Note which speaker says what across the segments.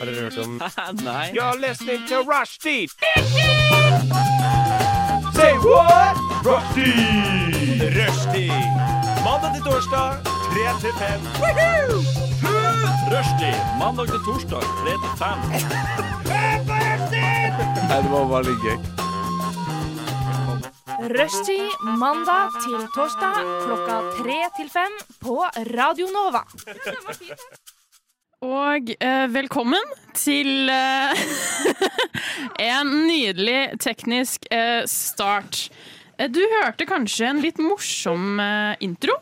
Speaker 1: Har dere hørt om
Speaker 2: Nei.
Speaker 3: You're listening to Rushdie. Say what? Rushdie. Rushdie. Mandag til torsdag, 3 til 5. Rushdie. Mandag til torsdag, 3 til 5.
Speaker 2: Nei, det var bare litt gøy.
Speaker 4: Rushtid mandag til torsdag klokka tre til fem på Radio Nova.
Speaker 5: Og eh, velkommen til eh, en nydelig teknisk eh, start. Eh, Du hørte kanskje en litt morsom eh, intro,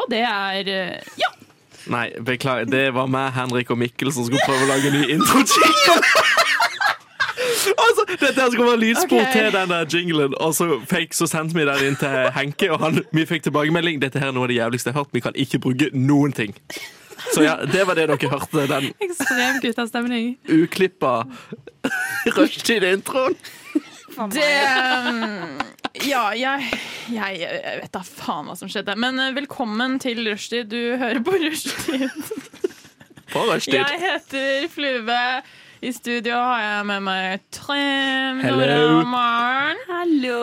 Speaker 5: og det er eh, Ja!
Speaker 2: Nei, beklager. Det var meg, Henrik og Mikkel som skulle prøve å lage en ny intro-jingle. altså, dette her skulle være lydspor
Speaker 5: Ok.
Speaker 2: til den der jinglen, og så, fake, så sendte vi den inn til Henke, og han, vi fikk tilbakemelding. Dette her er noe av det jævligste jeg har hørt. Vi kan ikke bruke noen ting. Så ja, det var det dere hørte. Den
Speaker 5: Ekstrem guttastemning.
Speaker 2: uklippa rushtid-introen.
Speaker 5: Det um, Ja, jeg, jeg, jeg vet da faen hva som skjedde. Men eh, velkommen til Rushdie. Du hører på Rushdie.
Speaker 2: På rushtid.
Speaker 5: Jeg heter Flube. I studio har jeg med meg Trym,
Speaker 2: Hello.
Speaker 5: Nora og Maren.
Speaker 6: Hallo.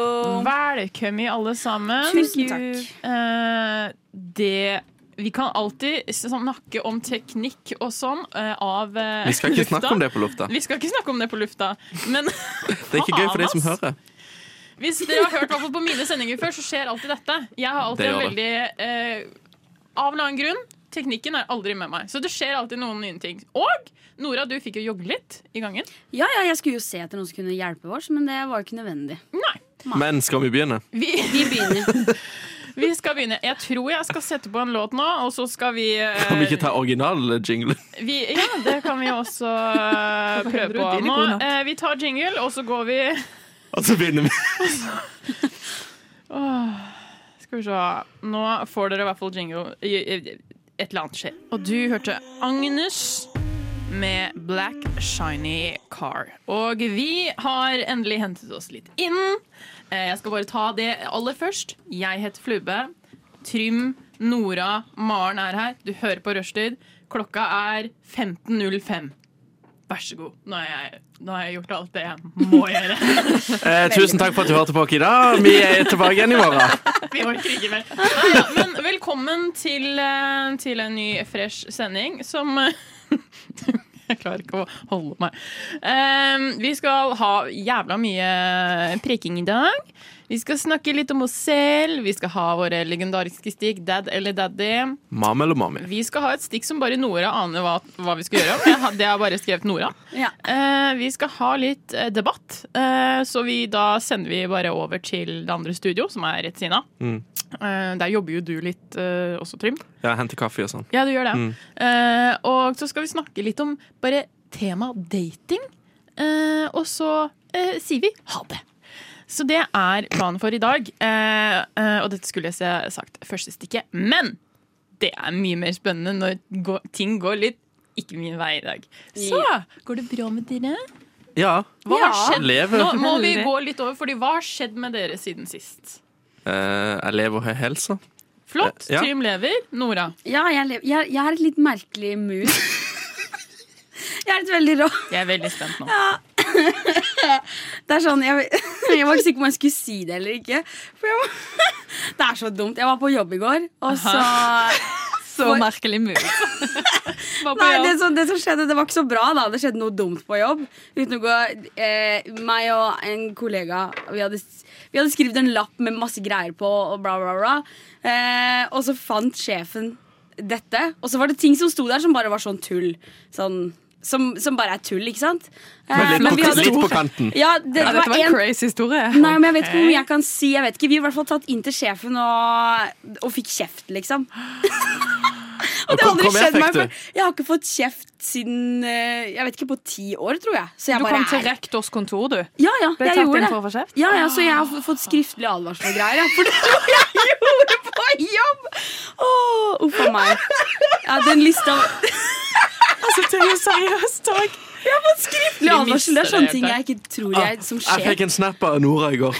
Speaker 5: Velkommen, alle sammen.
Speaker 6: Tusen takk.
Speaker 5: Eh, det Vi kan alltid sånn snakke om teknikk og sånn eh, av eh,
Speaker 2: Vi skal ikke
Speaker 5: lufta.
Speaker 2: snakke om det på lufta.
Speaker 5: Vi skal ikke snakke om det på lufta. Men
Speaker 2: Det er ikke gøy for de som
Speaker 5: Faen, ass.
Speaker 2: hører.
Speaker 5: Hvis dere har hørt hvertfall på mine sendinger før, så skjer alltid dette. Jeg har alltid
Speaker 2: Det
Speaker 5: en
Speaker 2: gjør
Speaker 5: veldig eh, Av en eller annen grunn. Teknikken er aldri med meg. Så det skjer alltid noen nye ting. Og Nora, du fikk jo jogge litt i gangen.
Speaker 6: Ja, ja, jeg skulle jo se etter noen som kunne hjelpe oss, men det var jo ikke nødvendig.
Speaker 5: Nei.
Speaker 2: Men skal vi begynne?
Speaker 5: Vi,
Speaker 6: Vi begynner.
Speaker 5: vi skal begynne. Jeg tror jeg skal sette på en låt nå, og så skal vi eh,
Speaker 2: Kan vi ikke ta original-jinglen?
Speaker 1: Eh.
Speaker 5: vi, Ja, det kan vi også eh, prøve på. Nå, eh, vi tar jingle, og så går vi
Speaker 2: Og så begynner vi.
Speaker 5: Skal vi se. Nå får dere i hvert fall jingle. I- i- Et eller annet skjer. Og du hørte Agnes med Black Shiny Car. Og vi har endelig hentet oss litt inn. Eh, Jeg skal bare ta det aller først. Jeg heter Flube. Trym, Nora, Maren er her. Du hører på Rushtid. Klokka er 15.05. Vær så god. Nå har jeg, nå har jeg gjort alt det jeg må gjøre.
Speaker 2: Eh, tusen takk for at du hørte på oss i dag. Vi er tilbake igjen i morgen.
Speaker 5: Vi orker ikke mer. Nei, ja, men velkommen til, eh, til en ny fresh sending som eh, Jeg klarer ikke å holde meg. Eh, vi skal ha jævla mye preking i dag. Vi skal snakke litt om oss selv. Vi skal ha våre legendariske stikk, dad eller daddy.
Speaker 2: Mam eller mami?
Speaker 5: Vi skal ha et stikk som bare Nora aner hva, hva vi skal gjøre om. Jeg, har- det har bare skrevet Nora.
Speaker 6: Ja.
Speaker 5: Eh, vi skal ha litt eh, debatt, eh, så vi, da sender vi bare over til det andre studio, som er rett siden av.
Speaker 2: Mm.
Speaker 5: Eh, der jobber jo du litt eh, også, Trym.
Speaker 2: Ja, hente kaffe og sånn.
Speaker 5: Ja, du gjør det.
Speaker 2: Mm.
Speaker 5: Eh, og så skal vi snakke litt om bare tema dating. Eh, og så eh, sier vi ha det. Så det er planen for i dag. Eh, eh, og dette skulle jeg se sagt første stikket. Men det er mye mer spennende når gå- ting går litt ikke min vei i dag. Så går det bra med dere?
Speaker 2: Ja.
Speaker 5: Hva har
Speaker 6: Ja.
Speaker 5: skjedd?
Speaker 2: Lever.
Speaker 5: Nå må vi gå litt over, fordi hva har skjedd med dere siden sist?
Speaker 2: Eh, jeg lever og har helsa.
Speaker 6: Eh,
Speaker 5: Flott.
Speaker 2: Eh, Ja.
Speaker 5: Trym lever. Nora.
Speaker 6: Ja, jeg, lev- jeg, jeg er et litt merkelig mood. Jeg er et veldig rå.
Speaker 5: Jeg er veldig spent nå.
Speaker 6: Det er sånn, jeg, jeg var ikke sikker på om jeg skulle si det eller ikke. For jeg var, det er så dumt. Jeg var på jobb i går, og så
Speaker 7: Så merkelig mood. Var på
Speaker 6: Nei, det
Speaker 7: jobb.
Speaker 6: som, det som skjedde, det var ikke så bra da Det skjedde noe dumt på jobb Uten å gå, eh, meg og en kollega Vi hadde, vi hadde skrivet en lapp med masse greier på Og bla bla bla eh, Og så fant sjefen dette Og så var det ting som sto der som bare var sånn tull Sånn som, som bare er tull, ikke sant? Eh,
Speaker 2: Men litt,
Speaker 6: men vi
Speaker 2: på,
Speaker 6: hadde-
Speaker 2: litt på kanten.
Speaker 6: Ja, det,
Speaker 7: Ja, dette
Speaker 6: var
Speaker 7: var en
Speaker 6: en
Speaker 7: crazy historie.
Speaker 6: Nei, men jeg vet ikke hvor mye jeg kan si Jeg vet ikke, vi har i hvert fall tatt inn til sjefen Og, og fikk kjeft liksom
Speaker 2: Og
Speaker 6: det har
Speaker 2: kom,
Speaker 6: aldri
Speaker 2: kom her,
Speaker 6: skjedd meg
Speaker 2: fikk du.
Speaker 6: før. Jeg har ikke fått kjeft siden eh, Jeg vet ikke, på ti år, tror jeg. Så jeg
Speaker 7: Du
Speaker 6: bare
Speaker 7: kom til
Speaker 6: er-
Speaker 7: rektors kontor, du.
Speaker 6: Ja, ja,
Speaker 7: Ble
Speaker 6: jeg
Speaker 7: tatt
Speaker 6: gjorde
Speaker 7: inn
Speaker 6: det.
Speaker 7: for å få kjeft.
Speaker 6: Ja, ja, så jeg har f- fått skriftlig advarsel og greier. Ja, for det var det jeg gjorde på jobb! Åh, Uff a meg. Ja, den lista Skriftlig
Speaker 7: Altså, det er jo seriøst takk.
Speaker 6: advarsel, det er
Speaker 5: mister det
Speaker 6: sånne ting
Speaker 5: helt,
Speaker 6: jeg ikke tror jeg som
Speaker 2: Ah, Jeg
Speaker 6: skjer.
Speaker 2: fikk en snap av Nora i går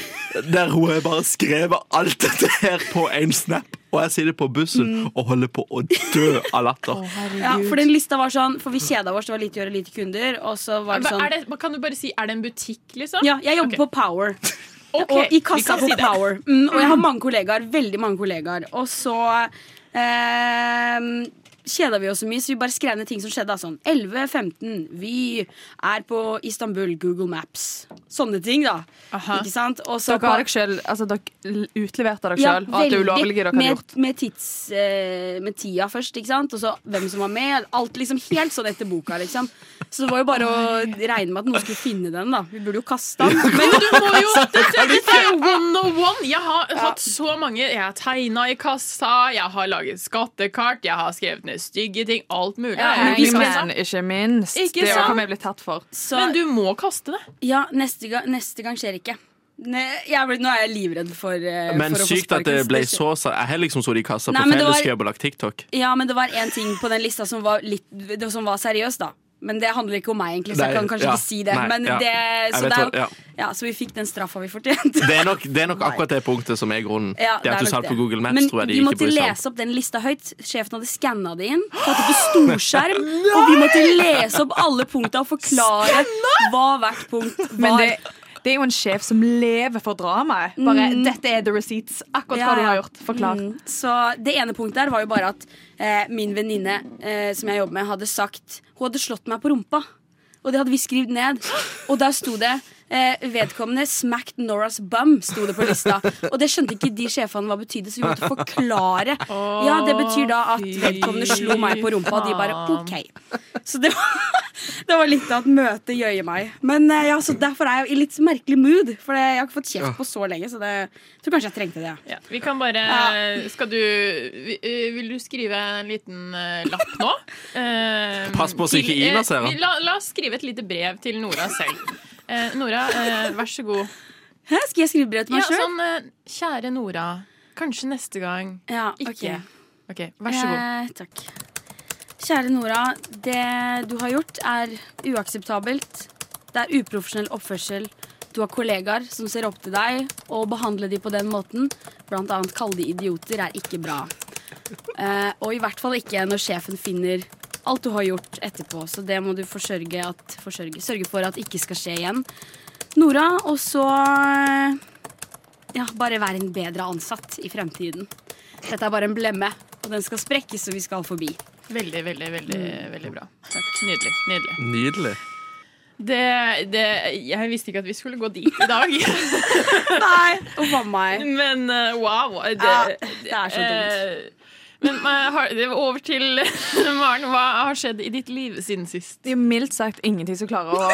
Speaker 2: der hun har bare skrevet alt dette her på én snap. og jeg sier det på bussen
Speaker 6: Mm.
Speaker 2: og holder på å dø av latter.
Speaker 6: Ja, for den lista var sånn, for vi kjeda oss, det var lite å gjøre, lite kunder. Og så var det sånn
Speaker 5: Er det, kan du bare si Er det en butikk, liksom?
Speaker 6: Ja, jeg jobber
Speaker 5: Ok.
Speaker 6: på Power.
Speaker 5: Ok,
Speaker 6: Og i
Speaker 5: vi
Speaker 6: kassa
Speaker 5: kan
Speaker 6: på
Speaker 5: si det.
Speaker 6: Power. Mm, og jeg har mange kollegaer. Veldig mange kollegaer. Og så eh, kjeda vi oss så mye, så vi bare skrev ned ting som skjedde. da, Sånn 11.15, vi er på Istanbul, Google Maps. Sånne ting, da.
Speaker 5: Aha.
Speaker 6: Ikke sant? Og så
Speaker 7: Dere,
Speaker 6: på-
Speaker 7: har dere, selv, altså, dere utleverte dere
Speaker 6: Ja,
Speaker 7: sjøl, og at det
Speaker 6: veldig.
Speaker 7: ulovlige dere har
Speaker 6: med,
Speaker 7: gjort.
Speaker 6: Med, tids, eh, med tida først, ikke sant? Og så hvem som var med. Alt liksom helt sånn etter boka, liksom. Så det var jo bare å regne med at noen skulle finne den, da. Vi burde jo kaste den.
Speaker 5: Men du må jo Dette dette er jo one on one! Jeg har hatt så mange. Jeg har tegna i kassa, jeg har laget skattekart, jeg har skrevet ned stygge ting. Alt mulig.
Speaker 6: Ja,
Speaker 5: Jeg er
Speaker 6: vi
Speaker 5: jo
Speaker 6: skal-
Speaker 5: liksom-
Speaker 7: Men ikke minst.
Speaker 5: Ikke
Speaker 7: det
Speaker 5: sant?
Speaker 7: kan vi bli tatt for.
Speaker 6: Så,
Speaker 5: Men du må kaste det.
Speaker 6: Ja, neste gang, neste gang skjer ikke. Ne, jeg ble, nå er jeg livredd for, eh,
Speaker 2: Men
Speaker 6: for å få
Speaker 2: sykt at det
Speaker 6: sparken.
Speaker 2: ble så sa- Jeg har liksom sittet i kassa
Speaker 6: Nei,
Speaker 2: på
Speaker 6: men det var-
Speaker 2: felleskjøp og lagt TikTok.
Speaker 6: Ja, men det var én ting på den lista som var, litt, det- som var seriøs, da. Men det handler ikke om meg, egentlig, så
Speaker 2: Nei,
Speaker 6: jeg kan kanskje
Speaker 2: ja,
Speaker 6: ikke si det.
Speaker 2: nei,
Speaker 6: men
Speaker 2: ja.
Speaker 6: det, så,
Speaker 2: Jeg
Speaker 6: det
Speaker 2: vet
Speaker 6: er,
Speaker 2: hva- ja.
Speaker 6: jo- ja, så vi fikk den straffa vi fortjente.
Speaker 2: Det er nok, det er nok akkurat det punktet som er grunnen.
Speaker 6: Ja,
Speaker 2: det
Speaker 6: er
Speaker 2: at du
Speaker 6: nok
Speaker 2: sa det på
Speaker 6: det.
Speaker 2: Google Maps,
Speaker 6: Men
Speaker 2: tror jeg de
Speaker 6: vi
Speaker 2: ikke
Speaker 6: måtte
Speaker 2: bryr seg om.
Speaker 6: lese opp den lista høyt. Sjefen hadde skanna det inn, fått det på storskjerm, og vi måtte lese opp alle punkta og forklare hva hvert punkt
Speaker 7: Men
Speaker 6: var.
Speaker 7: det, det er jo en sjef som lever for dramaet. Bare 'dette er the receipts'.
Speaker 6: Mm.
Speaker 7: Akkurat hva
Speaker 6: Ja,
Speaker 7: du har
Speaker 6: ja.
Speaker 7: gjort. Forklart.
Speaker 6: Mm. Så det ene punktet der var jo bare at eh, min venninne eh, som jeg jobber med, hadde sagt Hun hadde slått meg på rumpa. Og det hadde vi skrevet ned. Og der sto det eh, 'Vedkommende smacked Noras bum'. Sto det på lista. Og det skjønte ikke de sjefene hva betydde, så vi måtte forklare. Ja, det betyr da at
Speaker 5: fy
Speaker 6: vedkommende slo meg på rumpa, og de bare
Speaker 5: faen.
Speaker 6: OK. Så det var, det var litt av et møte jøye meg. Men eh, ja, så derfor er jeg i litt merkelig mood, for det, jeg har ikke fått kjeft på så lenge, så det, jeg tror kanskje jeg trengte det. ja.
Speaker 5: Ja, vi kan bare
Speaker 6: Ja.
Speaker 5: Skal du vi- eh, Vil du skrive en liten eh, lapp nå? Eh,
Speaker 2: Pass på så
Speaker 5: til-
Speaker 2: ikke Ina
Speaker 5: eh,
Speaker 2: ser den.
Speaker 5: vi- La, la oss skrive et lite brev til Nora selv. Eh, Nora, eh, vær så god.
Speaker 6: Hæ, skal jeg skrive brev til
Speaker 5: Ja,
Speaker 6: meg sjøl?
Speaker 5: sånn eh, Kjære Nora. Kanskje neste gang.
Speaker 6: Ja, ok.
Speaker 5: Ikke. Ok, Vær så god.
Speaker 6: Eh, takk. Kjære Nora, det du har gjort er uakseptabelt. Det er uprofesjonell oppførsel. Du har kollegaer som ser opp til deg, og å behandle de på den måten, blant annet kalle de idioter, er ikke bra. Eh, og i hvert fall ikke når sjefen finner alt du har gjort etterpå, så det må du forsørge, at, forsørge sørge for at ikke skal skje igjen. Nora, og så eh, ja, bare vær en bedre ansatt i fremtiden. Dette er bare en blemme, og den skal sprekkes, og vi skal forbi.
Speaker 5: Veldig, veldig, veldig, veldig bra. Takk. Nydelig. Nydelig.
Speaker 2: Nydelig.
Speaker 5: Det, det, jeg visste ikke at vi skulle gå dit i dag,
Speaker 6: Nei, og mamma er
Speaker 5: men eh, wow. Det,
Speaker 6: Ja, det er så dumt.
Speaker 5: eh, men eh, har, det var over til Maren. Hva har skjedd i ditt liv siden sist?
Speaker 7: Det er jo mildt sagt ingenting som klarer å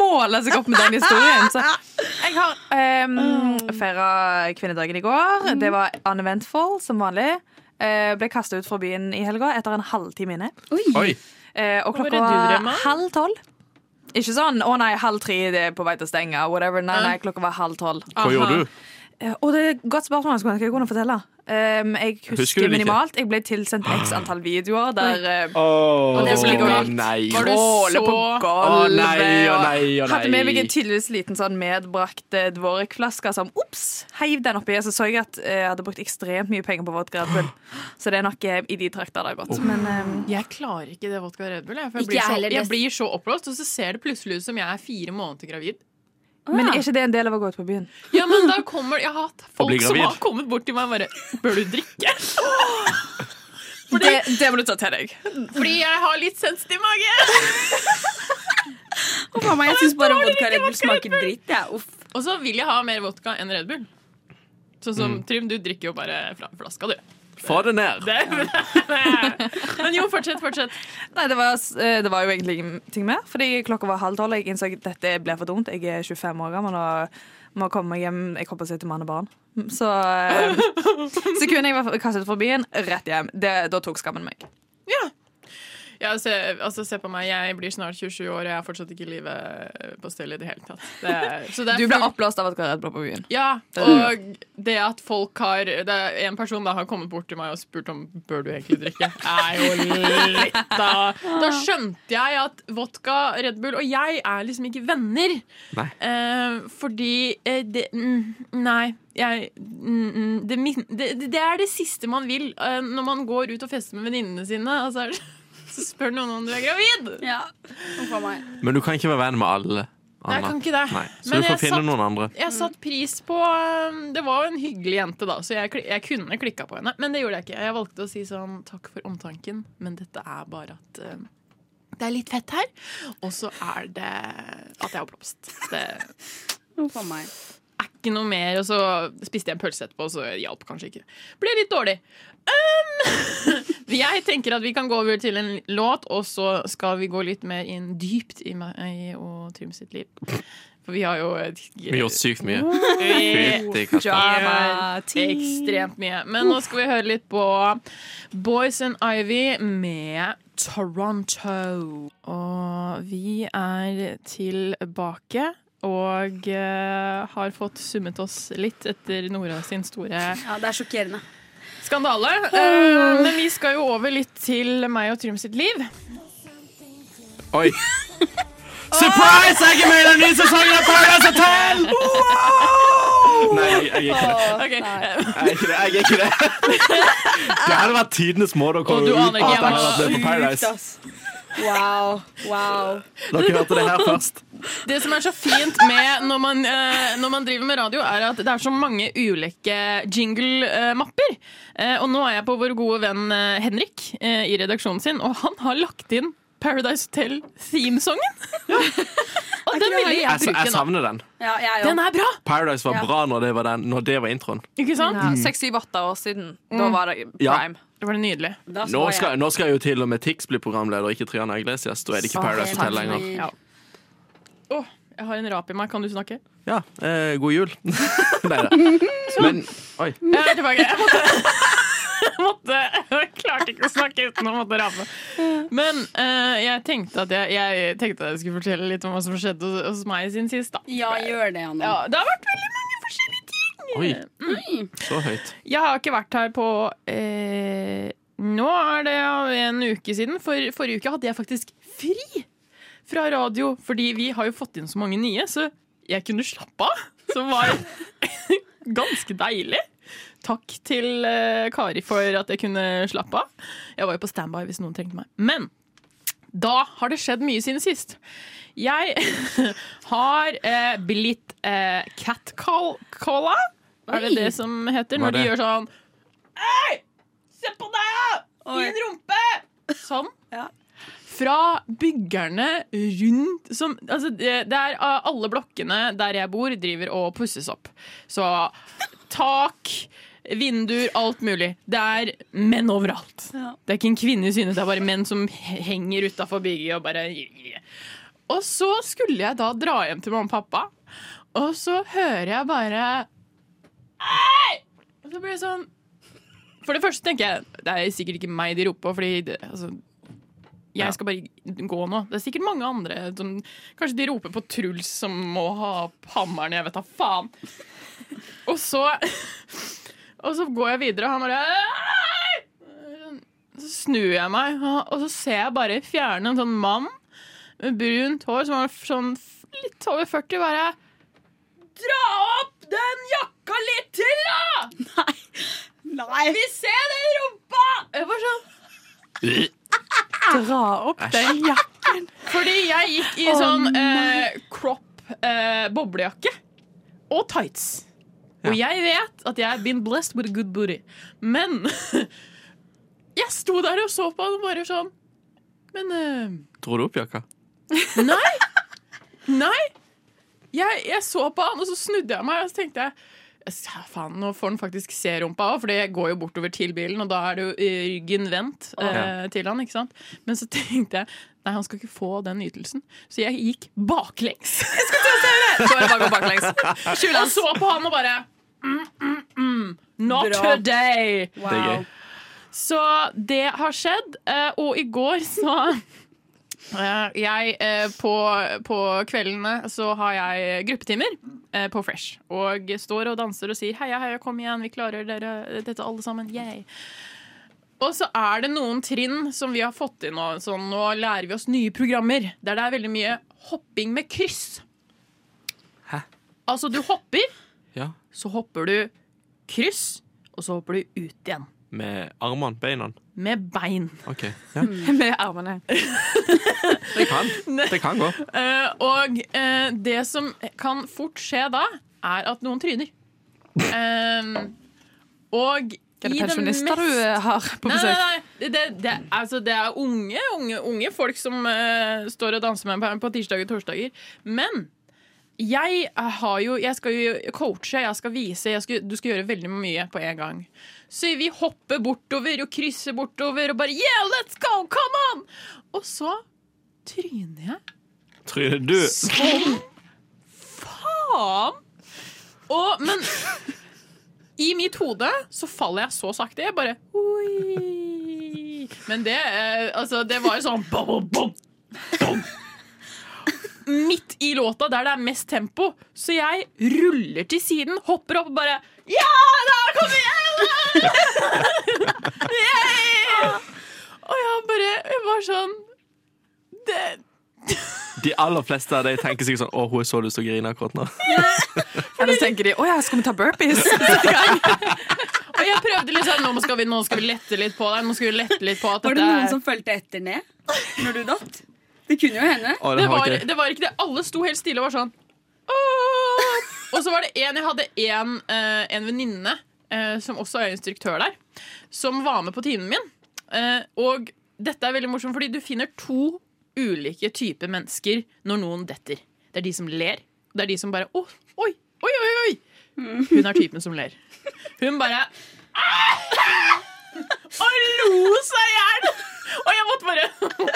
Speaker 7: måle seg opp med den historien. Så jeg har
Speaker 6: Mm.
Speaker 7: um, feira kvinnedagen i går. Det var uneventful som vanlig. Eh, ble kasta ut fra byen i helga etter en halvtime inne.
Speaker 2: Oi.
Speaker 7: Eh, og
Speaker 5: Hva var det
Speaker 7: klokka
Speaker 5: du drømte om?
Speaker 7: var halv tolv. Ikke sånn 'å nei, halv tre, det er på vei til å stenge'. Whatever. Nei, nei, klokka var halv tolv.
Speaker 2: Hva gjorde du?
Speaker 7: Eh, Og det er et godt spørsmål. Skulle jeg kunne fortelle. Um, jeg husker,
Speaker 2: Husker du det ikke?
Speaker 7: minimalt. Jeg ble tilsendt x antall videoer der eh,
Speaker 2: Å
Speaker 7: det som ligger over alt.
Speaker 2: nei.
Speaker 5: Var du
Speaker 7: Åle på
Speaker 5: så-
Speaker 2: Å,
Speaker 7: gulvet.
Speaker 2: nei, å, nei, å,
Speaker 7: og Hadde med meg
Speaker 2: nei.
Speaker 7: en tydeligvis liten sånn medbrakt eh, dvorikflaske som ops, heiv den oppi. Så så jeg at eh, jeg hadde brukt ekstremt mye penger på vodka Red Bull. Så det er nok eh, i de trakter det har gått. Men eh,
Speaker 5: Jeg klarer ikke det vodka Red Bull. Jeg, for jeg,
Speaker 6: Ikke
Speaker 5: blir
Speaker 6: jeg
Speaker 5: så,
Speaker 6: heller, det-
Speaker 5: jeg blir så oppblåst, og så ser det plutselig ut som jeg er fire måneder gravid.
Speaker 7: men er ikke det en del av å gå ut på byen?
Speaker 5: Ja, men da kommer Jeg har hatt
Speaker 2: Og blir
Speaker 5: folk som
Speaker 2: gravid.
Speaker 5: har kommet bort til meg og bare Bør du drikke? Fordi,
Speaker 7: Det, det må du ta til deg.
Speaker 5: fordi jeg har litt sensitiv mage.
Speaker 6: Og mamma, jeg syns bare vodka Red Bull smaker dritt. Ja. Uff.
Speaker 5: Og så vil jeg ha mer vodka enn Red Bull. Sånn som Trym, du drikker jo bare fra flaska, du.
Speaker 2: Få det ned.
Speaker 5: Det, men jo, fortsett, fortsett.
Speaker 7: Nei, det var, eh, det var jo egentlig ingenting mer. Fordi klokka var halv tolv, og jeg innså at dette ble for dumt. Jeg er 25 år gammel og må komme meg hjem. Jeg håper å se til mann og barn. Så eh, sekundet jeg var kastet ut fra byen, rett hjem. Det, da tok skammen meg.
Speaker 5: Ja, se, altså, se på meg, jeg blir snart 27 år, og jeg er fortsatt ikke i live på stell i det hele tatt. Det er, så det er
Speaker 7: Du ble
Speaker 5: full-
Speaker 7: oppblåst av et karetblad på byen.
Speaker 5: Ja, og det at folk har det er En person da har kommet bort til meg og spurt om Bør du egentlig drikke, er jo litt av Da skjønte jeg at vodka, Red Bull og jeg er liksom ikke venner.
Speaker 2: Nei.
Speaker 5: Eh, fordi eh, det, mm, Nei. Jeg, mm, mm, det, min- det, det er det siste man vil eh, når man går ut og fester med venninnene sine. Og så, er det, så spør noen om du er gravid!
Speaker 6: Ja. Uff a meg.
Speaker 2: Men du kan ikke være venn med alle.
Speaker 5: Nei, jeg
Speaker 2: Anna.
Speaker 5: kan ikke det.
Speaker 2: Nei. Så du
Speaker 5: Men jeg
Speaker 2: får finne
Speaker 5: satt-
Speaker 2: noen andre.
Speaker 5: Jeg satt pris på um, Det var jo en hyggelig jente, da, så jeg, kli- jeg kunne klikka på henne. Men det gjorde jeg ikke. Jeg valgte å si sånn takk for omtanken, men dette er bare at um, det er litt fett her. Og så er det at jeg har blomst. Det er
Speaker 6: Uff a meg.
Speaker 5: ikke noe mer. Og så spiste jeg en pølse etterpå, så det hjalp kanskje ikke. Ble litt dårlig. Um, jeg tenker at vi kan gå over til en låt, og så skal vi gå litt mer inn dypt i meg og Trym sitt liv. For vi har jo et
Speaker 2: Vi gjorde sykt mye. Fytti katta.
Speaker 5: Ekstremt mye. Men nå skal vi høre litt på Boys and Ivy med Toronto. Og vi er tilbake. Og eh, har fått summet oss litt etter Nora sin store
Speaker 6: Ja, det er sjokkerende.
Speaker 5: skandale. Eh, men vi skal jo over litt til meg og Trym sitt liv.
Speaker 2: Oi. Surprise! Jeg er med i den nye sesongen av Paradise Hotel! Nei, jeg, jeg er ikke det.
Speaker 5: Ok, eh,
Speaker 2: Jeg er ikke det. Jeg er ikke det. det hadde vært tidenes måte å
Speaker 5: Og
Speaker 2: komme
Speaker 5: du
Speaker 2: ut
Speaker 5: aner
Speaker 2: på at
Speaker 5: ikke,
Speaker 2: jeg
Speaker 5: jeg
Speaker 2: hadde vært på Paradise.
Speaker 6: ass. Wow. Wow.
Speaker 2: Dere hørte det her først.
Speaker 5: Det som er så fint med når man, eh, når man driver med radio, er at det er så mange ulike jingle-mapper. Eh, og nå er jeg på vår gode venn eh, Henrik eh, i redaksjonen sin, og han har lagt inn Paradise Hotel-themesongen. og den ville
Speaker 2: Jeg,
Speaker 5: jeg
Speaker 2: sa- jeg
Speaker 5: bruke nå.
Speaker 2: savner den.
Speaker 6: Ja, jeg
Speaker 5: Den
Speaker 6: òg.
Speaker 5: er bra,
Speaker 2: Paradise var bra når det var, den, når det var introen.
Speaker 5: ikke sant?
Speaker 7: Seks, syv, åtte år siden. Da var det
Speaker 2: Ja.
Speaker 7: prime.
Speaker 5: Det var nydelig.
Speaker 6: Da
Speaker 2: Nå
Speaker 6: så jeg.
Speaker 2: skal, nå skal jo til og med Tix bli programleder, ikke Triana Iglesias. Da er det ikke Paradise Hotel lenger.
Speaker 5: Ja. Åh, jeg har en rap i meg. Kan du snakke?
Speaker 2: Ja, eh, god jul. Nei da. Men Oi.
Speaker 5: Jeg er tilbake. Jeg måtte, jeg måtte Jeg klarte ikke å snakke uten å måtte rape. Men eh, jeg, tenkte at jeg, jeg tenkte at jeg skulle fortelle litt om hva som skjedde hos, hos meg siden sist. Da.
Speaker 6: Ja, gjør det, Anna.
Speaker 5: Ja, det har vært veldig mange forskjellige ting.
Speaker 2: Oi. Så høyt.
Speaker 5: Jeg har ikke vært her på eh, Nå er det en uke siden. For forrige uke hadde jeg faktisk fri fra radio, fordi vi har jo fått inn så mange nye, så jeg kunne slappe av. Som var ganske deilig. Takk til eh, Kari for at jeg kunne slappe av. Jeg var jo på standby hvis noen trengte meg. Men da har det skjedd mye siden sist. Jeg har eh, blitt eh, catcall-calla. Er det
Speaker 6: Oi.
Speaker 5: det som heter
Speaker 2: Hva er
Speaker 5: når de
Speaker 2: det?
Speaker 5: gjør sånn Hei! Se på deg, da!
Speaker 6: Oi.
Speaker 5: Fin rumpe! Sånn.
Speaker 6: Ja.
Speaker 5: Fra byggerne rundt som Altså, det, det er uh, alle blokkene der jeg bor, driver og pusses opp. Så tak, vinduer, alt mulig. Det er menn overalt.
Speaker 6: Ja.
Speaker 5: Det er ikke en kvinne i synet, det er bare menn som he- henger utafor bygget og bare Og så skulle jeg da dra hjem til mamma og pappa, og så hører jeg bare «Ei!» Og så blir jeg sånn For det første tenker jeg det er sikkert ikke meg de roper på, fordi det, altså,
Speaker 2: Ja.
Speaker 5: jeg skal bare gå nå. Det er sikkert mange andre som Kanskje de roper på Truls som må ha opp hammeren, jeg vet da faen. Og så Og så går jeg videre, og han bare «Ei!» Så snur jeg meg, og så ser jeg bare i fjerne en sånn mann med brunt hår som var sånn f- litt over 40, bare Dra opp den jakka litt til, da!
Speaker 6: Nei.
Speaker 5: Vi ser den rumpa! Jeg var sånn
Speaker 7: Dra opp den jakken.
Speaker 5: Fordi jeg gikk i sånn eh, crop eh, boblejakke og tights. Og jeg vet at jeg har been blessed with a good booty. Men jeg sto der og så på han og bare sånn Men eh,
Speaker 2: Dro du opp jakka?
Speaker 5: nei! Nei! Jeg, jeg så på han, og så snudde jeg meg og så tenkte jeg «Ja, Faen, nå får han faktisk se rumpa òg, for det går jo bortover til bilen. Og da er det jo eh, ryggen vendt eh, til han, ikke sant. Men så tenkte jeg nei, han skal ikke få den ytelsen. Så jeg gikk baklengs.
Speaker 7: Så er det bare å gå baklengs.
Speaker 5: Og så på han og bare mm, mm, mm. Not
Speaker 6: Bra.
Speaker 5: today!
Speaker 6: Wow.
Speaker 2: Det er gøy.
Speaker 5: Så det har skjedd. eh, Og i går så eh, Jeg eh, på, på kveldene så har jeg gruppetimer eh, på Fresh. Og står og danser og sier 'heia, heia, kom igjen, vi klarer dere dette alle sammen'. Yay. Og så er det noen trinn som vi har fått inn nå. Sånn, nå lærer vi oss nye programmer. Der det er veldig mye hopping med kryss.
Speaker 2: Hæ?
Speaker 5: Altså, du hopper,
Speaker 2: Ja.
Speaker 5: så hopper du kryss, og så hopper du ut igjen.
Speaker 2: Med armene, beina.
Speaker 5: Med bein.
Speaker 2: OK. Ja.
Speaker 7: Med armene.
Speaker 2: Det kan. Det kan gå.
Speaker 5: Eh, og eh, det som kan fort skje da, er at noen tryner. Em, og i
Speaker 7: Er det
Speaker 5: den
Speaker 7: pensjonister du
Speaker 5: mest-
Speaker 7: eh, har på
Speaker 5: Nei,
Speaker 7: besøk?
Speaker 5: nei, nei. Det, det, altså, det er unge, unge, unge folk som eh, står og danser med meg på tirsdager og torsdager. Men jeg, har jo, jeg skal jo coache, jeg skal vise, jeg skal, du skal gjøre veldig mye på en gang. Så vi hopper bortover og krysser bortover og bare Yeah, let's go! Come on! Og så tryner jeg
Speaker 2: Tryne, du
Speaker 5: som faen! Og, men i mitt hode så faller jeg så sakte. Jeg bare oi. Men det eh, Altså, det var jo sånn bom, bom, bom, bom. Midt i låta, der det er mest tempo. Så jeg ruller til siden, hopper opp og bare Ja da, kom igjen! da!» Yeah! Og jeg bare jeg var sånn det,
Speaker 2: De aller fleste av de tenker sikkert sånn Å, hun er så lyst til å grine akkurat nå.
Speaker 7: Eller så tenker de å ja, skal vi ta burpees?
Speaker 5: Og jeg prøvde liksom, nå skal vi, nå skal vi lette litt på deg. Nå skal vi lette litt på at
Speaker 6: Var det
Speaker 5: dette
Speaker 6: noen
Speaker 5: er-
Speaker 6: som fulgte etter ned når du datt? Det kunne jo hende.
Speaker 2: Å,
Speaker 5: det, var,
Speaker 2: ikke jeg.
Speaker 5: det var ikke det. Alle sto helt stille og var sånn «Åh!» Og så var det en, jeg hadde en, eh, en venninne eh, som også er instruktør der, som var med på timen min. Eh, og dette er veldig morsomt, fordi du finner to ulike typer mennesker når noen detter. Det er de som ler, og det er de som bare «Åh, Oi, oi, oi! oi Hun er typen som ler. Hun bare og lo seg i hjel! Og jeg måtte bare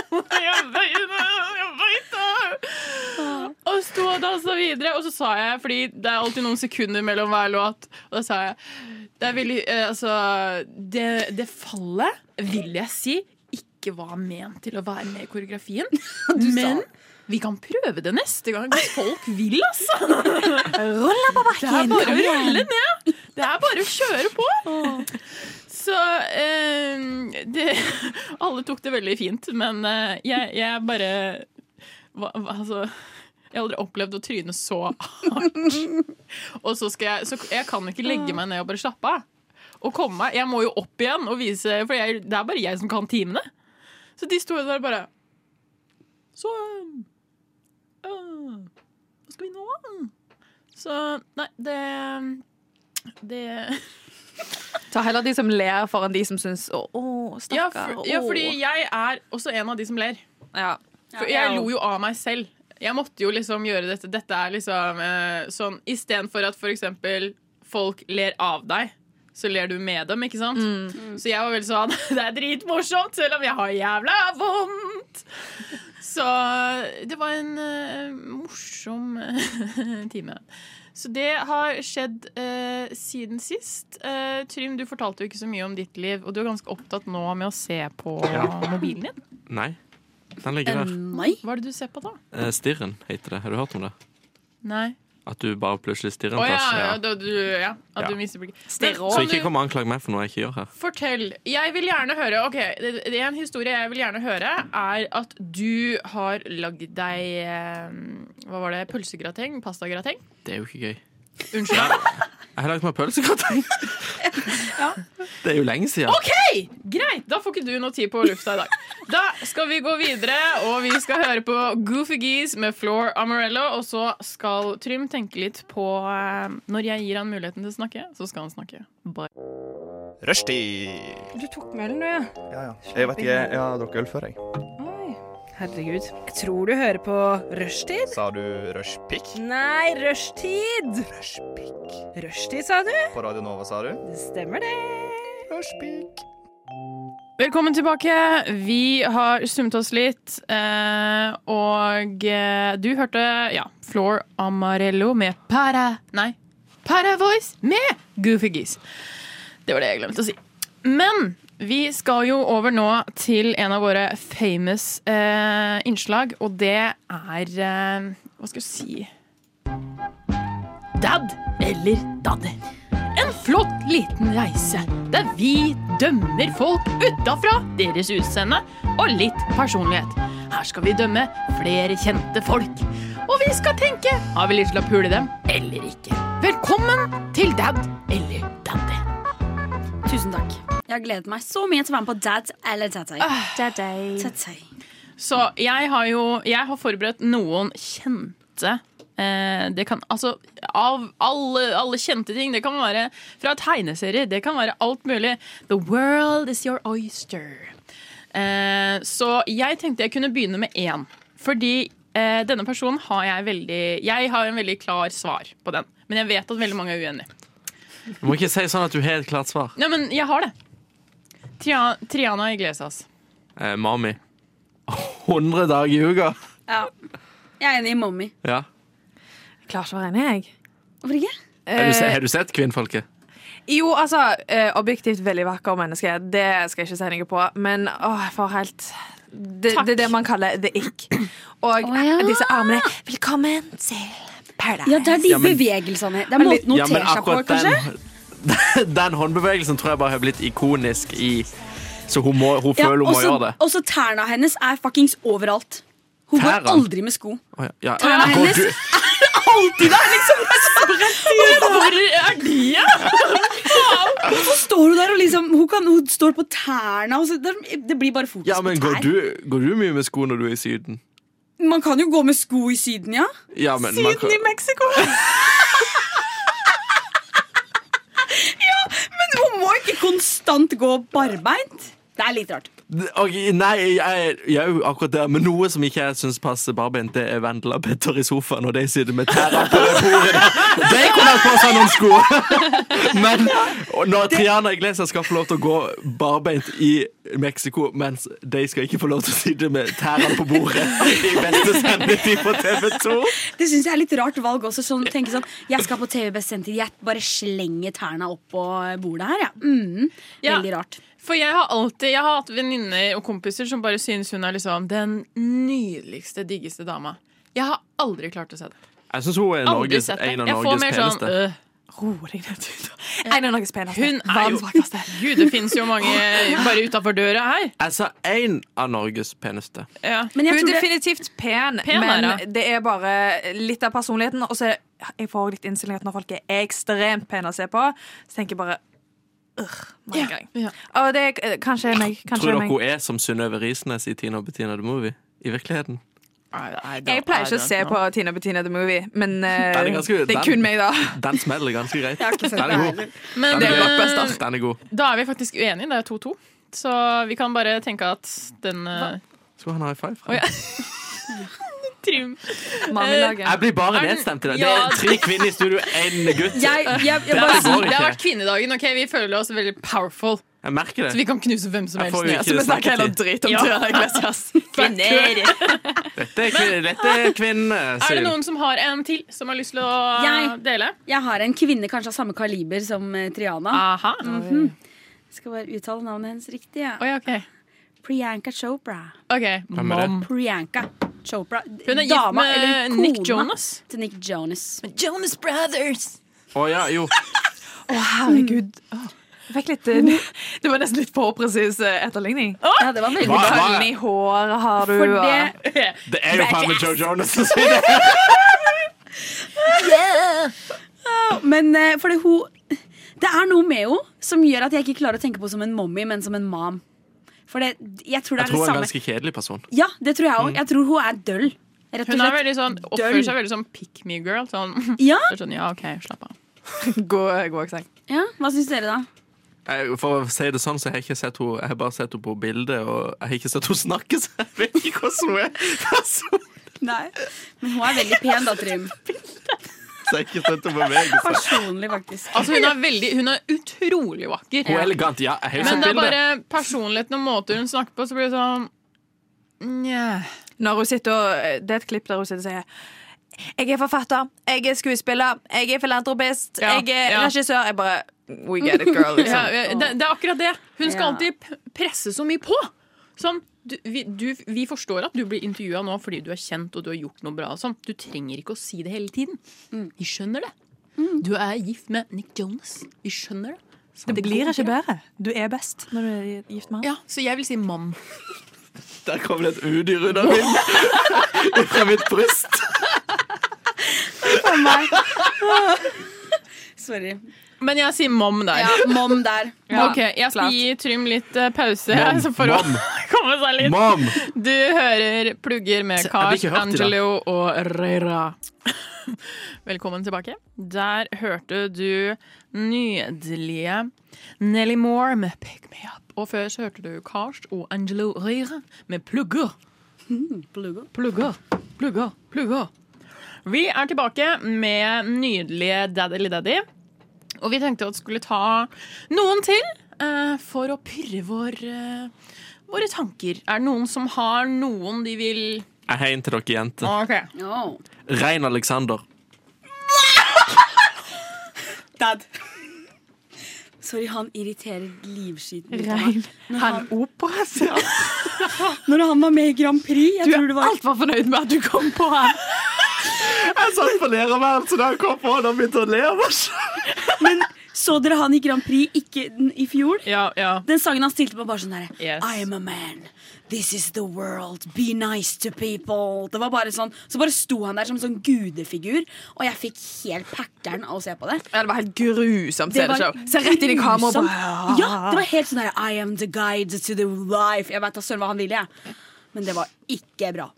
Speaker 5: Jeg bøyde, jeg bøyde. Og sto og dansa videre. Og så sa jeg, fordi det er alltid noen sekunder mellom hver låt, og da sa jeg det, er veldig, eh, altså, det, det fallet, vil jeg si, ikke var ment til å være med i koreografien. Men vi kan prøve det neste gang hvis folk vil, altså.
Speaker 7: Rulla på
Speaker 5: Det er bare
Speaker 7: bakken! kom
Speaker 5: å
Speaker 7: igjen.
Speaker 5: rulle ned. Det er bare å kjøre på. Så eh, det, Alle tok det veldig fint, men eh, jeg, jeg bare hva, hva- Altså Jeg har aldri opplevd å tryne så hardt. Og så skal jeg Så jeg kan ikke legge meg ned og bare slappe av. Og komme meg Jeg må jo opp igjen og vise For jeg, det er bare jeg som kan timene. Så de sto der bare Så eh, eh, Hva skal vi nå? Så nei, det det
Speaker 7: Ta heller de som ler foran de som syns å, å
Speaker 5: ja,
Speaker 7: stakkar.
Speaker 5: for, ja,
Speaker 7: å».
Speaker 5: fordi jeg er også en av de som ler.
Speaker 7: ja.
Speaker 5: For jeg lo jo av meg selv. Jeg måtte jo liksom gjøre dette. Dette er liksom eh, sånn Istedenfor at for eksempel folk ler av deg, så ler du med dem, ikke sant?
Speaker 7: Mm.
Speaker 5: Så jeg var veldig sånn Det er dritmorsomt, selv om jeg har jævla vondt! Så det var en eh, morsom time. Så det har skjedd eh, siden sist. Eh, Trym, du fortalte jo ikke så mye om ditt liv, og du er ganske opptatt nå med å se på mobilen din.
Speaker 2: Nei. Den ligger der.
Speaker 6: Nei.
Speaker 5: Hva er det du ser på da?
Speaker 2: Eh, Stirren heter det. Har du hørt om det?
Speaker 5: Nei.
Speaker 2: At du bare plutselig stirrer
Speaker 5: Å
Speaker 2: en
Speaker 5: ja,
Speaker 2: plass.
Speaker 5: ja,
Speaker 2: Ja.
Speaker 5: da du, ja, at
Speaker 2: Ja.
Speaker 5: du mister blikket.
Speaker 7: Stirrer
Speaker 5: Men
Speaker 7: også.
Speaker 2: Så
Speaker 5: kan
Speaker 2: ikke
Speaker 5: du-
Speaker 2: kom og anklag meg for noe jeg ikke gjør her.
Speaker 5: Fortell. Jeg vil gjerne høre Ok, det, det er En historie jeg vil gjerne høre, er at du har lagd deg eh, Hva var det? Pølsegrateng? Pastagrateng?
Speaker 2: Det er jo ikke gøy.
Speaker 5: Unnskyld. meg.
Speaker 2: Jeg har lagd meg pølsegrateng. Det er jo lenge siden.
Speaker 5: OK! Greit! Da får ikke du noe tid på lufta i dag. Da skal vi gå videre, og vi skal høre på Goofy Geese med Floor Amarello. Og så skal Trym tenke litt på eh, Når jeg gir han muligheten til å snakke, så skal han snakke. Bye.
Speaker 3: Rushtid!
Speaker 1: Du tok med ølen, du, ja.
Speaker 3: Ja, ja. Jeg vet ikke, jeg har drukket øl før, jeg.
Speaker 1: Oi. Herregud. Jeg tror du hører på rushtid.
Speaker 3: Sa du rushpick?
Speaker 1: Nei, rushtid!
Speaker 3: Rushpick.
Speaker 1: Rushtid, sa du?
Speaker 3: På Radio Nova, sa du?
Speaker 1: Det stemmer, det.
Speaker 3: Rushpick.
Speaker 5: Velkommen tilbake. Vi har summet oss litt. eh, og eh, du hørte ja, Floor Amarello med Para Nei, Para Voice med Goofy Geese. Det var det jeg glemte å si. Men Vi skal jo over nå til en av våre famous eh, innslag, og det er eh, Hva skal jeg si Dad eller dadder. En flott liten reise der vi dømmer folk utafra deres utseende og litt personlighet. Her skal vi dømme flere kjente folk. Og vi skal tenke har vi lyst til å pule dem eller ikke. Velkommen til dad eller daddy.
Speaker 6: Tusen takk. Jeg har gledet meg så mye til å være med på Dad eller Tatay. Tatay.
Speaker 5: Så jeg har jo jeg har forberedt noen kjente eh, det kan, altså, Av alle, alle kjente ting. Det kan være fra tegneserier. Det kan være alt mulig. The world is your oyster. Eh, så jeg tenkte jeg kunne begynne med én. Fordi eh, denne personen har jeg veldig Jeg har en veldig klar svar på den. Men jeg vet at veldig mange er uenige.
Speaker 2: Du må ikke si sånn at du har et klart svar.
Speaker 5: Nei, men jeg har det. Tria- Triana Iglesias.
Speaker 2: Eh, mami. 100 dager i uka.
Speaker 6: Ja. Jeg er enig i mommy.
Speaker 2: Ja.
Speaker 7: Jeg klarer ikke å være enig, jeg.
Speaker 6: Hvorfor ikke?
Speaker 2: Har, du sett, har du sett kvinnfolket?
Speaker 7: Jo, altså, eh, objektivt veldig vakker menneske. Det skal jeg ikke si noe på. Men åh, jeg får helt det, det er det man kaller the ick. Og
Speaker 6: Å, ja.
Speaker 7: disse armene. Velkommen til Paradise.
Speaker 6: Ja, det er de
Speaker 2: Ja, men-
Speaker 6: bevegelsene. Det er måten å notere seg på, kanskje.
Speaker 2: den, den håndbevegelsen tror jeg bare har blitt ikonisk i Så hun, må, hun
Speaker 6: Ja,
Speaker 2: føler hun må
Speaker 6: også,
Speaker 2: gjøre det.
Speaker 6: også tærne hennes er fuckings overalt. Hun går
Speaker 2: Tæra?
Speaker 6: aldri med sko.
Speaker 2: Å, ja, ja.
Speaker 6: Tærne
Speaker 2: Går
Speaker 6: hennes
Speaker 2: du-
Speaker 6: er alltid der, liksom.
Speaker 5: Hvor er de, ja?
Speaker 6: Så står hun der og liksom Hun, kan, hun står på tærne. Og så, det, det blir bare fokus
Speaker 2: Ja, men
Speaker 6: på
Speaker 2: går
Speaker 6: tær.
Speaker 2: du, går du mye med sko når du er i Syden?
Speaker 6: Man kan jo gå med sko i Syden, ja.
Speaker 2: Ja, men man kan-
Speaker 7: Mexico.
Speaker 6: Men hun må ikke konstant gå barbeint. Det er litt rart.
Speaker 2: Ok, nei, jeg, jeg er jo akkurat der. Men noe som ikke jeg syns passer barbeint, det er Vendela Petter i sofaen, og de sitter med tærne på det bordet. der. De kunne hatt på seg noen sko! Men og når Triana Iglesias skal få lov til å gå barbeint i Mexico, mens de skal ikke få lov til å sitte med tærne på bordet i beste sendetid på TV 2
Speaker 6: Det syns jeg er litt rart valg også. Sånn, tenke sånn, jeg skal på TV best sendtid. Jeg bare slenger tærne opp på bordet her, ja. Mm,
Speaker 5: Ja.
Speaker 6: Veldig rart.
Speaker 5: For jeg har alltid Jeg har hatt venninner og kompiser som bare synes hun er liksom den nydeligste, diggeste dama. Jeg har aldri klart å se det.
Speaker 2: Jeg syns hun er
Speaker 5: Aldri
Speaker 2: Norges,
Speaker 5: sett det.
Speaker 2: en av
Speaker 5: Jeg får
Speaker 2: Norges
Speaker 5: mer sånn
Speaker 2: peneste.
Speaker 5: øh,
Speaker 7: Ro deg ned, Tuta. En av Norges peneste.
Speaker 5: Hun er jo-
Speaker 7: Verdens vakreste.
Speaker 5: Gud, det fins jo mange bare utafor døra her.
Speaker 2: Jeg sa én Altså, av Norges peneste.
Speaker 5: Ja.
Speaker 6: Men jeg
Speaker 7: Hun er
Speaker 6: tror det,
Speaker 7: definitivt pen,
Speaker 5: Pen er hun.
Speaker 7: men det er bare litt av personligheten. Og så er det, jeg får litt innstilling at når folk er ekstremt pene å se på, så tenker jeg bare Urgh, mange
Speaker 5: Ja,
Speaker 7: ganger.
Speaker 5: ja.
Speaker 7: Og det er eh, kanskje meg. Kanskje
Speaker 2: Tror dere
Speaker 7: meg.
Speaker 2: hun er som Synnøve Risnes i Tina og Bettina the Movie? I virkeligheten?
Speaker 7: Jeg pleier ikke å se på Tina Bettina the Movie, men eh,
Speaker 2: Den er ganske-
Speaker 7: det er
Speaker 2: den-
Speaker 7: kun meg, da.
Speaker 2: Den smeller ganske greit. Den er god.
Speaker 5: Men
Speaker 2: Den er
Speaker 5: eh,
Speaker 2: blockbuster. Den er god.
Speaker 5: da er vi faktisk uenige. Det er 2-2. Så vi kan bare tenke at den eh,
Speaker 2: Skal han ha high five? fra
Speaker 5: Å, ja.
Speaker 2: meg?
Speaker 5: trim...
Speaker 2: Jeg blir bare
Speaker 5: Er den-
Speaker 2: nedstemt i dag. Det
Speaker 5: Ja.
Speaker 2: er tre kvinner i studio, én gutt.
Speaker 6: jeg, jeg, jeg,
Speaker 2: Det
Speaker 6: bare
Speaker 2: går
Speaker 5: Det
Speaker 2: ikke.
Speaker 5: har vært kvinnedagen. ok? Vi føler oss veldig powerful.
Speaker 2: Jeg merker
Speaker 5: Så
Speaker 2: det.
Speaker 5: vi kan knuse hvem som
Speaker 2: Jeg
Speaker 5: helst
Speaker 2: får jo
Speaker 5: ned.
Speaker 2: ikke det snakketid.
Speaker 7: drit om
Speaker 5: Ja.
Speaker 7: Tina Iglesias.
Speaker 2: Dette er kvinne- dette er
Speaker 5: Er det
Speaker 2: kvinnesyn.
Speaker 5: noen som har en til som har lyst til å eh,
Speaker 6: Jeg.
Speaker 5: dele?
Speaker 6: jeg har en kvinne kanskje av samme kaliber som eh, Triana. Mhm.
Speaker 5: Aha.
Speaker 6: Jeg skal bare uttale navnet hennes riktig. Ja.
Speaker 5: Oi, ok.
Speaker 6: Priyanka Chopra.
Speaker 5: Ok,
Speaker 2: Hvem er det?
Speaker 5: mom.
Speaker 6: Priyanka Chopra.
Speaker 5: Hun er gift
Speaker 6: Dama,
Speaker 5: med
Speaker 6: eller kona
Speaker 5: Nick Jonas.
Speaker 6: til Nick Jonas.
Speaker 5: Jonas Brothers.
Speaker 2: Å ja, jo.
Speaker 7: Herregud. Åh, Jeg fikk litt eh, Det var nesten litt for presis eh, etterligning.
Speaker 6: Ja, det var veldig
Speaker 2: Hva-
Speaker 6: bra.
Speaker 7: Krøll i håret har du.
Speaker 6: For
Speaker 7: og-
Speaker 6: det,
Speaker 2: Det er jo faen meg Joe Jonas som sier det.
Speaker 6: men eh, fordi hun Det er noe med henne som gjør at jeg ikke klarer å tenke på henne som en mommy, men som en mom. For det, jeg tror det
Speaker 2: Jeg
Speaker 6: er
Speaker 2: tror
Speaker 6: det
Speaker 2: han er en
Speaker 6: samme.
Speaker 2: ganske kjedelig person.
Speaker 6: Ja, det tror jeg òg. Jeg tror hun er døll. Rett og
Speaker 5: Hun er
Speaker 6: slett.
Speaker 5: veldig sånn, oppfører seg veldig sånn pick me girl. Sånn,
Speaker 6: Ja,
Speaker 5: Det er sånn ja, OK, slapp av.
Speaker 7: God, god aksent.
Speaker 6: ja. Hva syns dere, da?
Speaker 2: Jeg- For å si det sånn, så har jeg ikke sett henne Jeg har bare sett henne på bildet, og jeg har ikke sett henne snakke, så jeg vet ikke hvordan hun er. person.
Speaker 6: Nei. Men hun er veldig pen, da, Trym.
Speaker 2: Så jeg har ikke sett henne bevege seg.
Speaker 6: Personlig, faktisk.
Speaker 5: Altså, hun er veldig, hun er utrolig vakker.
Speaker 2: Hun er elegant, ja. Jeg har jo
Speaker 5: Men
Speaker 2: sett
Speaker 5: det er
Speaker 2: bildet.
Speaker 5: bare personligheten og måter hun snakker på, så blir det sånn Nja.
Speaker 7: Når hun sitter og, det er et klipp der hun sitter og sier Jeg er forfatter, jeg er skuespiller, jeg er filantropist,
Speaker 5: Ja,
Speaker 7: jeg er
Speaker 5: ja.
Speaker 7: regissør. Jeg bare We get it,
Speaker 5: Ja,
Speaker 7: girl. Liksom.
Speaker 5: eh, det, det er akkurat det. Hun skal
Speaker 7: Ja.
Speaker 5: alltid p- presse så mye på. Sånn, du, vi, du, vi forstår at du blir intervjua nå fordi du er kjent og du har gjort noe bra. og Sånn. Du trenger ikke å si det hele tiden. Vi skjønner det. Du er gift med Nick Jonas. Vi skjønner det.
Speaker 7: Det
Speaker 5: går
Speaker 7: blir ikke
Speaker 5: greit.
Speaker 7: bedre. Du er best når du er gift med han.
Speaker 5: Ja, så jeg vil si mann.
Speaker 2: Der kom det et udyr under min Fra mitt bryst.
Speaker 6: Sorry.
Speaker 5: Men jeg sier mom der.
Speaker 6: Ja, mom der.
Speaker 5: Ok, Jeg skal
Speaker 7: klart.
Speaker 5: gi Trym litt eh, pause
Speaker 2: Mom,
Speaker 5: så for
Speaker 2: mom.
Speaker 5: å komme seg litt.
Speaker 2: Mom!
Speaker 5: Du hører plugger med
Speaker 2: Jeg blir
Speaker 5: Kars,
Speaker 2: ikke hørt i dag.
Speaker 5: Angelo og Reira. Velkommen tilbake. Der hørte du nydelige Nelly Moore med Pick Me Up. Og før så hørte du Kars og Angelo Reira med Plugger.
Speaker 6: Plugo.
Speaker 5: Plugger, plugger, plugger. Vi er tilbake med nydelige Daddy Daddy. Og vi tenkte at skulle ta noen til eh, for å pyrre vår, eh, våre tanker. Er det noen som har noen de vil Ah,
Speaker 2: Jeg heier til dere jenter.
Speaker 5: Ok.
Speaker 6: Oh.
Speaker 2: Rein Alexander.
Speaker 6: Dad. Sorry, han irriterer livskiten ut av meg.
Speaker 7: Rein. Han operas.
Speaker 6: Når han var med i Grand Prix jeg
Speaker 7: Du
Speaker 6: tror det
Speaker 7: er
Speaker 6: var,
Speaker 7: altfor fornøyd med at du kom på han.
Speaker 2: Jeg satt på lærerværelset da han kom på, og han begynte å le av oss.
Speaker 6: Men så dere han i Grand Prix ikke den, i fjor?
Speaker 5: Ja, ja.
Speaker 6: Den sangen han stilte på, bare sånn derre
Speaker 5: Yes.
Speaker 6: I am a man. This is the world. Be nice to people. Det var bare sånn Så bare sto han der som en sånn gudefigur, og jeg fikk helt packeren av å se på det.
Speaker 7: Ja, det var helt grusomt
Speaker 6: Det var
Speaker 7: CD-show. Se rett inn i kameraet og bare
Speaker 6: grusomt. Ja, det var helt sånn der I am the guide to the life. Jeg veit da søren hva han ville, jeg. Men det var ikke bra.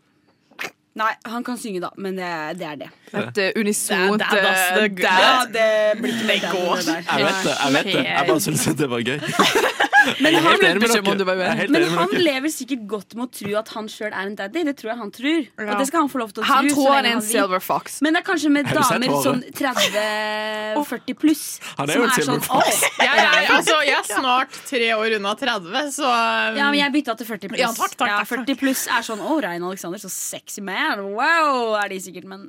Speaker 6: Nei, han kan synge, da, men det, det er det.
Speaker 7: Et eh, unisont
Speaker 5: Det er dad, ass.
Speaker 7: eh,
Speaker 5: Det er
Speaker 7: dad.
Speaker 6: det blir ikke det går.
Speaker 2: Jeg vet det. jeg vet det Jeg bare syntes at det var gøy.
Speaker 6: Men
Speaker 2: Jeg er
Speaker 6: han,
Speaker 2: helt enig med
Speaker 7: Beskjed om
Speaker 2: dere.
Speaker 7: du var uenig.
Speaker 2: Jeg er helt
Speaker 6: men
Speaker 2: enig med
Speaker 6: han
Speaker 2: dere.
Speaker 6: lever sikkert godt med å tro at han sjøl er en daddy. Det tror jeg han tror.
Speaker 7: Ja.
Speaker 6: Og det skal han få lov til å tro.
Speaker 7: Han
Speaker 6: så
Speaker 7: tror han
Speaker 6: lenge
Speaker 7: er en
Speaker 6: vil.
Speaker 7: silver fox.
Speaker 6: Men det er kanskje med
Speaker 2: Har du sett
Speaker 6: damer
Speaker 2: håret?
Speaker 6: sånn 30-40 pluss sånn,
Speaker 2: Han er jo en silver fox.
Speaker 6: «Åh,
Speaker 5: Jeg er, altså, jeg er snart tre år unna 30, så
Speaker 6: Ja, men jeg bytta til 40 pluss.
Speaker 5: Ja, takk, takk,
Speaker 6: Ja,
Speaker 5: takk, takk.
Speaker 6: 40 pluss er sånn 'Å, Rein Alexander, så sexy man'. Wow, er de sikkert, men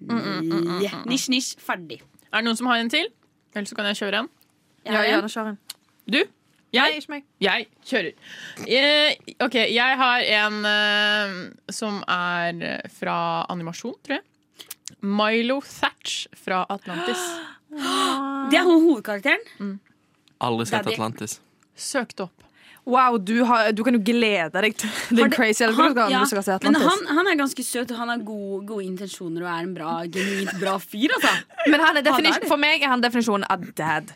Speaker 7: Mm,
Speaker 6: yeah. Nisj, nisj, ferdig.
Speaker 5: eh, Er det noen som har en til? Eller så kan jeg kjøre en.
Speaker 6: Jeg har en.
Speaker 7: kjør en.
Speaker 5: Du?
Speaker 7: Nei,
Speaker 5: Jeg?
Speaker 7: ikke meg.
Speaker 5: Jeg kjører. Eh, ok, jeg har en eh, som er fra animasjon, tror jeg. Milo Thatch fra Atlantis.
Speaker 6: Det er hun hovedkarakteren.
Speaker 2: Aldri sett
Speaker 6: Daddy.
Speaker 2: Atlantis.
Speaker 5: Søkt opp.
Speaker 7: Wow, du, har, du kan jo glede deg til
Speaker 6: Har
Speaker 7: den
Speaker 6: det-
Speaker 7: crazy
Speaker 6: han-
Speaker 7: algoritmen
Speaker 6: ja,
Speaker 7: du skal se
Speaker 6: Men
Speaker 7: Atlantis.
Speaker 6: han, han er ganske søt, og han har gode, gode intensjoner og er en bra, genuint bra fyr, altså.
Speaker 7: Men han er defini-
Speaker 6: Han er det.
Speaker 7: for meg er han definisjonen av dad.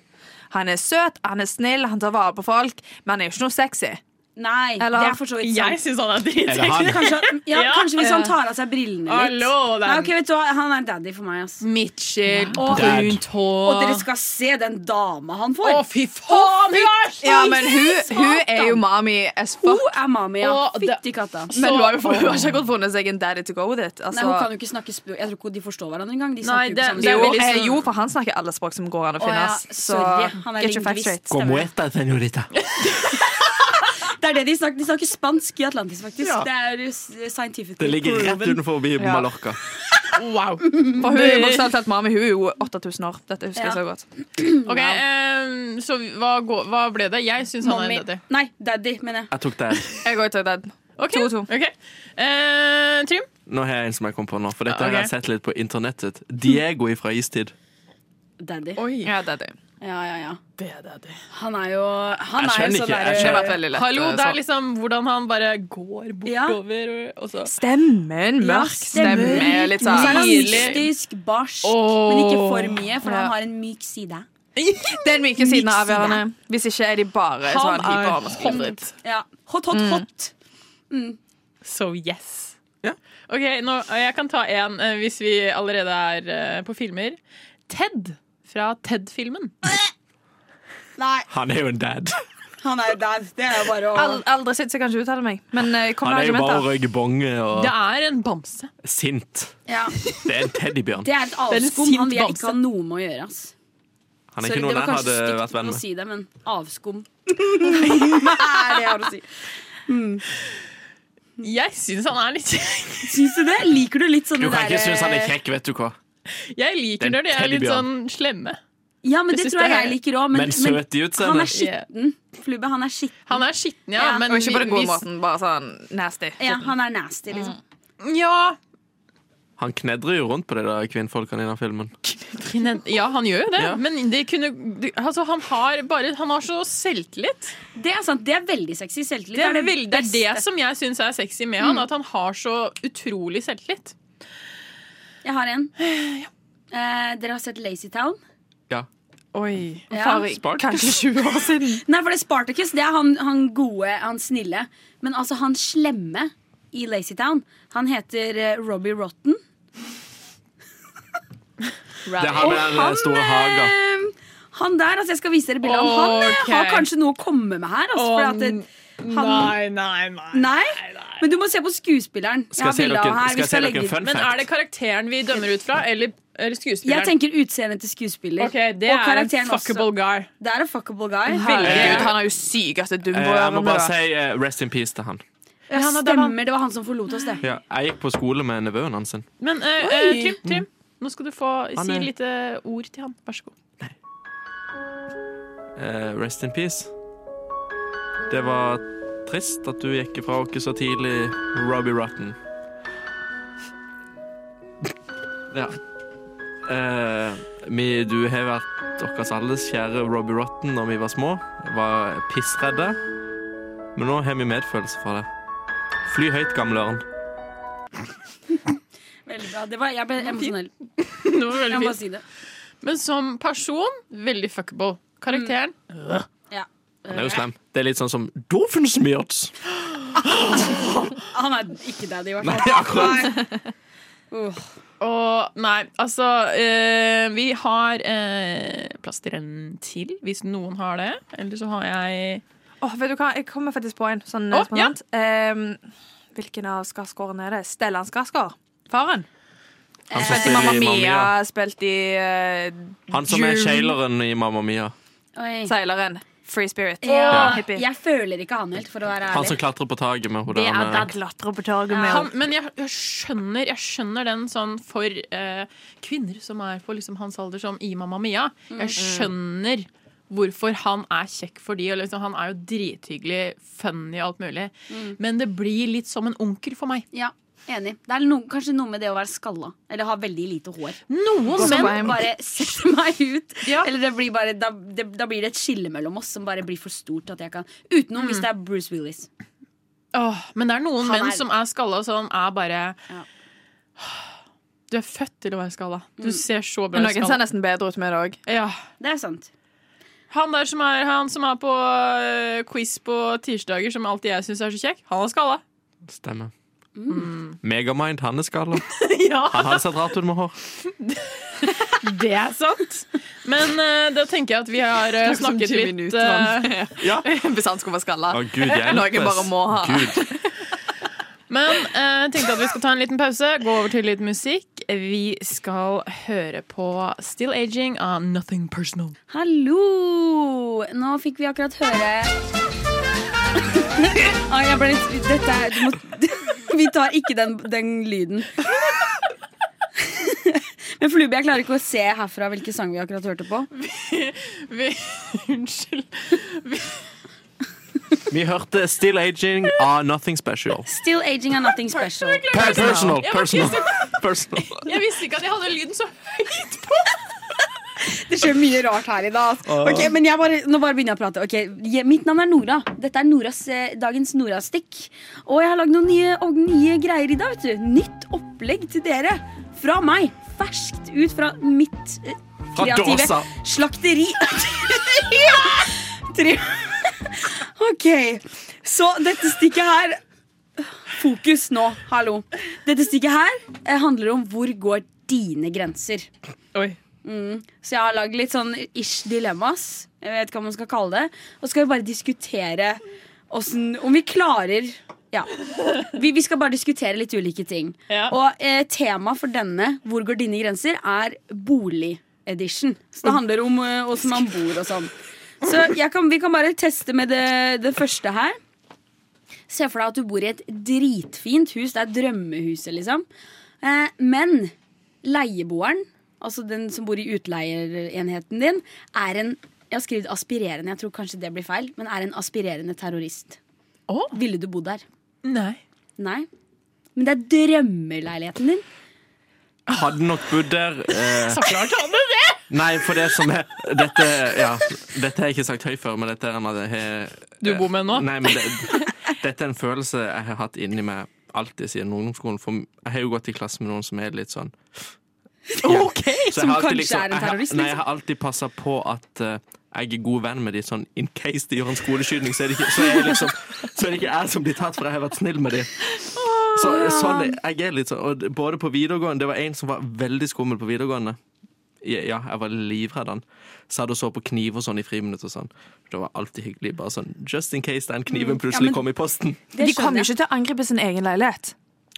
Speaker 7: Han er søt, han er snill, han tar vare på folk, men han er jo ikke noe sexy.
Speaker 6: Nei,
Speaker 7: Eller-
Speaker 6: det er for så vidt
Speaker 5: Jeg
Speaker 6: sant.
Speaker 5: syns han er
Speaker 2: Er det
Speaker 5: dritsexy.
Speaker 2: han?
Speaker 6: Kanskje, ja,
Speaker 5: Ja.
Speaker 6: kanskje hvis han tar av seg brillene litt.
Speaker 5: Hallo, den-
Speaker 6: Nei, ok, vet du hva, Han er daddy for meg. ass
Speaker 5: Mitchell,
Speaker 6: Og-
Speaker 5: brunt
Speaker 6: Og dere
Speaker 5: hår
Speaker 6: skal se den dama han får!
Speaker 5: Å, fy faen! hun er så-
Speaker 7: Ja, men hun, hun er jo mami as fuck.
Speaker 6: Hun er mami, ja.
Speaker 5: Og det-
Speaker 6: Fytti katta.
Speaker 7: Men hun har jo
Speaker 5: så-
Speaker 7: hun har ikke akkurat funnet seg en daddy to go with it.
Speaker 6: Nei, hun kan
Speaker 7: Altså,
Speaker 6: jo ikke snakke språk Jeg tror ikke de forstår hverandre engang. De
Speaker 5: Nei, det-
Speaker 6: snakker jo ikke samme
Speaker 5: det er
Speaker 7: jo,
Speaker 5: veldig
Speaker 7: eh,
Speaker 5: sånn-
Speaker 7: jo, for han snakker alle språk som går an å
Speaker 6: Å, ja,
Speaker 7: finnes. Så
Speaker 6: sorry, han er
Speaker 7: get your facts
Speaker 6: lingvist.
Speaker 7: straight.
Speaker 6: Como
Speaker 2: esta, señorita.
Speaker 6: språk. Det er det de snakker. De snakker spansk i Atlantis, faktisk.
Speaker 2: Ja.
Speaker 6: Det er jo s- scientific.
Speaker 2: Det ligger rett
Speaker 6: proven.
Speaker 2: utenfor Mallorca.
Speaker 5: Wow.
Speaker 7: For hun er bokstavelig talt mami. Hun er jo 8000 år. Dette husker
Speaker 6: Ja.
Speaker 7: jeg så godt.
Speaker 5: Ok, eh, Så hva, går, hva ble det? Jeg syns han er
Speaker 6: Mommy.
Speaker 5: en daddy.
Speaker 6: Nei, daddy, mener jeg.
Speaker 2: Jeg tok det.
Speaker 7: Jeg går ut av dad.
Speaker 5: Ok,
Speaker 7: To, to.
Speaker 5: ok. Eh, Trym?
Speaker 2: Nå har jeg en som jeg kom på nå, for dette
Speaker 5: Ok.
Speaker 2: har jeg sett litt på internettet. Diego fra Istid.
Speaker 6: Daddy.
Speaker 7: Ja, daddy.
Speaker 6: Ja, ja, ja.
Speaker 5: Det er daddy.
Speaker 6: Han er jo Han
Speaker 2: Jeg
Speaker 6: er
Speaker 2: skjønner
Speaker 6: jo
Speaker 2: ikke, jeg
Speaker 6: sånn
Speaker 7: Det har
Speaker 2: skjønner
Speaker 6: derre
Speaker 7: vært veldig lett.
Speaker 5: Hallo,
Speaker 7: eh,
Speaker 5: det
Speaker 7: så.
Speaker 5: er liksom hvordan han bare går
Speaker 6: Ja.
Speaker 5: bortover og- og så
Speaker 7: Stemmen,
Speaker 6: Ja,
Speaker 7: mørk stemme,
Speaker 6: stemmer.
Speaker 7: litt
Speaker 6: Og så er
Speaker 7: sånn
Speaker 6: han
Speaker 5: Nydelig.
Speaker 6: mystisk, barsk,
Speaker 5: Åh.
Speaker 6: men ikke for mye, for
Speaker 7: Ja.
Speaker 6: han har en myk side.
Speaker 7: Den myke siden er
Speaker 6: Myk side.
Speaker 7: avgjørende. Hvis ikke er de bare sånn hypermaskulin.
Speaker 5: hot.
Speaker 6: Ja. Hot, hot, hot.
Speaker 5: So yes. Ok, nå, Jeg kan ta en eh, hvis vi allerede er eh, på filmer. Ted fra Ted-filmen.
Speaker 6: Nei,
Speaker 2: Han er jo en dad.
Speaker 6: han er jo dad. Det er jo bare å
Speaker 7: Al- Aldri sett, så jeg kan ikke uttale meg. Men eh, kom
Speaker 2: Han
Speaker 7: med
Speaker 2: er jo bare å
Speaker 7: argumenter.
Speaker 2: røyke bonge og
Speaker 5: Det er en bamse.
Speaker 2: sint.
Speaker 6: ja.
Speaker 2: Det er en teddybjørn.
Speaker 6: Det er et
Speaker 5: er en
Speaker 6: avskum
Speaker 5: sint
Speaker 6: han vil jeg
Speaker 5: bamse.
Speaker 6: ikke ha noe med å gjøre. ass
Speaker 2: Han er
Speaker 6: Sorry,
Speaker 2: ikke
Speaker 6: det
Speaker 2: noen
Speaker 6: var
Speaker 2: jeg hadde
Speaker 6: kanskje
Speaker 2: vært venn
Speaker 6: stygt å
Speaker 2: med.
Speaker 6: si det, men avskum. det er det jeg har å si.
Speaker 5: Jeg syns han er litt
Speaker 6: Syns du det? Liker du litt
Speaker 2: Du
Speaker 6: sånne
Speaker 2: kan ikke
Speaker 6: der-
Speaker 2: synes han er kjekk, vet du hva.
Speaker 5: Jeg liker
Speaker 2: Den
Speaker 5: når de er litt
Speaker 2: teddybjørnen.
Speaker 5: sånn slemme.
Speaker 6: Ja, men det
Speaker 5: Jeg synes
Speaker 6: tror jeg
Speaker 5: det er-
Speaker 6: jeg liker òg. Men,
Speaker 2: Men søt i
Speaker 6: han er
Speaker 2: utseendet.
Speaker 6: skitten. Flubbe, han er skitten.
Speaker 5: Han er skitten, ja.
Speaker 6: Ja,
Speaker 5: men
Speaker 7: Og ikke på den gode
Speaker 5: hvis-
Speaker 7: måten, bare sånn nasty.
Speaker 6: Ja, han er nasty, liksom.
Speaker 5: Ja,
Speaker 2: Han knedrer jo rundt på det der kvinnfolkene i den filmen.
Speaker 5: Kvinne- ja, han gjør jo det.
Speaker 2: Ja.
Speaker 5: Men det kunne det- Altså, han har bare Han har så selvtillit.
Speaker 6: Det er sant, det er veldig sexy. Selvtillit
Speaker 5: Det er det, det, er
Speaker 6: beste.
Speaker 5: det som jeg syns er sexy med han. At han har så utrolig selvtillit.
Speaker 6: Jeg har en. Eh, dere har sett Lazy Town?
Speaker 2: Ja.
Speaker 7: Oi.
Speaker 6: Ja.
Speaker 7: For kanskje 20 år siden.
Speaker 6: Nei, for det er Spartacus. Det er han, han gode, han snille. Men altså, han slemme i Lazy Town, han heter eh, Robbie Rotten.
Speaker 2: Det er han med den eh, store haga.
Speaker 6: Ehm, han der, altså Jeg skal vise dere bildet av han. Han
Speaker 5: Ok.
Speaker 6: har kanskje noe å komme med her. Altså,
Speaker 5: Å,
Speaker 6: for at det, han,
Speaker 5: nei, nei.
Speaker 6: Nei, men du må se på skuespilleren.
Speaker 2: Skal jeg si
Speaker 6: bildet av
Speaker 2: dere-
Speaker 6: her.
Speaker 2: skal
Speaker 6: Vi
Speaker 2: jeg si dere en
Speaker 6: legge ut-
Speaker 2: fun
Speaker 5: Men er det
Speaker 2: fact?
Speaker 5: karakteren vi dømmer ut fra, eller, eller
Speaker 6: Jeg
Speaker 5: skuespilleren?
Speaker 6: tenker utseendet til skuespiller.
Speaker 5: Ok, Det
Speaker 6: og
Speaker 5: er en
Speaker 6: karakteren
Speaker 5: fuckable
Speaker 6: også.
Speaker 5: guy.
Speaker 6: Det er en fuckable guy.
Speaker 7: Herregud,
Speaker 2: Eh,
Speaker 7: han har jo sykeste
Speaker 2: Eh, Jeg må bare
Speaker 7: dumbo-ørene.
Speaker 2: si eh, rest in peace til han.
Speaker 6: Ja, Stemmer, det var han som forlot oss, det.
Speaker 2: Ja, jeg gikk på skole med nevøen hans. sin.
Speaker 5: Men eh, eh, Trym, Trym, nå skal du få
Speaker 2: Han
Speaker 5: si
Speaker 2: er-
Speaker 5: litt eh, ord til han. Vær så god.
Speaker 2: Eh, Rest in peace. Det var trist at du gikk ifra oss så tidlig, Robbie Rotten. Ja. Eh, vi, du har vært deres alles kjære Robbie Rotten når vi var små. Var pissredde. Men nå har vi medfølelse for det. Fly høyt, gamle ørn.
Speaker 6: Veldig bra. Det var, jeg ble emosjonell.
Speaker 5: Det var
Speaker 6: Jeg
Speaker 5: veldig
Speaker 6: må bare
Speaker 5: fint.
Speaker 6: si det.
Speaker 5: Men som person, veldig fuckable. Karakteren
Speaker 6: Mm. Ja.
Speaker 2: Han er jo slem. Det er litt sånn som Doofensmjørts.
Speaker 6: Han er ikke daddy, i hvert
Speaker 2: Nei,
Speaker 6: fall.
Speaker 2: akkurat.
Speaker 6: Uh,
Speaker 5: Og nei, altså eh, Vi har eh, plass til en til, hvis noen har det. Eller så har jeg
Speaker 7: Åh, vet du hva, jeg kommer faktisk på en sånn
Speaker 5: Åh,
Speaker 7: eh, spontant. Ehm, hvilken av Skarsgårdene er det? Stellan Skarsgård? Faren?
Speaker 2: Han som
Speaker 7: Spilt i
Speaker 2: spiller
Speaker 7: Mamma
Speaker 2: i Mamma
Speaker 7: Mia,
Speaker 2: Mia.
Speaker 7: spilt i eh,
Speaker 2: Han som er
Speaker 7: June.
Speaker 2: kjæleren i Mamma Mia.
Speaker 6: oi.
Speaker 7: Seileren. Free Spirit.
Speaker 6: Ja,
Speaker 7: Hippie.
Speaker 6: jeg føler ikke han helt, for å være
Speaker 2: Han som
Speaker 6: ærlig.
Speaker 2: klatrer på taket med hodet.
Speaker 7: Det er
Speaker 2: han,
Speaker 7: da
Speaker 2: eh,
Speaker 7: klatrer på torget med
Speaker 5: han, Men jeg, jeg, skjønner, jeg skjønner den sånn for eh, kvinner som er på liksom hans alder, som i Mamma Mia.
Speaker 6: Mm.
Speaker 5: Jeg skjønner hvorfor han er kjekk for de. Og liksom, han er jo drithyggelig, funny og alt mulig.
Speaker 6: Mm.
Speaker 5: Men det blir litt som en onkel for meg.
Speaker 6: Ja, enig. Det er noe- kanskje noe med det å være skalla eller ha veldig lite hår.
Speaker 5: Noen
Speaker 6: Som
Speaker 5: menn
Speaker 6: bare setter meg ut.
Speaker 5: Ja.
Speaker 6: Eller det blir bare, da, det, da blir det et skille mellom oss som bare blir for stort. at jeg kan Utenom hvis det er Bruce Willis.
Speaker 5: Åh, men det er noen
Speaker 6: Han
Speaker 5: menn
Speaker 6: er-
Speaker 5: som er skalla og sånn er bare
Speaker 6: Ja.
Speaker 5: Du er født til å være skalla.
Speaker 6: Mm.
Speaker 5: Du ser så bra
Speaker 7: Men
Speaker 5: ut.
Speaker 7: noen ser
Speaker 5: skalla.
Speaker 7: nesten bedre ut med det òg.
Speaker 5: Ja.
Speaker 6: Det er sant.
Speaker 5: Han der som er, han som er på øh, quiz på tirsdager, som alltid jeg syns er så kjekk, han er skalla.
Speaker 2: Stemmer.
Speaker 7: Mm.
Speaker 2: Megamind, han er skalla. Han har sett rart ut med hår.
Speaker 5: Det er sant. Men øh, da tenker jeg at vi har øh, snakket litt øh,
Speaker 2: Ja.
Speaker 7: Hvis han skulle være skalla.
Speaker 2: Å, Gud hjelpes.
Speaker 7: Noen bare må ha.
Speaker 2: Gud.
Speaker 5: Men eh, tenkte at vi skal ta en liten pause, gå over til litt musikk. Vi skal høre på Still Aging av Nothing Personal.
Speaker 6: Hallo! Nå fikk vi akkurat høre Ai, jeg ble litt Dette er du må, Vi tar ikke den, den lyden. Men Flube, jeg klarer ikke å se herfra hvilken sang vi akkurat hørte på.
Speaker 5: Vi, unnskyld.
Speaker 2: Vi hørte Still Aging av Nothing Special.
Speaker 6: Still aging and nothing special.
Speaker 2: Per personal, personal. personal.
Speaker 5: Jeg visste ikke at jeg hadde lyden så høyt på.
Speaker 6: Det skjer mye rart her i dag. ass. Ok, men jeg bare, nå bare begynner jeg å prate. Ok, je- mitt navn er Nora. Dette er Noras, eh, dagens Norastikk. Og jeg har lagd noen nye, og nye greier i dag. vet du. Nytt opplegg til dere. Fra meg. Ferskt ut fra mitt eh,
Speaker 2: Fra
Speaker 6: kreative
Speaker 2: dåsa.
Speaker 6: slakteri. Tre. OK. Så dette stikket her Fokus nå. Hallo. Dette stikket her eh, handler om hvor går dine grenser.
Speaker 5: Oi.
Speaker 6: Så jeg har lagd litt sånn ish dilemmas. Jeg vet ikke hva man skal kalle det. Og så skal vi bare diskutere åssen- om vi klarer Ja. Vi, vi skal bare diskutere litt ulike ting.
Speaker 5: Ja.
Speaker 6: Og eh, temaet for denne, 'Hvor går dine grenser?', er bolig-edition. Så det handler om eh, åssen man bor og sånn. Så jeg kan, vi kan bare teste med det, det første her. Se for deg at du bor i et dritfint hus. Det er drømmehuset, liksom. Eh, men leieboeren, altså den som bor i utleierenheten din, er en Jeg har skrevet aspirerende, jeg tror kanskje det blir feil, men er en aspirerende terrorist.
Speaker 5: Å?
Speaker 6: Ville du bodd der?
Speaker 5: Nei.
Speaker 6: Nei. Men det er drømmeleiligheten din.
Speaker 2: Hadde nok bodd der. Eh,
Speaker 5: Så klart han det!
Speaker 2: nei, for det som er Dette ja, dette har jeg ikke sagt høyt før, men dette er en av det jeg-
Speaker 5: Du bor med nå?
Speaker 2: Nei, men det, dette er en følelse jeg har hatt inni meg alltid siden ungdomsskolen. For jeg har jo gått i klasse med noen som er litt sånn
Speaker 7: Oh,
Speaker 5: Ok!
Speaker 2: Så jeg
Speaker 6: Som
Speaker 2: har alltid liksom-
Speaker 6: kanskje er en
Speaker 2: jeg har-
Speaker 6: terrorist,
Speaker 7: liksom.
Speaker 2: Nei, jeg har alltid passa på at eh, jeg er god venn med de sånn in case de gjør en skoleskyting, så er det ikke, så er jeg liksom, så er det ikke jeg som blir tatt, for jeg har vært snill med de. Så, sånn, jeg er litt sånn, og det- både på videregående, Det var en som var veldig skummel på videregående. Ja, ja, jeg var livredd han. Satt og så på kniv og sånn i friminutt og sånn. Det var alltid hyggelig. Bare sånn just in case den
Speaker 7: Mm.
Speaker 2: kniven plutselig
Speaker 6: men-
Speaker 2: kom i posten.
Speaker 6: Det
Speaker 7: De
Speaker 6: skjønner
Speaker 7: kommer jo
Speaker 6: jeg.
Speaker 7: ikke til å angripe sin egen leilighet.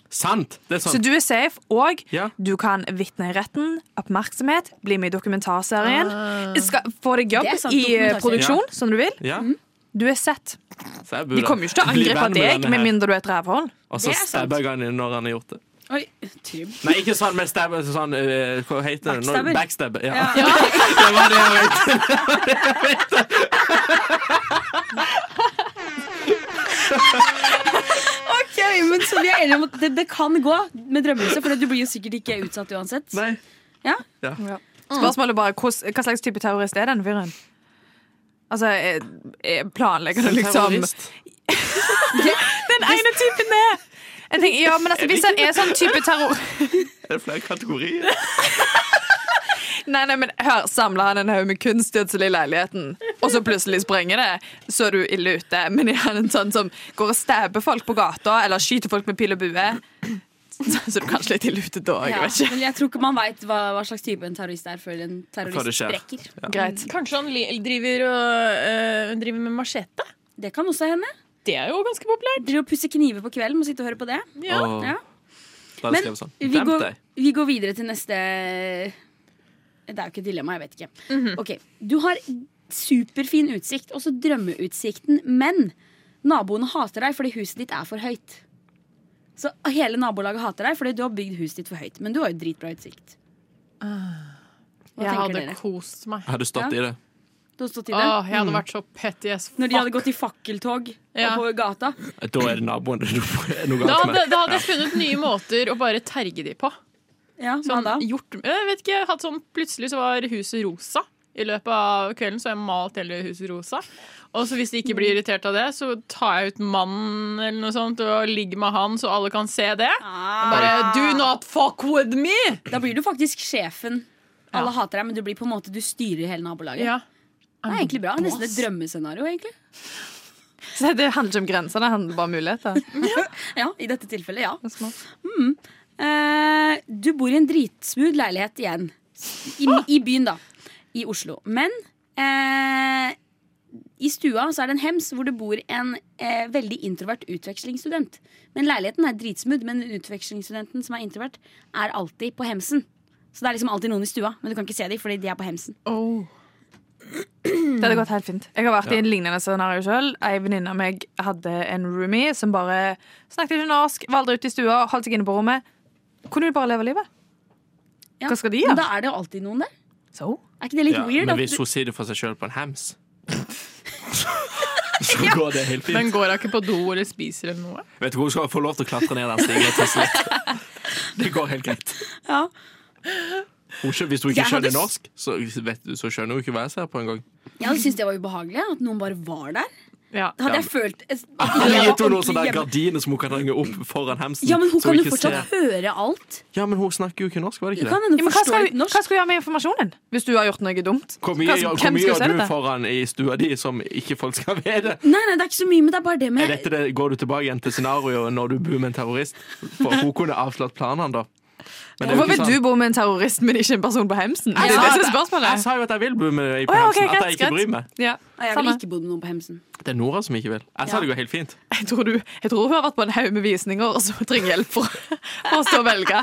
Speaker 2: Sant! Det er
Speaker 7: Så
Speaker 2: sånn.
Speaker 7: du er safe, og
Speaker 2: Ja.
Speaker 7: du kan vitne i retten, oppmerksomhet, bli med i dokumentarserien. Skal få deg jobb
Speaker 6: Det er sant,
Speaker 7: i eh,
Speaker 6: dokumentarserie.
Speaker 7: produksjon, som du vil.
Speaker 2: Ja,
Speaker 7: Du er sett.
Speaker 2: så jeg
Speaker 7: Mm. De kommer jo ikke til å angripe deg, med mindre du er et rævhål.
Speaker 2: Og så
Speaker 6: Det er sant.
Speaker 2: stabber jeg han inn når han har gjort det.
Speaker 6: Oi, Trym.
Speaker 2: Nei, ikke sånn med stabber, sånn, eh, hva heter det? nå?
Speaker 6: Backstabber.
Speaker 2: Backstabber. Ja. det var det jeg mente.
Speaker 6: Ok, men så vi er enige om at det, det kan gå med drømmelse, for du blir jo sikkert ikke utsatt uansett.
Speaker 2: Nei.
Speaker 6: Ja.
Speaker 7: Spørsmålet er bare hos, hva slags type terrorist er den fyren? Altså, eh, eh, planlegger du liksom
Speaker 2: Terrorist.
Speaker 7: Den ene typen er jeg tenker, ja, men altså, Hvis han er sånn type terror
Speaker 2: Er det flere kategorier?
Speaker 7: Nei, nei, men hør, samler han en haug med kunstgjødsel i leiligheten, og så plutselig sprenger det, så er du ille ute. Men er han en sånn som går og stabber folk på gata, eller skyter folk med pil og bue, så så er du kanskje litt ille ute da.
Speaker 6: Ja,
Speaker 7: Jeg vet ikke.
Speaker 6: Men jeg tror ikke man veit hva, hva slags type en terrorist er før en terrorist
Speaker 2: Før det skjer.
Speaker 6: sprekker.
Speaker 7: Greit.
Speaker 5: Kanskje han li- driver, og, øh, driver med machete?
Speaker 6: Det kan også hende.
Speaker 5: Det er jo ganske populært.
Speaker 6: Driver og pusser kniver på kvelden, må sitte og høre på det.
Speaker 5: Ja.
Speaker 2: Åh,
Speaker 6: Ja.
Speaker 2: Da
Speaker 6: Men
Speaker 2: skrev jeg sånn.
Speaker 6: vi
Speaker 2: Demp
Speaker 6: går,
Speaker 2: deg.
Speaker 6: vi går videre til neste Det er jo ikke et dilemma, jeg vet ikke.
Speaker 5: Mhm.
Speaker 6: Ok, Du har superfin utsikt, også drømmeutsikten, men naboene hater deg fordi huset ditt er for høyt. Så hele nabolaget hater deg fordi du har bygd huset ditt for høyt. Men du har jo dritbra utsikt. Hva
Speaker 5: Jeg
Speaker 6: tenker
Speaker 5: hadde
Speaker 6: dere?
Speaker 5: kost meg.
Speaker 2: Jeg hadde stått i det.
Speaker 6: Du har stått i det?
Speaker 5: Åh, jeg hadde vært så petty as
Speaker 6: Når
Speaker 5: fuck.
Speaker 6: de hadde gått i fakkeltog
Speaker 5: Ja.
Speaker 6: på gata.
Speaker 2: Da er det naboen det er noe
Speaker 5: Da
Speaker 2: galt
Speaker 5: hadde,
Speaker 2: med.
Speaker 5: da hadde jeg funnet nye måter å bare terge de på.
Speaker 6: Ja, hva
Speaker 5: Sånn,
Speaker 6: da?
Speaker 5: gjort, jeg vet ikke, hatt sånn, plutselig så var huset rosa. I løpet av kvelden så har jeg malt hele huset rosa. Og så hvis de ikke blir irritert av det, så tar jeg ut mannen eller noe sånt og ligger med han, så alle kan se det. Bare do not fuck with me!
Speaker 6: Da blir du faktisk sjefen. Alle hater deg, men du blir på en måte Du styrer hele nabolaget.
Speaker 5: Ja.
Speaker 6: Det er egentlig bra. Nesten et drømmescenario, egentlig.
Speaker 7: Så det handler ikke om grenser, det handler bare om muligheter.
Speaker 6: Ja, I dette tilfellet, ja.
Speaker 7: Det er smart.
Speaker 6: Eh, du bor i en dritsmooth leilighet igjen. I, I byen, da. I Oslo. Men eh, i stua så er det en hems hvor det bor en eh, veldig introvert utvekslingsstudent. Men leiligheten er dritsmooth, men utvekslingsstudenten som er introvert, er alltid på hemsen. Så det er liksom alltid noen i stua, men du kan ikke se dem fordi de er på hemsen.
Speaker 5: Oh.
Speaker 7: Det hadde gått helt fint. Jeg har vært i en lignende scenario sjøl. Ei venninne av meg hadde en roomie som bare snakket ikke norsk, valgte ut i stua, holdt seg inne på rommet. Kunne de bare leve livet?
Speaker 6: Ja,
Speaker 7: Hva skal de gjøre?
Speaker 6: Men da er det jo alltid noen der.
Speaker 7: Så?
Speaker 6: Er ikke det litt
Speaker 2: Ja,
Speaker 6: weird?
Speaker 2: men
Speaker 6: at
Speaker 2: hvis
Speaker 6: du-
Speaker 2: hun sier det for seg sjøl på en hams, så går det helt
Speaker 5: Men
Speaker 2: fint.
Speaker 5: går hun ikke på do eller spiser eller noe?
Speaker 2: Vet du hvor hun skal få lov til å klatre ned den stigen til slutt? Det går helt greit.
Speaker 6: Ja.
Speaker 2: Hun skjø- hvis hun
Speaker 6: Jeg
Speaker 2: ikke
Speaker 6: hadde
Speaker 2: skjønner
Speaker 6: s-
Speaker 2: norsk, så, vet du, så skjønner hun ikke hva jeg ser på engang.
Speaker 6: Jeg hadde syntes det var ubehagelig at noen bare var der.
Speaker 5: Ja.
Speaker 6: Da hadde jeg følt
Speaker 2: Eller gitt henne noen sånne
Speaker 6: ordentlig hjemme.
Speaker 2: gardiner som hun kan henge opp foran hemsen.
Speaker 6: Ja, men hun
Speaker 2: så
Speaker 6: kan jo
Speaker 2: ikke
Speaker 6: fortsatt
Speaker 2: ser.
Speaker 6: høre alt.
Speaker 2: Ja, men hun snakker jo ikke norsk, var det
Speaker 6: Du
Speaker 2: ikke
Speaker 6: kan
Speaker 2: det?
Speaker 6: hende
Speaker 7: Ja, men hva,
Speaker 6: forstå
Speaker 7: skal,
Speaker 6: litt
Speaker 7: hva
Speaker 6: norsk.
Speaker 7: skal du gjøre med informasjonen hvis du har gjort noe dumt?
Speaker 2: Hvor
Speaker 7: Hva-
Speaker 2: mye gjør- hvor
Speaker 7: hvem
Speaker 2: mye
Speaker 7: skal se
Speaker 2: gjør du
Speaker 7: dette?
Speaker 2: foran i stua di som ikke folk skal vite?
Speaker 6: Nei, nei, det er ikke så mye, men det er bare det
Speaker 2: Er
Speaker 6: med
Speaker 2: dette det, går du tilbake igjen til scenarioet når du bor med en terrorist? For hun kunne avslått planene, da. Men det er jo
Speaker 7: Hvorfor vil
Speaker 2: ikke sånn-
Speaker 7: du
Speaker 2: sant.
Speaker 7: bo med en terrorist, men ikke en person på hemsen?
Speaker 6: Jeg
Speaker 7: Det er
Speaker 6: sa
Speaker 7: Altså, det som
Speaker 6: at-
Speaker 7: er spørsmålet.
Speaker 2: Jeg sa jo at jeg vil bo med deg på
Speaker 7: Å, ja, ok,
Speaker 2: hemsen. At
Speaker 7: greit,
Speaker 2: jeg ikke
Speaker 7: greit.
Speaker 2: bryr meg.
Speaker 7: Ja,
Speaker 6: Nei, Jeg ville
Speaker 7: samme.
Speaker 6: ikke bodd med noen på Hemsen.
Speaker 2: Det er Nora som ikke vil. Jeg sa det går helt fint.
Speaker 7: Jeg tror, du, jeg tror hun har vært på en haug med visninger og så trenger hjelp for, for å stå og velge.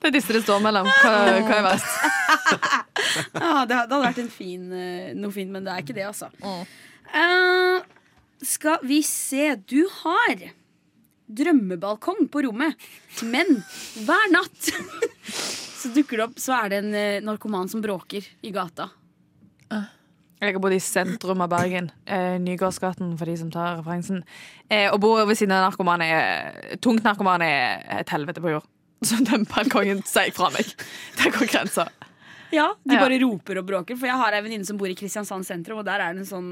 Speaker 7: Det er disse det står mellom. Hva, hva er verst?
Speaker 6: Ja, det, hadde- det hadde vært en fin, eh, noe fint, men det er ikke det, altså.
Speaker 7: Mm.
Speaker 6: Eh, skal vi se. Du har drømmebalkong på rommet, men hver natt så så dukker det opp Så er det en eh, narkoman som bråker i gata.
Speaker 7: Jeg har bodd i sentrum av Bergen. Eh, Nygårdsgaten, for de som tar referansen. Eh, å bo ved siden av narkomane er Tungt narkomane er et helvete på jord. Så den balkongen sier jeg fra meg. Der går grensa.
Speaker 6: Ja, De
Speaker 7: Ja.
Speaker 6: bare roper og bråker. For jeg har ei venninne som bor i Kristiansand sentrum, og der er det en sånn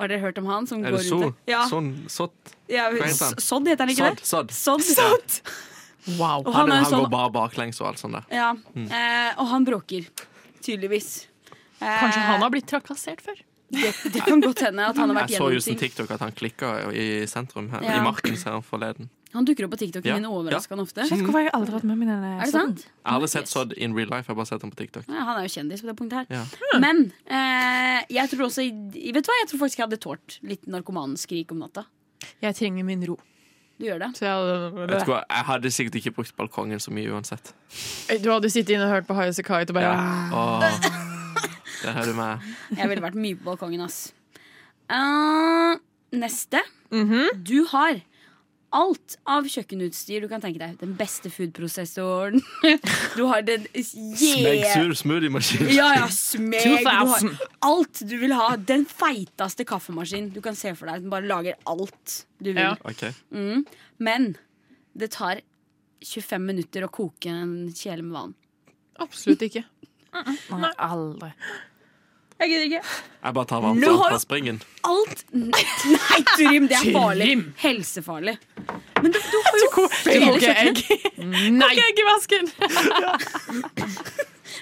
Speaker 6: Har dere hørt om han som
Speaker 2: Er
Speaker 6: går
Speaker 2: det så?
Speaker 6: rundt der? Ja,
Speaker 2: Sånn? Sått?
Speaker 6: ja,
Speaker 2: Hva heter han?
Speaker 6: S- Sodd heter han ikke
Speaker 2: Sådd?
Speaker 6: det?
Speaker 2: Sådd.
Speaker 6: Sodd.
Speaker 7: Wow.
Speaker 6: Og
Speaker 2: Han,
Speaker 6: han er
Speaker 2: han,
Speaker 6: jo sånn
Speaker 2: går Mm. bare baklengs og alt sånt der.
Speaker 6: Ja, eh, og han bråker. Tydeligvis. Eh,
Speaker 5: Kanskje han har blitt trakassert før?
Speaker 6: det, det kan godt hende at han har vært
Speaker 2: Jeg så
Speaker 6: gjennom
Speaker 2: just en
Speaker 6: ting.
Speaker 2: TikTok at han klikka i sentrum her,
Speaker 6: Ja.
Speaker 2: i marken her forleden.
Speaker 6: Han dukker opp på TikTok
Speaker 2: Ja,
Speaker 6: min overraskende ofte.
Speaker 7: Shit, hvorfor har jeg aldri hatt med meg den?
Speaker 6: Er det sant?
Speaker 2: Jeg har aldri sett Sodd in real life, jeg har bare sett ham på TikTok.
Speaker 6: Ja, han er jo kjendis på det punktet her.
Speaker 2: Ja.
Speaker 6: Men eh, jeg tror også Vet du hva, jeg tror faktisk jeg hadde tålt litt narkomanskrik om natta.
Speaker 5: Jeg trenger min ro.
Speaker 6: Du gjør det.
Speaker 5: Så jeg,
Speaker 2: Vet du hva, Jeg hadde sikkert ikke brukt balkongen så mye uansett.
Speaker 5: Du hadde sittet inne og hørt på High Kite og bare
Speaker 2: Åh. Der har du meg.
Speaker 6: Jeg ville vært mye på balkongen, ass. Eh, neste. Du har alt av kjøkkenutstyr du kan tenke deg. Den beste foodprosessoren. Du har den
Speaker 2: Smeg
Speaker 6: jævla
Speaker 2: smoothiemaskin.
Speaker 6: Ja, ja, smeg. Du har
Speaker 5: 2000.
Speaker 6: alt du vil ha. Den feiteste kaffemaskinen du kan se for deg. Den bare lager alt du vil.
Speaker 5: Ja.
Speaker 2: Ok,
Speaker 6: Mm. Men det tar 25 minutter å koke en kjele med vann.
Speaker 5: Absolutt ikke.
Speaker 7: Nei, aldri.
Speaker 6: Jeg gidder ikke.
Speaker 2: Jeg bare tar varmt
Speaker 6: Nå
Speaker 2: opp
Speaker 6: har jo-
Speaker 2: fra springen.
Speaker 6: Alt Nei, Turim, det er farlig.
Speaker 5: Turim.
Speaker 6: Helsefarlig. Men du, du har jo hele
Speaker 5: Koke
Speaker 6: kjøkkenet.
Speaker 5: egg. Nei!
Speaker 7: Ikke vasken!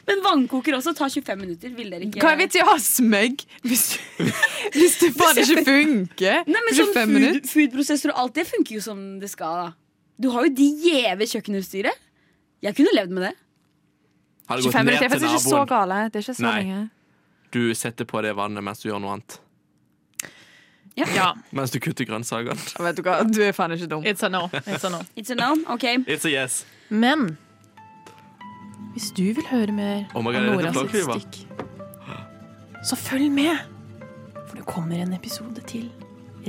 Speaker 6: Men vannkoker også tar 25 minutter. Vil dere ikke
Speaker 7: Hva er vits i å ha smegg hvis du, hvis det faen ikke funker?
Speaker 6: Nei, men sånn
Speaker 7: 25
Speaker 6: food,
Speaker 7: minutter.
Speaker 6: Foodprosesser og alt det funker jo som det skal. da Du har jo de gjeve kjøkkenutstyret. Jeg kunne levd med det.
Speaker 2: Har det gått
Speaker 7: 25
Speaker 2: ned
Speaker 7: minutter er
Speaker 2: til
Speaker 7: faktisk ikke så
Speaker 2: naboen?
Speaker 7: gale. Det er ikke så
Speaker 2: Nei.
Speaker 7: lenge.
Speaker 2: Du setter på det vannet mens du gjør noe annet.
Speaker 5: Ja,
Speaker 2: Mens du kutter grønnsakene.
Speaker 7: Vet du hva, du er faen ikke dum.
Speaker 5: it's a no. It's a no.
Speaker 6: It's a no. Ok.
Speaker 2: It's a yes.
Speaker 5: Men hvis du vil høre mer
Speaker 2: Oh my
Speaker 5: av
Speaker 2: God, er dette
Speaker 5: Nora sitt
Speaker 2: flåklypa?
Speaker 5: stikk, så følg med, for det kommer en episode til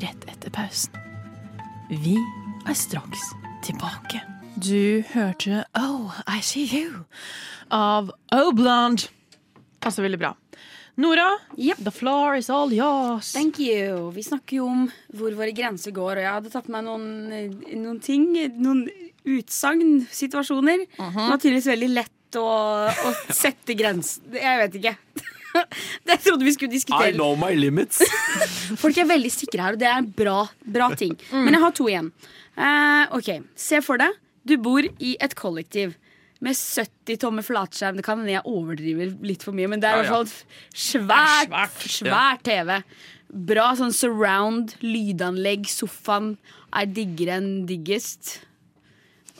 Speaker 5: rett etter pausen. Vi er straks tilbake. Du hørte Oh, I See You av Oh Blonde. Passer veldig bra. Nora,
Speaker 6: Yep.
Speaker 5: the floor is all yours.
Speaker 6: Thank you. Vi snakker jo om hvor våre grenser går, og jeg hadde tatt med noen, noen ting, noen utsagn, situasjoner. Det var tydeligvis veldig lett å, å sette grensen. Jeg vet ikke. Det trodde vi skulle
Speaker 2: I
Speaker 6: diskutere.
Speaker 2: know my limits.
Speaker 6: Folk er veldig sikre her, og det er en bra, bra ting. Men jeg har to igjen. Eh, ok, Se for deg du bor i et kollektiv med 70 tomme flatskjerm. Det kan hende jeg overdriver litt for mye, men det
Speaker 2: Ja,
Speaker 6: er i hvert
Speaker 2: ja.
Speaker 6: fall et svært,
Speaker 5: Det er
Speaker 6: svært, TV. Bra sånn surround, lydanlegg, sofaen er diggere enn diggest.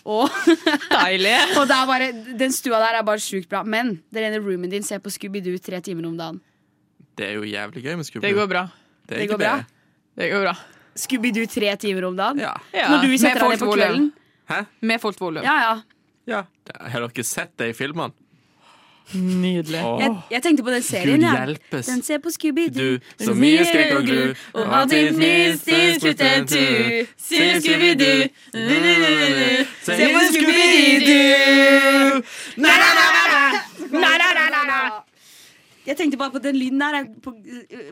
Speaker 6: Og,
Speaker 5: Deilig.
Speaker 6: og det er bare, den stua der er bare sjukt bra. Men den ene roomen din ser på Scooby-Doo tre timer om dagen.
Speaker 2: Det er jo jævlig gøy med Scooby.
Speaker 5: Det går bra.
Speaker 2: Det,
Speaker 6: det
Speaker 2: ikke
Speaker 6: går bra.
Speaker 5: Det går bra.
Speaker 6: Scooby-Doo tre timer om dagen.
Speaker 2: Ja.
Speaker 5: Ja.
Speaker 6: Når du
Speaker 7: med
Speaker 6: setter deg ned
Speaker 7: fullt
Speaker 6: på
Speaker 7: volum.
Speaker 6: kvelden.
Speaker 7: Med fullt volum.
Speaker 6: Ja, ja.
Speaker 2: ja. Det- Har dere sett det i filmene?
Speaker 5: Nydelig.
Speaker 2: Åh.
Speaker 6: Jeg, jeg tenkte på den serien.
Speaker 2: Gud
Speaker 6: ja.
Speaker 2: hjelpes.
Speaker 6: Den ser på Scooby-Doo.
Speaker 2: Du, så mye skrik og gru,
Speaker 6: Og alltid mystisk ut en tur. Sier Scooby-Doo.
Speaker 2: Se
Speaker 6: Se på Scooby-Doo. Na, na, na, na, na. Jeg tenkte bare på den lyden der er på,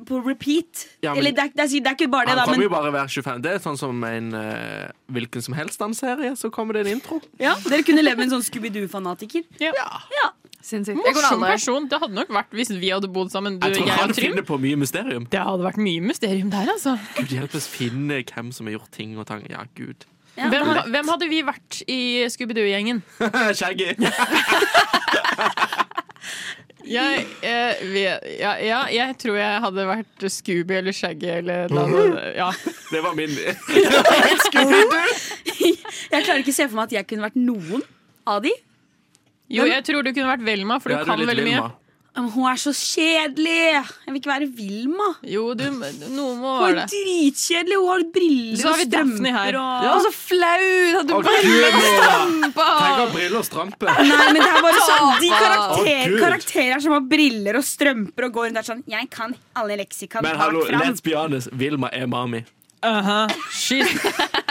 Speaker 6: på repeat.
Speaker 2: Ja, men-
Speaker 6: Eller det er, det, er, det er ikke bare det,
Speaker 2: Han
Speaker 6: da,
Speaker 2: kommer jo
Speaker 6: men
Speaker 2: bare være 25. Det er sånn som en eh, hvilken som helst danseserie, så kommer det en intro.
Speaker 6: ja, dere kunne levd med en sånn Scooby-Doo-fanatiker.
Speaker 7: Sinnssykt. Jeg kunne
Speaker 5: Morsom
Speaker 7: aldri.
Speaker 5: person. Det hadde nok vært hvis vi hadde bodd sammen, du,
Speaker 2: Jeg
Speaker 5: jeg,
Speaker 2: tror han
Speaker 5: og Trym.
Speaker 2: finner på mye mysterium.
Speaker 5: Det hadde vært mye mysterium der, altså.
Speaker 2: Gud hjelpes finne hvem som har gjort ting og tang. Ja, gud.
Speaker 6: Ja.
Speaker 5: Hvem, hvem hadde vi vært i Scooby-Doo-gjengen?
Speaker 2: Shaggy.
Speaker 5: Jeg, eh, vi- ja, ja, jeg tror jeg hadde vært Scooby eller Shaggy eller noe annet. ja.
Speaker 2: Det var min.
Speaker 6: Jeg klarer ikke å se for meg at jeg kunne vært noen av de.
Speaker 5: Jo, jeg tror du kunne vært Velma, for du
Speaker 2: Ja,
Speaker 5: kan
Speaker 2: litt
Speaker 5: veldig mye.
Speaker 2: Vilma.
Speaker 6: Men hun er så kjedelig! Jeg vil ikke være Vilma.
Speaker 5: Jo, du, noe må
Speaker 6: Hun
Speaker 5: være
Speaker 6: er
Speaker 5: det.
Speaker 6: dritkjedelig! Hun har briller
Speaker 5: Så har
Speaker 6: og
Speaker 5: vi Daphne her.
Speaker 6: strømper og
Speaker 7: Å, så flaut at du
Speaker 2: Å,
Speaker 7: bare
Speaker 2: Gud, Nora. Tenk
Speaker 7: stamper!
Speaker 2: om briller og strampe.
Speaker 6: Nei, men det er bare sånn De
Speaker 2: Å,
Speaker 6: karakter,
Speaker 2: Gud.
Speaker 6: karakterer som har briller og strømper og går rundt der sånn Jeg kan alle leksikan
Speaker 2: Men
Speaker 6: bak
Speaker 2: hallo,
Speaker 6: fram.
Speaker 2: let's be honest. Vilma er mami.
Speaker 5: She's-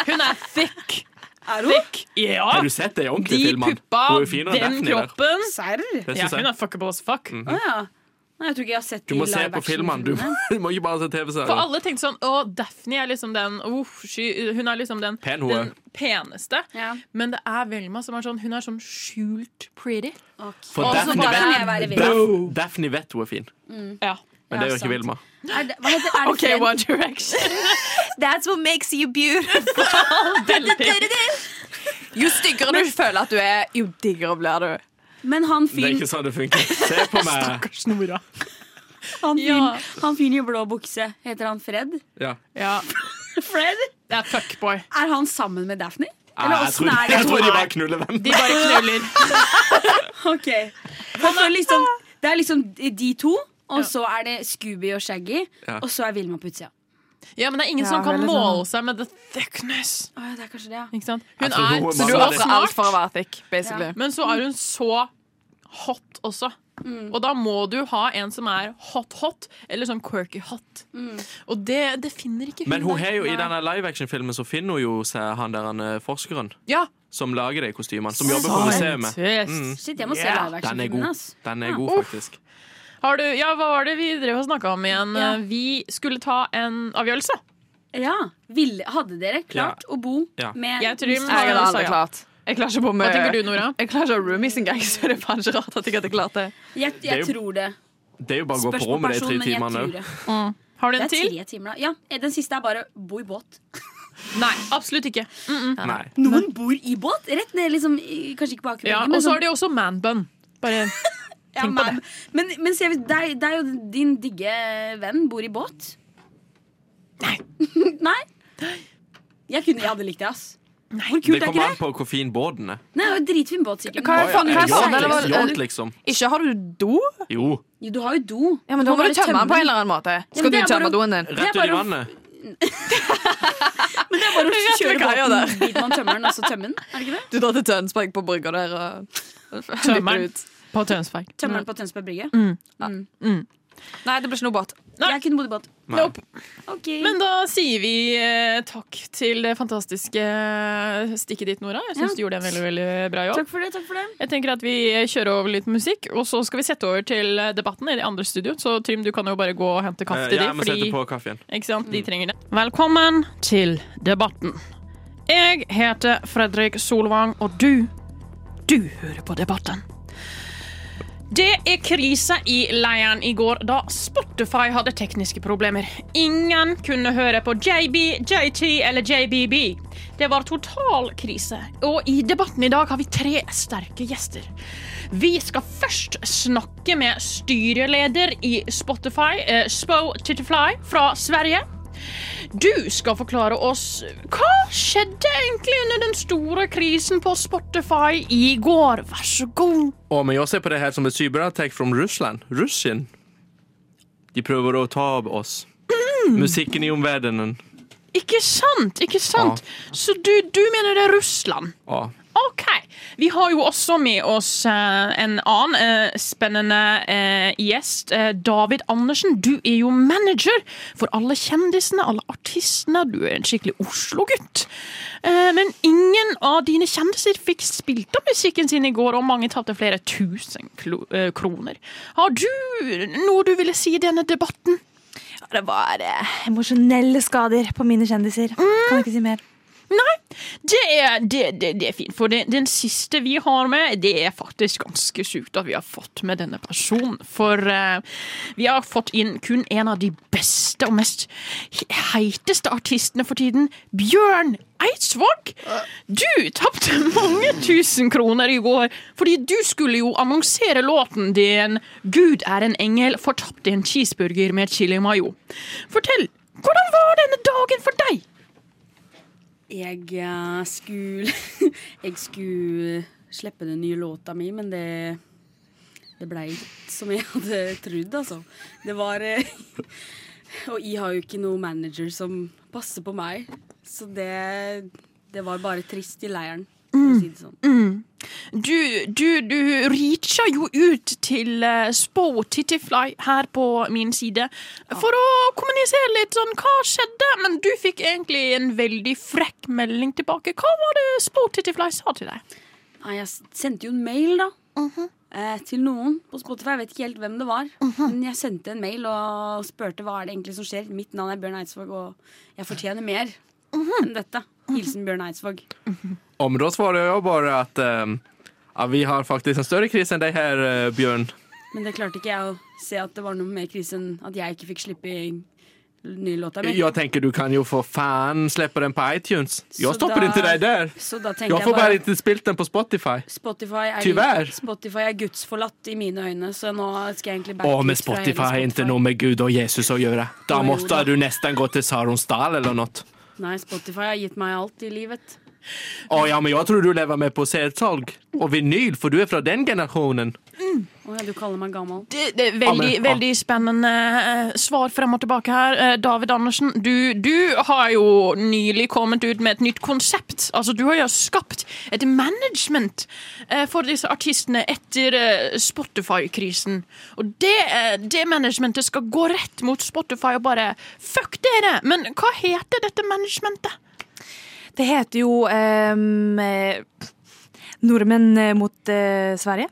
Speaker 5: Hun er thick!
Speaker 6: Er hun?
Speaker 5: Ja!
Speaker 2: Har du sett det i ordentlig
Speaker 5: Ah, De
Speaker 2: film? mann?
Speaker 5: puppa
Speaker 2: Hun er jo finere enn
Speaker 5: den
Speaker 2: Daphne der.
Speaker 5: kroppen.
Speaker 6: Serr?
Speaker 2: Det
Speaker 5: Ja,
Speaker 6: Å
Speaker 2: synes jeg. Mhm.
Speaker 5: hun er fuckable as fuck.
Speaker 6: ja. Nei, jeg tror ikke jeg har sett
Speaker 2: Du må se på filmen. Du, må- du må ikke bare se
Speaker 5: For
Speaker 2: TV-serier.
Speaker 5: alle tenkte sånn Å, Daphne er liksom den uff, sky, Hun er liksom den,
Speaker 2: Pen hore.
Speaker 5: den peneste.
Speaker 6: Ja.
Speaker 5: Men det er Velma som er sånn Hun er sånn skjult pretty.
Speaker 2: For
Speaker 6: Og så
Speaker 2: Daphne
Speaker 6: bare kan
Speaker 2: vet,
Speaker 6: jeg være vill.
Speaker 2: Daph- Daphne vet hun er fin,
Speaker 5: Ja.
Speaker 2: men det gjør ikke
Speaker 6: sant.
Speaker 2: Vilma.
Speaker 6: Er det, hva heter, er det
Speaker 5: OK,
Speaker 6: Fred?
Speaker 5: One Direction.
Speaker 7: That's what makes you beautiful.
Speaker 5: Veldig.
Speaker 7: Jo styggere du føler at du er, jo diggere blir du.
Speaker 6: Men han
Speaker 2: Det er
Speaker 6: fyren
Speaker 2: ikke sånn det funker. Se på meg.
Speaker 5: Stakkars Nora.
Speaker 6: han fyren-
Speaker 5: Ja.
Speaker 6: han fyren i blå bukse, heter han Fred?
Speaker 2: Ja.
Speaker 5: Ja,
Speaker 6: Fred?
Speaker 5: det er fuckboy.
Speaker 6: Er han sammen med Daphne? Eller
Speaker 2: Ah, Jeg
Speaker 6: åssen
Speaker 2: tror,
Speaker 6: er
Speaker 2: jeg tror de
Speaker 6: det?
Speaker 2: bare knuller venn.
Speaker 5: De bare knuller.
Speaker 6: Ok Han er liksom, Det er liksom de to, og så er det Scooby og Shaggy,
Speaker 2: Ja.
Speaker 6: og så er Vilma på utsida.
Speaker 5: Ja, men det er ingen
Speaker 7: Ja,
Speaker 5: som kan
Speaker 7: veldig
Speaker 5: måle seg med the thickness.
Speaker 6: Å, ja, det er kanskje det, ja.
Speaker 5: Ikke sant?
Speaker 2: Jeg
Speaker 5: Hun
Speaker 2: tror hun
Speaker 5: er
Speaker 2: er
Speaker 5: så
Speaker 7: Du
Speaker 2: Så det-
Speaker 7: ofrer alt
Speaker 5: smart,
Speaker 7: for å være thick, basically.
Speaker 5: men så er hun så hot også.
Speaker 6: Mm.
Speaker 5: Og da må du ha en som er hot-hot, eller sånn quirky-hot.
Speaker 6: Mm.
Speaker 5: Og det, det finner ikke hun.
Speaker 2: Men hun
Speaker 5: der.
Speaker 2: har jo, i denne live action-filmen så finner hun jo seg han der han, eh, forskeren
Speaker 5: Ja,
Speaker 2: som lager de kostymene, som jobber på museet. Mm.
Speaker 5: Tøst.
Speaker 6: Shit, jeg må se
Speaker 5: Yeah.
Speaker 6: live
Speaker 2: Den er
Speaker 6: action-filmen.
Speaker 2: god,
Speaker 6: ass.
Speaker 2: Den er god faktisk.
Speaker 5: Har du, ja, hva var det vi drev og snakka om igjen?
Speaker 6: Ja.
Speaker 5: Vi skulle ta en avgjørelse.
Speaker 6: Ja. Ville, hadde dere klart å bo
Speaker 2: Ja.
Speaker 6: med
Speaker 5: Jeg tror vi må-
Speaker 7: Jeg hadde
Speaker 5: Så
Speaker 7: aldri
Speaker 5: ja.
Speaker 7: klart. Jeg klarer ikke å bo med
Speaker 5: Hva tenker du, Nora?
Speaker 7: Jeg klarer ikke å ha roomies engang, så det er faen ikke rart at jeg ikke hadde klart det.
Speaker 6: Jeg,
Speaker 2: er
Speaker 6: jeg
Speaker 2: jo-
Speaker 6: tror det.
Speaker 2: Det er jo bare å gå
Speaker 6: Spørs
Speaker 2: på
Speaker 6: på
Speaker 2: rommet de
Speaker 6: person,
Speaker 2: tre
Speaker 6: men jeg
Speaker 2: timene
Speaker 6: tror
Speaker 2: òg.
Speaker 6: det.
Speaker 5: Har du
Speaker 6: Det
Speaker 5: en
Speaker 6: er
Speaker 5: til?
Speaker 6: tre timer, da. Ja, Eh, den siste er bare bo i båt.
Speaker 5: Nei, absolutt ikke.
Speaker 2: Nei.
Speaker 6: Noen bor i båt! Rett ned, liksom, i- kanskje ikke på Aker
Speaker 5: Ja,
Speaker 6: Brygge,
Speaker 5: og
Speaker 6: men
Speaker 5: så
Speaker 6: sånn-
Speaker 5: har de også manbun. Bare
Speaker 6: Ja,
Speaker 5: tenk på
Speaker 6: men, men, men ser vi, deg, deg og din digge venn bor i båt? Nei. Nei? Jeg, kunne, jeg hadde likt det, ass. Hvor
Speaker 2: Det
Speaker 6: kult er
Speaker 2: kommer
Speaker 6: ikke
Speaker 2: an
Speaker 6: det?
Speaker 2: på hvor fin båten er.
Speaker 6: Nei, det er jo Dritfin båt, sikkert.
Speaker 7: Hva er
Speaker 6: Men-
Speaker 7: faen-
Speaker 2: Er det
Speaker 7: hva er
Speaker 2: Yacht,
Speaker 7: det?
Speaker 2: liksom?
Speaker 7: Eller-
Speaker 2: Yacht, liksom.
Speaker 7: Ikke har du do?
Speaker 2: Jo.
Speaker 6: Jo, du har jo do.
Speaker 7: Ja, men Da må
Speaker 6: bare
Speaker 7: du tømme den på en eller annen måte. Skal
Speaker 6: men
Speaker 7: du
Speaker 6: det er
Speaker 7: tømme
Speaker 6: bare-
Speaker 7: doen din?
Speaker 6: Det er
Speaker 2: Rett ut i
Speaker 6: bare å-
Speaker 2: vannet.
Speaker 6: Men det er bare å
Speaker 7: vet
Speaker 6: kjøre
Speaker 7: hva jeg
Speaker 6: båten dit man tømmer den, og så tømme den. Er det ikke det?
Speaker 7: Du drar til Tønsberg på brygga der og
Speaker 5: tømmer den på Tønsberg.
Speaker 6: Tømmer den på Tønsberg brygge. Mm.
Speaker 7: Nei, det blir ikke noe båt.
Speaker 5: Nei.
Speaker 6: Jeg kunne bodd i båt.
Speaker 2: Nei.
Speaker 5: Nope.
Speaker 6: Ok.
Speaker 5: Men da sier vi eh, takk til det fantastiske stikket ditt, Nora. Jeg syns
Speaker 6: Ja.
Speaker 5: du gjorde en veldig veldig bra jobb.
Speaker 6: Takk for det. takk for det
Speaker 5: Jeg tenker at Vi kjører over litt musikk, og så skal vi sette over til eh, debatten i det andre studio. Så Trym, du kan jo bare gå og hente kaffe
Speaker 2: Eh,
Speaker 5: til
Speaker 2: Ja,
Speaker 5: de,
Speaker 2: vi setter på kaffen.
Speaker 5: Ikke sant? De trenger det. Velkommen til debatten. Jeg heter Fredrik Solvang, og du, du hører på debatten. Det er krise i leiren i går da Spotify hadde tekniske problemer. Ingen kunne høre på JB, JT eller JBB. Det var total krise, og i debatten i dag har vi tre sterke gjester. Vi skal først snakke med styreleder i Spotify, eh, Spo Tittyfly fra Sverige. Du skal forklare oss hva skjedde egentlig under den store krisen på Spotify i går. Vær så god.
Speaker 2: Og men jeg ser på det her som et cyberattak fra Russland. Russien. De prøver å ta av oss.
Speaker 6: Mm.
Speaker 2: Musikken i omverdenen.
Speaker 5: Ikke sant? ikke sant? Så du, du mener det er Russland?
Speaker 2: Ja.
Speaker 5: OK. Vi har jo også med oss eh, en annen eh, spennende eh, gjest. Eh, David Andersen, du er jo manager for alle kjendisene, alle artistene. Du er en skikkelig Oslo-gutt. Eh, men ingen av dine kjendiser fikk spilt av musikken sin i går, og mange tapte flere tusen klo eh, kroner. Har du noe du ville si i denne debatten?
Speaker 7: Det var emosjonelle skader på mine kjendiser. Kan ikke si mer.
Speaker 5: Det er, det, det, det er fint, for den, den siste vi har med, det er faktisk ganske sjukt at vi har fått med denne personen. For eh, vi har fått inn kun en av de beste og mest he- heiteste artistene for tiden, Bjørn Eidsvåg. Du tapte mange tusen kroner i går, fordi du skulle jo annonsere låten din 'Gud er en engel', fortapt i en cheeseburger med chili mayo. Fortell, hvordan var denne dagen for deg?
Speaker 6: Jeg eh, skulle Jeg skulle slippe den nye låta mi, men det Det blei ikke som jeg hadde trodd, altså. Det var eh, Og jeg har jo ikke noen manager som passer på meg, så det Det var bare trist i leiren. for å si det sånn.
Speaker 5: Du, du, du reacher jo ut til eh, Spå Tittifly her på min side for å kommunisere litt sånn hva skjedde, men du fikk egentlig en veldig frekk melding tilbake. Hva var det Spå Tittifly sa til deg?
Speaker 6: Nei, jeg s- sendte jo en mail, da. eh, til noen på Spotify. Jeg vet ikke helt hvem det var. Men jeg sendte en mail og spurte hva er det egentlig som skjer. Mitt navn er Bjørn Eidsvåg, og jeg fortjener mer enn dette. Hilsen Bjørn Eidsvåg.
Speaker 2: Om då svarade jag bara att ehm, ja, vi har faktiskt en större kris än dig här, eh, Björn.
Speaker 6: Men det klarte ikke jeg å se at det var noe mer krise enn at jeg ikke fikk slippe nye låta mi.
Speaker 2: Jag tänker du kan ju för fan släppa den på iTunes. Jag
Speaker 6: Så
Speaker 2: stoppar
Speaker 6: där-
Speaker 2: inte dig där.
Speaker 6: Så da tenkte
Speaker 2: Jag
Speaker 6: jeg
Speaker 2: får bara
Speaker 6: bare
Speaker 2: inte spilt den på Spotify.
Speaker 6: Spotify er,
Speaker 2: Tyvärr.
Speaker 6: Spotify er gudsforlatt i mine øyne, så nå skal jeg egentlig backe
Speaker 2: Och med
Speaker 6: ut fra hele
Speaker 2: Spotify har inte nog med Gud och Jesus att göra. Då
Speaker 6: Jo,
Speaker 2: måste
Speaker 6: då.
Speaker 2: du nästan gå till Saronsdal eller något.
Speaker 6: Nei, Spotify har gitt meg alt i livet.
Speaker 2: Åh, ja, men jag tror du lever med på CD-salg och vinyl, för du är från den generationen.
Speaker 6: Å ja, du kaller meg gammel.
Speaker 5: Det, det er veldig,
Speaker 2: Ja, men- ja.
Speaker 5: veldig spennende eh, svar frem og tilbake her. Eh, David Andersen, du, du har jo nylig kommet ut med et nytt konsept. Altså, du har jo skapt et management eh, for disse artistene etter eh, Spotify-krisen. Og det, eh, det managementet skal gå rett mot Spotify og bare Fuck dere! Men hva heter dette managementet?
Speaker 7: Det heter jo ehm, eh, Nordmenn eh, mot eh, Sverige.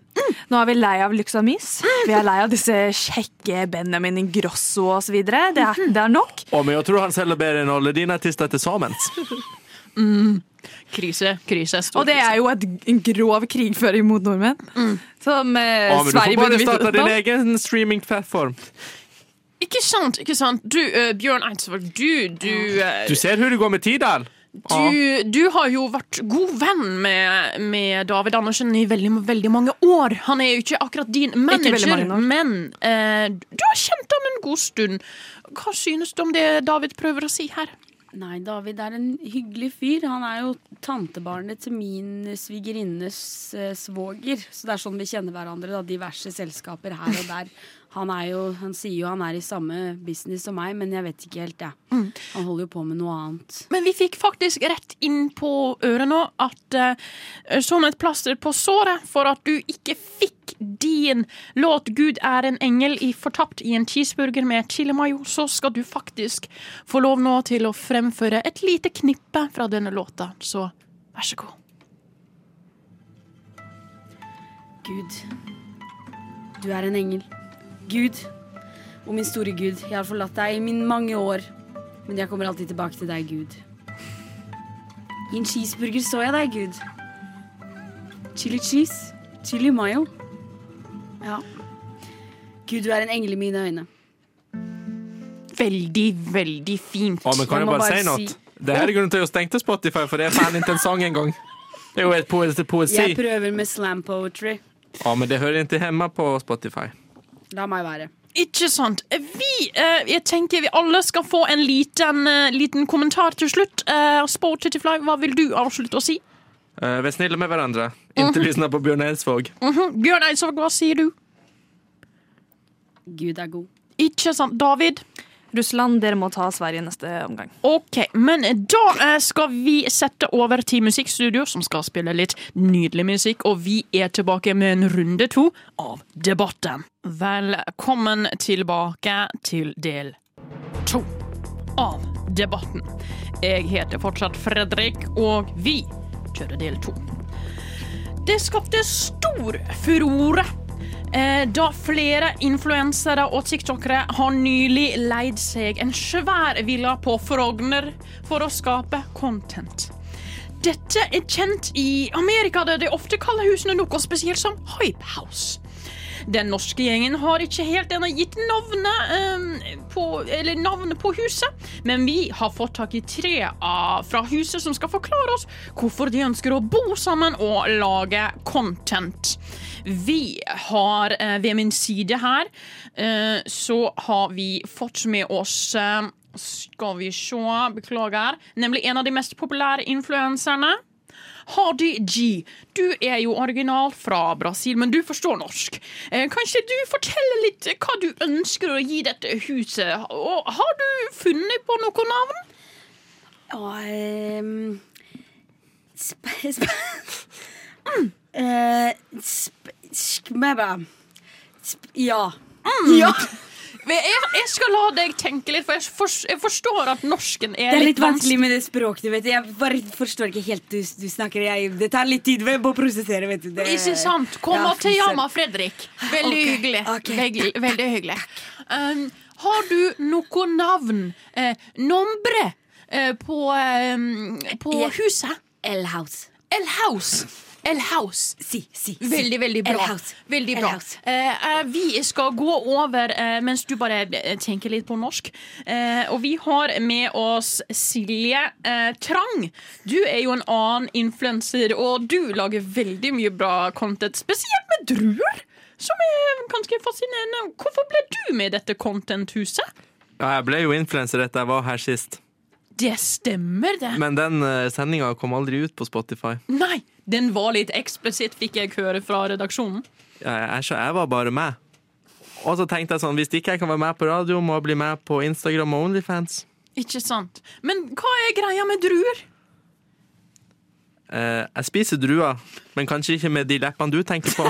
Speaker 7: Nå er vi lei av Lyx og Mys. Vi er lei av disse kjekke Benjamin Ingrosso osv. Det, er- det er nok.
Speaker 2: Åh, men jag tror han säljer bättre än alla dina artister tillsammans.
Speaker 5: Krise, krise. stor
Speaker 7: Og det er jo et, en grov krigføring mot nordmenn. Som eh,
Speaker 2: Åh, men du får
Speaker 7: Sverige
Speaker 2: bara
Speaker 7: burde vite
Speaker 2: starta din
Speaker 7: om.
Speaker 2: egen streamingplattform.
Speaker 5: krise. Ikke sant, ikke sant. Du, eh, Bjørn Eidsvåg, du, du eh,
Speaker 2: Du ser hur det går med Tidal. Ja.
Speaker 5: Du, du har jo vært god venn med, med David Andersen i veldig, veldig mange år. Han er jo ikke akkurat din
Speaker 7: veldig
Speaker 5: manager,
Speaker 7: mange år.
Speaker 5: men eh, du har kjent ham en god stund. Hva synes du om det David prøver å si her?
Speaker 6: Nei, David er en hyggelig fyr. Han er jo tantebarnet til min svigerinnes eh, svoger. Så det er sånn vi kjenner hverandre, da. Diverse selskaper her og der. Han, er jo, han sier jo han er i samme business som meg, men jeg vet ikke helt, jeg. Han holder jo på med noe annet.
Speaker 5: Men vi fikk faktisk rett inn på øret nå at eh, som et plaster på såret for at du ikke fikk din låt 'Gud er en engel' i fortapt i en cheeseburger med chilimayo, så skal du faktisk få lov nå til å fremføre et lite knippe fra denne låta. Så vær så god.
Speaker 6: Gud, du er en engel. Gud, og min store Gud, jeg har forlatt deg i mine mange år, men jeg kommer alltid tilbake til deg, Gud. I en cheeseburger så jeg deg, Gud. Chili cheese, chili mayo. Ja. Gud, du er en engel i mine øyne.
Speaker 5: Veldig, veldig fint.
Speaker 2: Ja, men kan
Speaker 6: Jeg
Speaker 2: jeg
Speaker 6: må
Speaker 2: bare,
Speaker 6: bare
Speaker 2: si noe?
Speaker 6: si-
Speaker 2: Det her er grunnen til at jeg stengte Spotify, for det er faen ikke en sang engang. Det er jo et poesi, poesi.
Speaker 6: Jeg prøver med slam poetry.
Speaker 2: Ja, men det hører ikke hjemme på Spotify.
Speaker 6: La meg være.
Speaker 5: Ikke sant. Vi, eh, jeg tenker vi alle skal få en liten, eh, liten kommentar til slutt. Eh, Sport Tittyfly, hva vil du avslutte å si?
Speaker 2: Eh, vær snille med hverandre.
Speaker 6: Mhm.
Speaker 2: Ikke lyssna på Bjørn Eidsvåg.
Speaker 5: Mhm. Bjørn Eidsvåg, hva sier du?
Speaker 6: Gud er god.
Speaker 5: Ikke sant, David?
Speaker 7: Russland, dere må ta Sverige i neste omgang.
Speaker 5: Ok, men da eh, skal vi sette over til musikkstudio, som skal spille litt nydelig musikk, og vi er tilbake med en runde to av debatten. Velkommen tilbake til del to av debatten. Jeg heter fortsatt Fredrik, og vi kjører del to. Det skapte stor furore Eh, Da flere influensere og tiktokere har nylig leid seg en svær villa på Frogner for å skape content. Dette er kjent i Amerika, der de ofte kaller husene noe spesielt som Hype House. Den norske gjengen har ikke helt ennå gitt navnet, eh, på, eller navnet på huset, men vi har fått tak i tre av, fra huset som skal forklare oss hvorfor de ønsker å bo sammen og lage content. Vi har eh, ved min side her, eh, så har vi fått med oss eh, Skal vi se, beklager. Nemlig en av de mest populære influenserne. Hardy G, du er jo original fra Brasil, men du forstår norsk. Eh, Kanskje du forteller litt eh, hva du ønsker å gi dette huset? Og har du funnet på noe navn?
Speaker 6: Ja, ehm, sp sp Mm. Eh, sp skmebbe. Sp ja.
Speaker 5: Mm.
Speaker 6: ja.
Speaker 5: Jeg, jeg skal la deg tenke litt, for jeg, fors- jeg forstår at norsken er,
Speaker 6: Det er litt vanskelig med det språket. Vet du. Jeg bare forstår ikke helt du, du snakker. Jeg, det tar litt tid ved å prosessere. Vet du. Det,
Speaker 5: Ikke sånn- sant? Kommer
Speaker 6: Ja, fy
Speaker 5: til
Speaker 6: søren.
Speaker 5: Jama, Fredrik. Veldig
Speaker 6: Ok,
Speaker 5: hyggelig.
Speaker 6: ok.
Speaker 5: Veldig, veldig hyggelig. Um, har du noe navn, eh, nombre, eh, på, um, på
Speaker 6: Ja.
Speaker 5: huset?
Speaker 6: L-house.
Speaker 5: El House. El House.
Speaker 6: Si, si. si.
Speaker 5: Veldig, veldig
Speaker 6: El
Speaker 5: bra.
Speaker 6: House.
Speaker 5: Veldig
Speaker 6: El
Speaker 5: bra.
Speaker 6: House.
Speaker 5: Eh, eh, vi skal gå over eh, mens du bare eh, tenker litt på norsk. Eh, og vi har med oss Silje eh, Trang. Du er jo en annen influenser, og du lager veldig mye bra content, spesielt med druer. Som er ganske fascinerende. Hvorfor ble du med i dette content-huset?
Speaker 2: Ja, jeg ble jo influenser etter jeg var her sist,
Speaker 5: Det stemmer, det.
Speaker 2: men den uh, sendinga kom aldri ut på Spotify.
Speaker 5: Nei, den var litt eksplisitt, fikk jeg høre fra redaksjonen.
Speaker 2: Ja, jeg, jeg, jeg var bare med. Og så tenkte jeg sånn, hvis ikke jeg kan være med på radio, må jeg bli med på Instagram og Onlyfans.
Speaker 5: Ikke sant. Men hva er greia med druer?
Speaker 2: Eh, jeg spiser druer, men kanskje ikke med de leppene du tenker på.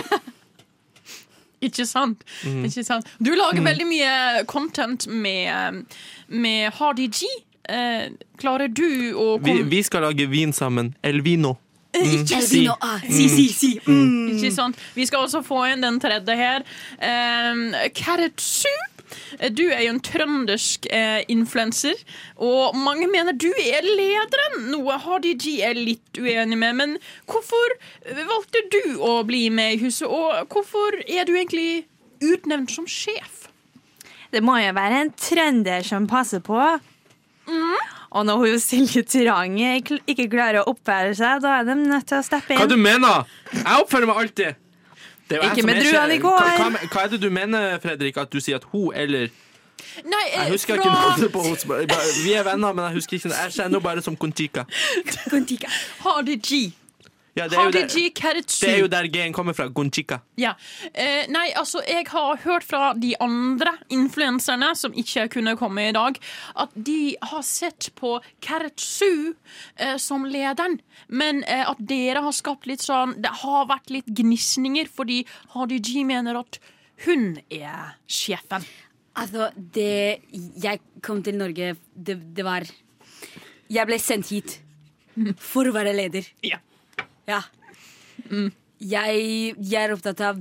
Speaker 5: Ikke sant?
Speaker 2: Mhm.
Speaker 5: Ikke sant? Du lager veldig mye content med, med Hardy G. Eh, klarer du å
Speaker 2: Vi,
Speaker 5: kom-
Speaker 2: vi skal lage vin sammen. Elvino.
Speaker 5: ikke,
Speaker 2: Si.
Speaker 6: Elvino, ah, si, si, si. Mm.
Speaker 5: ikke sant? Vi skal også få inn den tredje her. Eh, Carrot Soup. Eh, Du er jo en trøndersk eh, influenser, og mange mener du er lederen, noe Hardy G er litt uenig med. Men hvorfor valgte du å bli med i huset, og hvorfor er du egentlig utnevnt som sjef?
Speaker 7: Det må jo være en trønder som passer på. Og når hun Silje Trang ikke ikke klarer å oppføre seg, da er de nødt til å steppe
Speaker 2: Hva du
Speaker 7: inn.
Speaker 2: mener? Jeg oppfører meg alltid. Det er jo jeg
Speaker 7: Ikke
Speaker 2: som
Speaker 7: med
Speaker 2: er sjef.
Speaker 7: druene i
Speaker 2: Hva,
Speaker 7: går.
Speaker 2: hva, hva er det du mener, Fredrik? At du sier at hun eller
Speaker 5: Nei, eh,
Speaker 2: Jeg husker
Speaker 5: fra...
Speaker 2: ikke navnet på henne. Vi er venner, men jeg husker ikke Jeg kjenner henne bare som Kontika.
Speaker 6: Kontika.
Speaker 5: Hardy G.
Speaker 2: Ja, det er jo
Speaker 5: Hardy
Speaker 2: der,
Speaker 5: G Keretsu.
Speaker 2: det er jo der G-en kommer fra. Kontika.
Speaker 5: Ja. Eh, nei, altså, jeg har hørt fra de andre influenserne som ikke kunne komme i dag, at de har sett på Keretsu eh, som lederen, men eh, at dere har skapt litt sånn Det har vært litt gnisninger, fordi Hardy G mener at hun er sjefen.
Speaker 6: Altså, det Jeg kom til Norge Det, det var Jeg ble sendt hit for å være leder.
Speaker 5: Ja.
Speaker 6: Ja.
Speaker 7: Mm.
Speaker 6: Jeg, jeg er opptatt av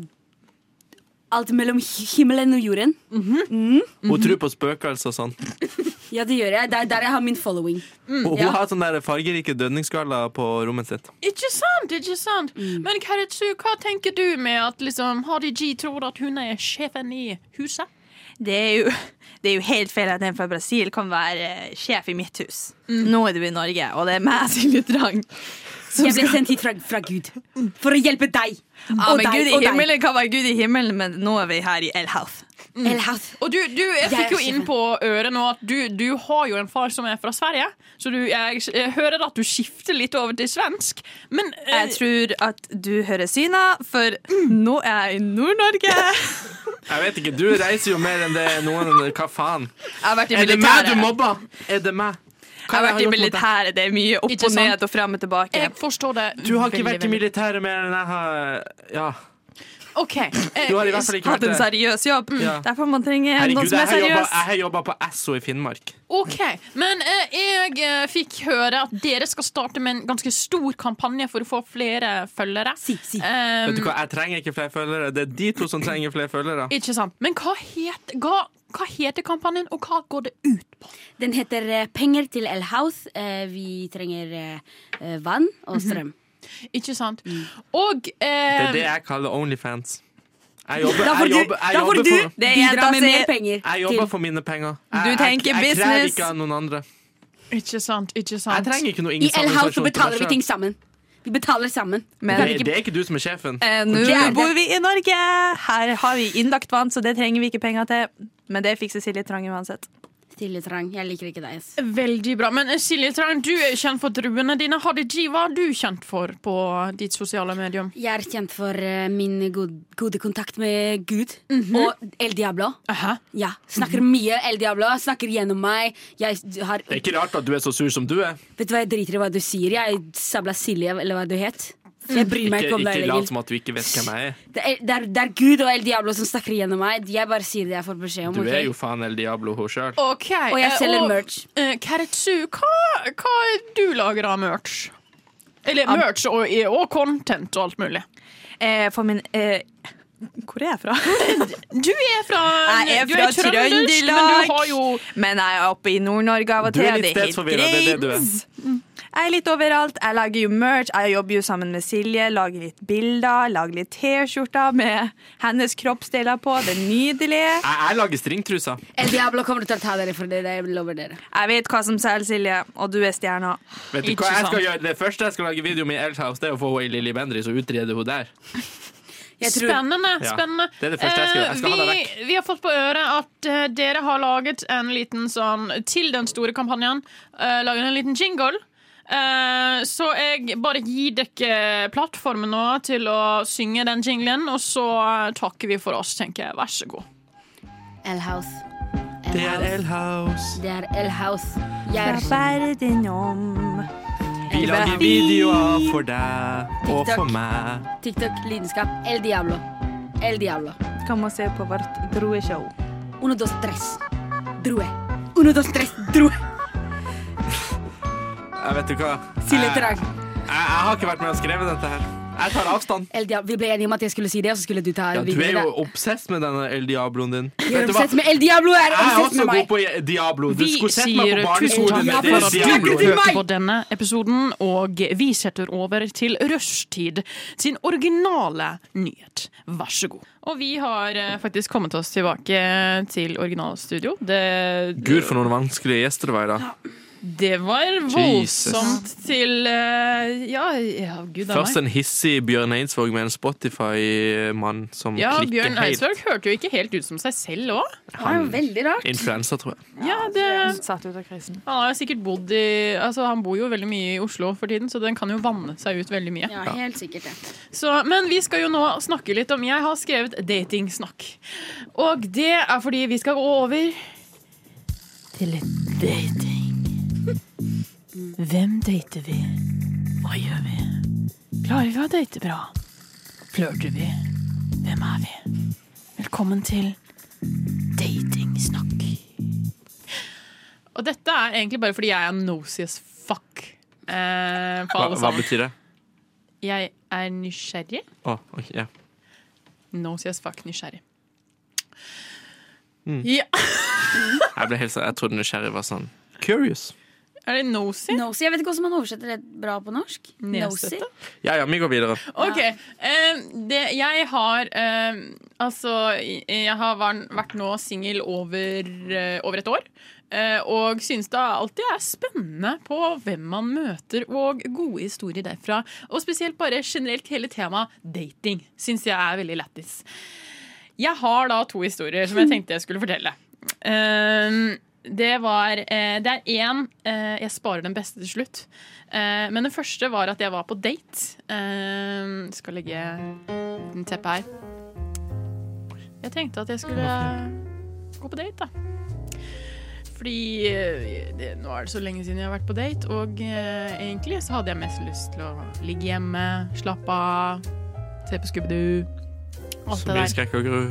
Speaker 6: alt mellom hi- himmelen og jorden.
Speaker 2: Hun tror på spøkelser og sånn.
Speaker 6: Ja, det gjør jeg. Det er der jeg har min following.
Speaker 7: Mm,
Speaker 2: Og hun
Speaker 6: ja.
Speaker 2: har sånne der fargerike dønningsskaller på rommet sitt.
Speaker 5: Ikke sant? ikke sant
Speaker 2: Mm.
Speaker 5: Men Keretsu, hva tenker du med at liksom, Hardy G tror at hun er sjefen i huset?
Speaker 7: Det er, jo, det er jo helt feil at en fra Brasil kan være eh, sjef i mitt hus. Nå er du i Norge, og det er meg, Silje Trang. Som
Speaker 6: Jeg ble
Speaker 7: skal...
Speaker 6: sendt hit fra, fra Gud for å hjelpe deg
Speaker 7: Ja,
Speaker 6: og
Speaker 7: men Gud
Speaker 6: deg
Speaker 7: i
Speaker 6: og deg.
Speaker 7: himmelen kan være Gud i himmelen, men nå er vi her i El Health.
Speaker 6: El House.
Speaker 5: Og du, du, jeg
Speaker 6: Jeg
Speaker 5: fikk jo
Speaker 6: er
Speaker 5: inn
Speaker 6: sjefen.
Speaker 5: på øret nå at du, du har jo en far som er fra Sverige, så du, jeg, jeg hører at du skifter litt over til svensk. Men eh,
Speaker 7: Jeg tror at du hører syna, for nå er jeg i Nord-Norge. Jeg
Speaker 2: Jeg vet ikke, Du reiser jo mer enn det noen Hva faen?
Speaker 7: har vært i
Speaker 2: Er det meg
Speaker 7: militæret.
Speaker 2: du mobber? Er det meg?
Speaker 7: Jeg
Speaker 2: Hva jeg
Speaker 7: har vært i
Speaker 2: gjort mot deg?
Speaker 7: militæret. Det er mye opp
Speaker 5: Ikke
Speaker 7: og
Speaker 5: sant?
Speaker 7: ned og fram og tilbake.
Speaker 5: jeg forstår det.
Speaker 2: Du har ikke
Speaker 5: veldig,
Speaker 2: vært i
Speaker 5: veldig.
Speaker 2: militæret mer enn jeg har Ja.
Speaker 5: Ok. eh,
Speaker 2: Du har i hvert fall ikke
Speaker 7: Hatt
Speaker 2: vært
Speaker 7: en
Speaker 2: det.
Speaker 7: seriøs jobb. Mm.
Speaker 2: Ja.
Speaker 7: Derfor man trenger
Speaker 2: Herregud,
Speaker 7: noen som
Speaker 2: jeg
Speaker 7: er
Speaker 2: har jobbet-
Speaker 7: seriøs.
Speaker 2: jeg har jobba på Esso i Finnmark.
Speaker 5: Ok, Men eh, jeg eh, fikk høre at dere skal starte med en ganske stor kampanje for å få flere følgere.
Speaker 6: Si, si.
Speaker 5: Eh,
Speaker 2: Vet du hva, Jeg trenger ikke flere følgere. Det er de to som trenger flere følgere.
Speaker 5: ikke sant. Men hva, het, hva, hva heter kampanjen, og hva går det ut på?
Speaker 6: Den heter eh, Penger til El House. Eh, Vi trenger eh, eh, vann og
Speaker 7: Mhm.
Speaker 6: strøm.
Speaker 5: Ikke sant?
Speaker 2: Mm.
Speaker 5: Og
Speaker 2: Det
Speaker 5: eh,
Speaker 2: er det jeg kaller Onlyfans. Jeg jobber,
Speaker 6: Da får
Speaker 2: jeg
Speaker 6: du,
Speaker 2: jobber, jeg
Speaker 6: da får
Speaker 2: jobber,
Speaker 6: du
Speaker 2: for,
Speaker 7: Det er
Speaker 6: bidra
Speaker 7: jenta
Speaker 6: med
Speaker 7: si.
Speaker 6: mer penger.
Speaker 2: jeg jobber for mine penger. Jeg,
Speaker 7: Du
Speaker 2: jeg-
Speaker 7: tenker
Speaker 2: jeg, jeg krever
Speaker 7: business.
Speaker 2: ikke av noen andre.
Speaker 5: ehm, Ikke sant, ikke sant.
Speaker 2: Jeg trenger ikke noe
Speaker 6: I El House så
Speaker 2: innsamlingsaksjon for
Speaker 6: betaler
Speaker 2: meg
Speaker 6: vi ting sammen. Vi betaler sammen.
Speaker 7: Men
Speaker 2: selv. Det, det er ikke du som er sjefen.
Speaker 7: eh, nå
Speaker 6: Det er det.
Speaker 7: bor vi i Norge. Her har vi innlagt vann, så det trenger vi ikke penger til. Men det fikser Silje Trang uansett.
Speaker 6: Silje Trang, jeg liker ikke deg. ass.
Speaker 5: Veldig bra. Men eh, Silje Trang, du er jo kjent for druene dine. Hadeji, hva er du kjent for på ditt sosiale medium?
Speaker 6: Jeg er kjent for eh, min god, gode kontakt med Gud og El Diablo.
Speaker 5: Aha.
Speaker 6: Ja, Snakker mye El Diablo, snakker gjennom meg. Jeg har,
Speaker 2: Det er ikke rart at du er så sur som du er.
Speaker 6: vet du hva, jeg driter i hva du sier. Jeg sabla Silje, eller hva du het. Jeg bryr meg
Speaker 2: Mhm.
Speaker 6: ikke
Speaker 2: Ikke,
Speaker 6: om deg
Speaker 2: ikke lat
Speaker 6: lenger.
Speaker 2: som at du ikke vet hvem jeg er.
Speaker 6: Det er, det, er, det er Gud og El Diablo som snakker gjennom meg. Jeg bare sier det jeg får beskjed om.
Speaker 2: Du
Speaker 6: ok?
Speaker 2: er jo faen El Diablo hun sjøl.
Speaker 5: Ok,
Speaker 6: Og jeg
Speaker 5: eh,
Speaker 6: selger merch.
Speaker 5: eh, Karetsu, hva, hva er du lager av merch? Eller merch og, og content og alt mulig.
Speaker 7: Eh, for min eh, Hvor er jeg fra?
Speaker 5: Du er fra,
Speaker 7: Jeg er
Speaker 5: du
Speaker 7: fra
Speaker 5: trøndersk, Men
Speaker 7: Trøndelag.
Speaker 5: du har jo
Speaker 7: Men jeg er oppe i Nord-Norge av og
Speaker 2: Du
Speaker 7: til.
Speaker 2: er
Speaker 7: og
Speaker 2: litt
Speaker 7: det helt
Speaker 2: stedsforvirra, det er det du er.
Speaker 7: greit. Jeg er litt overalt. Jeg lager jo merch. Jeg jobber jo sammen med Silje. Lager litt bilder. Lager litt T-skjorter med hennes kroppsdeler på. Det er nydelig.
Speaker 2: Jeg, jeg lager stringtruser.
Speaker 6: El Diablo kommer til å ta dere for det. det jeg lover dere.
Speaker 7: Jeg vet hva som selger, Silje, og du er stjerna.
Speaker 2: Vet du
Speaker 5: Ikke
Speaker 2: hva jeg
Speaker 5: sant.
Speaker 2: skal gjøre? Det første jeg skal lage video med i Elthouse, det er å få henne i Lilly Bendriss og utrede henne der.
Speaker 6: Jeg tror-
Speaker 5: Spennende.
Speaker 2: Ja,
Speaker 5: spennende.
Speaker 2: det er det første jeg skal gjøre. Jeg skal
Speaker 5: Eh,
Speaker 2: ha deg
Speaker 5: vi, vi har fått på øret at eh, dere har laget en liten sånn Til den store kampanjen eh, laget en liten jingle. Eh, så jeg bare gir dere plattformen nå til å synge den jinglen, og så eh, takker vi for oss, tenker jeg. Vær så god.
Speaker 6: El House. El
Speaker 2: Det er
Speaker 6: House.
Speaker 2: Elhouse.
Speaker 6: Det er El House. Jeg
Speaker 7: Fra
Speaker 6: er
Speaker 7: verden om.
Speaker 2: Vi lager videoer for deg og
Speaker 6: TikTok.
Speaker 2: for meg.
Speaker 6: TikTok, lidenskap. El Diablo. El Diablo.
Speaker 7: Kom og se på vårt droeshow.
Speaker 6: Uno, dos, tres. Drue. Uno, dos, tres. Drue.
Speaker 2: Jeg vet du hva.
Speaker 6: Silje
Speaker 2: Jeg-
Speaker 6: Trang.
Speaker 2: Jeg, jeg har ikke vært med og skrevet dette her. Jeg tar avstand.
Speaker 6: El Diablo. Vi ble enige om at jeg skulle si det, og så skulle du ta
Speaker 2: Ja, du
Speaker 6: videoen.
Speaker 2: er
Speaker 6: da.
Speaker 2: jo obsess med denne El Diabloen din.
Speaker 6: Jeg er
Speaker 2: du hva?
Speaker 6: obsess med El Diablo. Jeg er
Speaker 2: Jeg er
Speaker 6: obsess
Speaker 2: også
Speaker 6: med
Speaker 2: god
Speaker 6: meg.
Speaker 2: på Diablo. Du
Speaker 5: Vi
Speaker 2: skulle sett meg
Speaker 5: sier
Speaker 2: på
Speaker 5: tusen
Speaker 2: barneskolen
Speaker 5: takk
Speaker 2: med
Speaker 5: for
Speaker 2: det
Speaker 5: at du
Speaker 6: snakker til
Speaker 2: Diablo.
Speaker 6: meg.
Speaker 5: hørte på denne episoden, og vi setter over til Rushtid sin originale nyhet. Vær så god. Og vi har eh, faktisk kommet oss tilbake til originalstudio. Det,
Speaker 2: Gud, for noen vanskelige gjester det var i dag.
Speaker 5: det var
Speaker 2: Jesus.
Speaker 5: voldsomt til eh, Ja, ja gud a
Speaker 2: Først
Speaker 5: meg.
Speaker 2: en hissig Bjørn Eidsvåg med en Spotify-mann som
Speaker 5: Ja,
Speaker 2: klikker
Speaker 5: Bjørn
Speaker 2: helt.
Speaker 5: Eidsvåg hørte jo ikke helt ut som seg selv òg.
Speaker 6: Det er jo veldig rart.
Speaker 2: Influensa, tror jeg.
Speaker 5: Ja, det-
Speaker 7: Satt ut av krisen.
Speaker 5: han har jo sikkert bodd i Altså, han bor jo veldig mye i Oslo for tiden, så den kan jo vanne seg ut veldig mye.
Speaker 6: Ja, helt sikkert det.
Speaker 5: Så, men vi skal jo nå snakke litt om Jeg har skrevet datingsnakk. Og det er fordi vi skal gå over til litt dating. Hvem dater vi? Hva gjør vi? Klarer vi å date bra? Flørter vi? Hvem er vi? Velkommen til datingsnakk. Og dette er egentlig bare fordi jeg er nosy as fuck. Eh,
Speaker 2: Hva,
Speaker 5: på alle
Speaker 2: hva
Speaker 5: sammen.
Speaker 2: betyr det?
Speaker 5: Jeg er nysgjerrig.
Speaker 2: Å, ok, ja.
Speaker 5: No sies fuck nysgjerrig. Ja.
Speaker 2: Jeg ble helt sånn, jeg trodde nysgjerrig var sånn curious.
Speaker 5: Er det nosy?
Speaker 6: Nosy. Jeg vet ikke hvordan man oversetter det bra på norsk. Nosy.
Speaker 5: Nesete?
Speaker 2: Ja, ja, vi går videre.
Speaker 5: OK. eh, det, jeg har eh, Altså, jeg har vært vært nå singel over, eh, over et år. eh, og synes det alltid er spennende på hvem man møter, og gode historier derfra. Og spesielt bare generelt hele temaet dating syns jeg er veldig lættis. Jeg har da to historier som jeg tenkte jeg skulle fortelle. Ehm, det var eh, Det er én eh, Jeg sparer den beste til slutt. Eh, men den første var at jeg var på date. Ehm, skal legge en teppe her. Jeg tenkte at jeg skulle gå på date, da. Fordi eh, det, nå er det så lenge siden jeg har vært på date, og eh, egentlig så hadde jeg mest lyst til å ligge hjemme, slappe av, se på Scooby-Doo. Alt
Speaker 2: Så
Speaker 5: det
Speaker 2: mye
Speaker 5: der.
Speaker 2: skrekk og gru.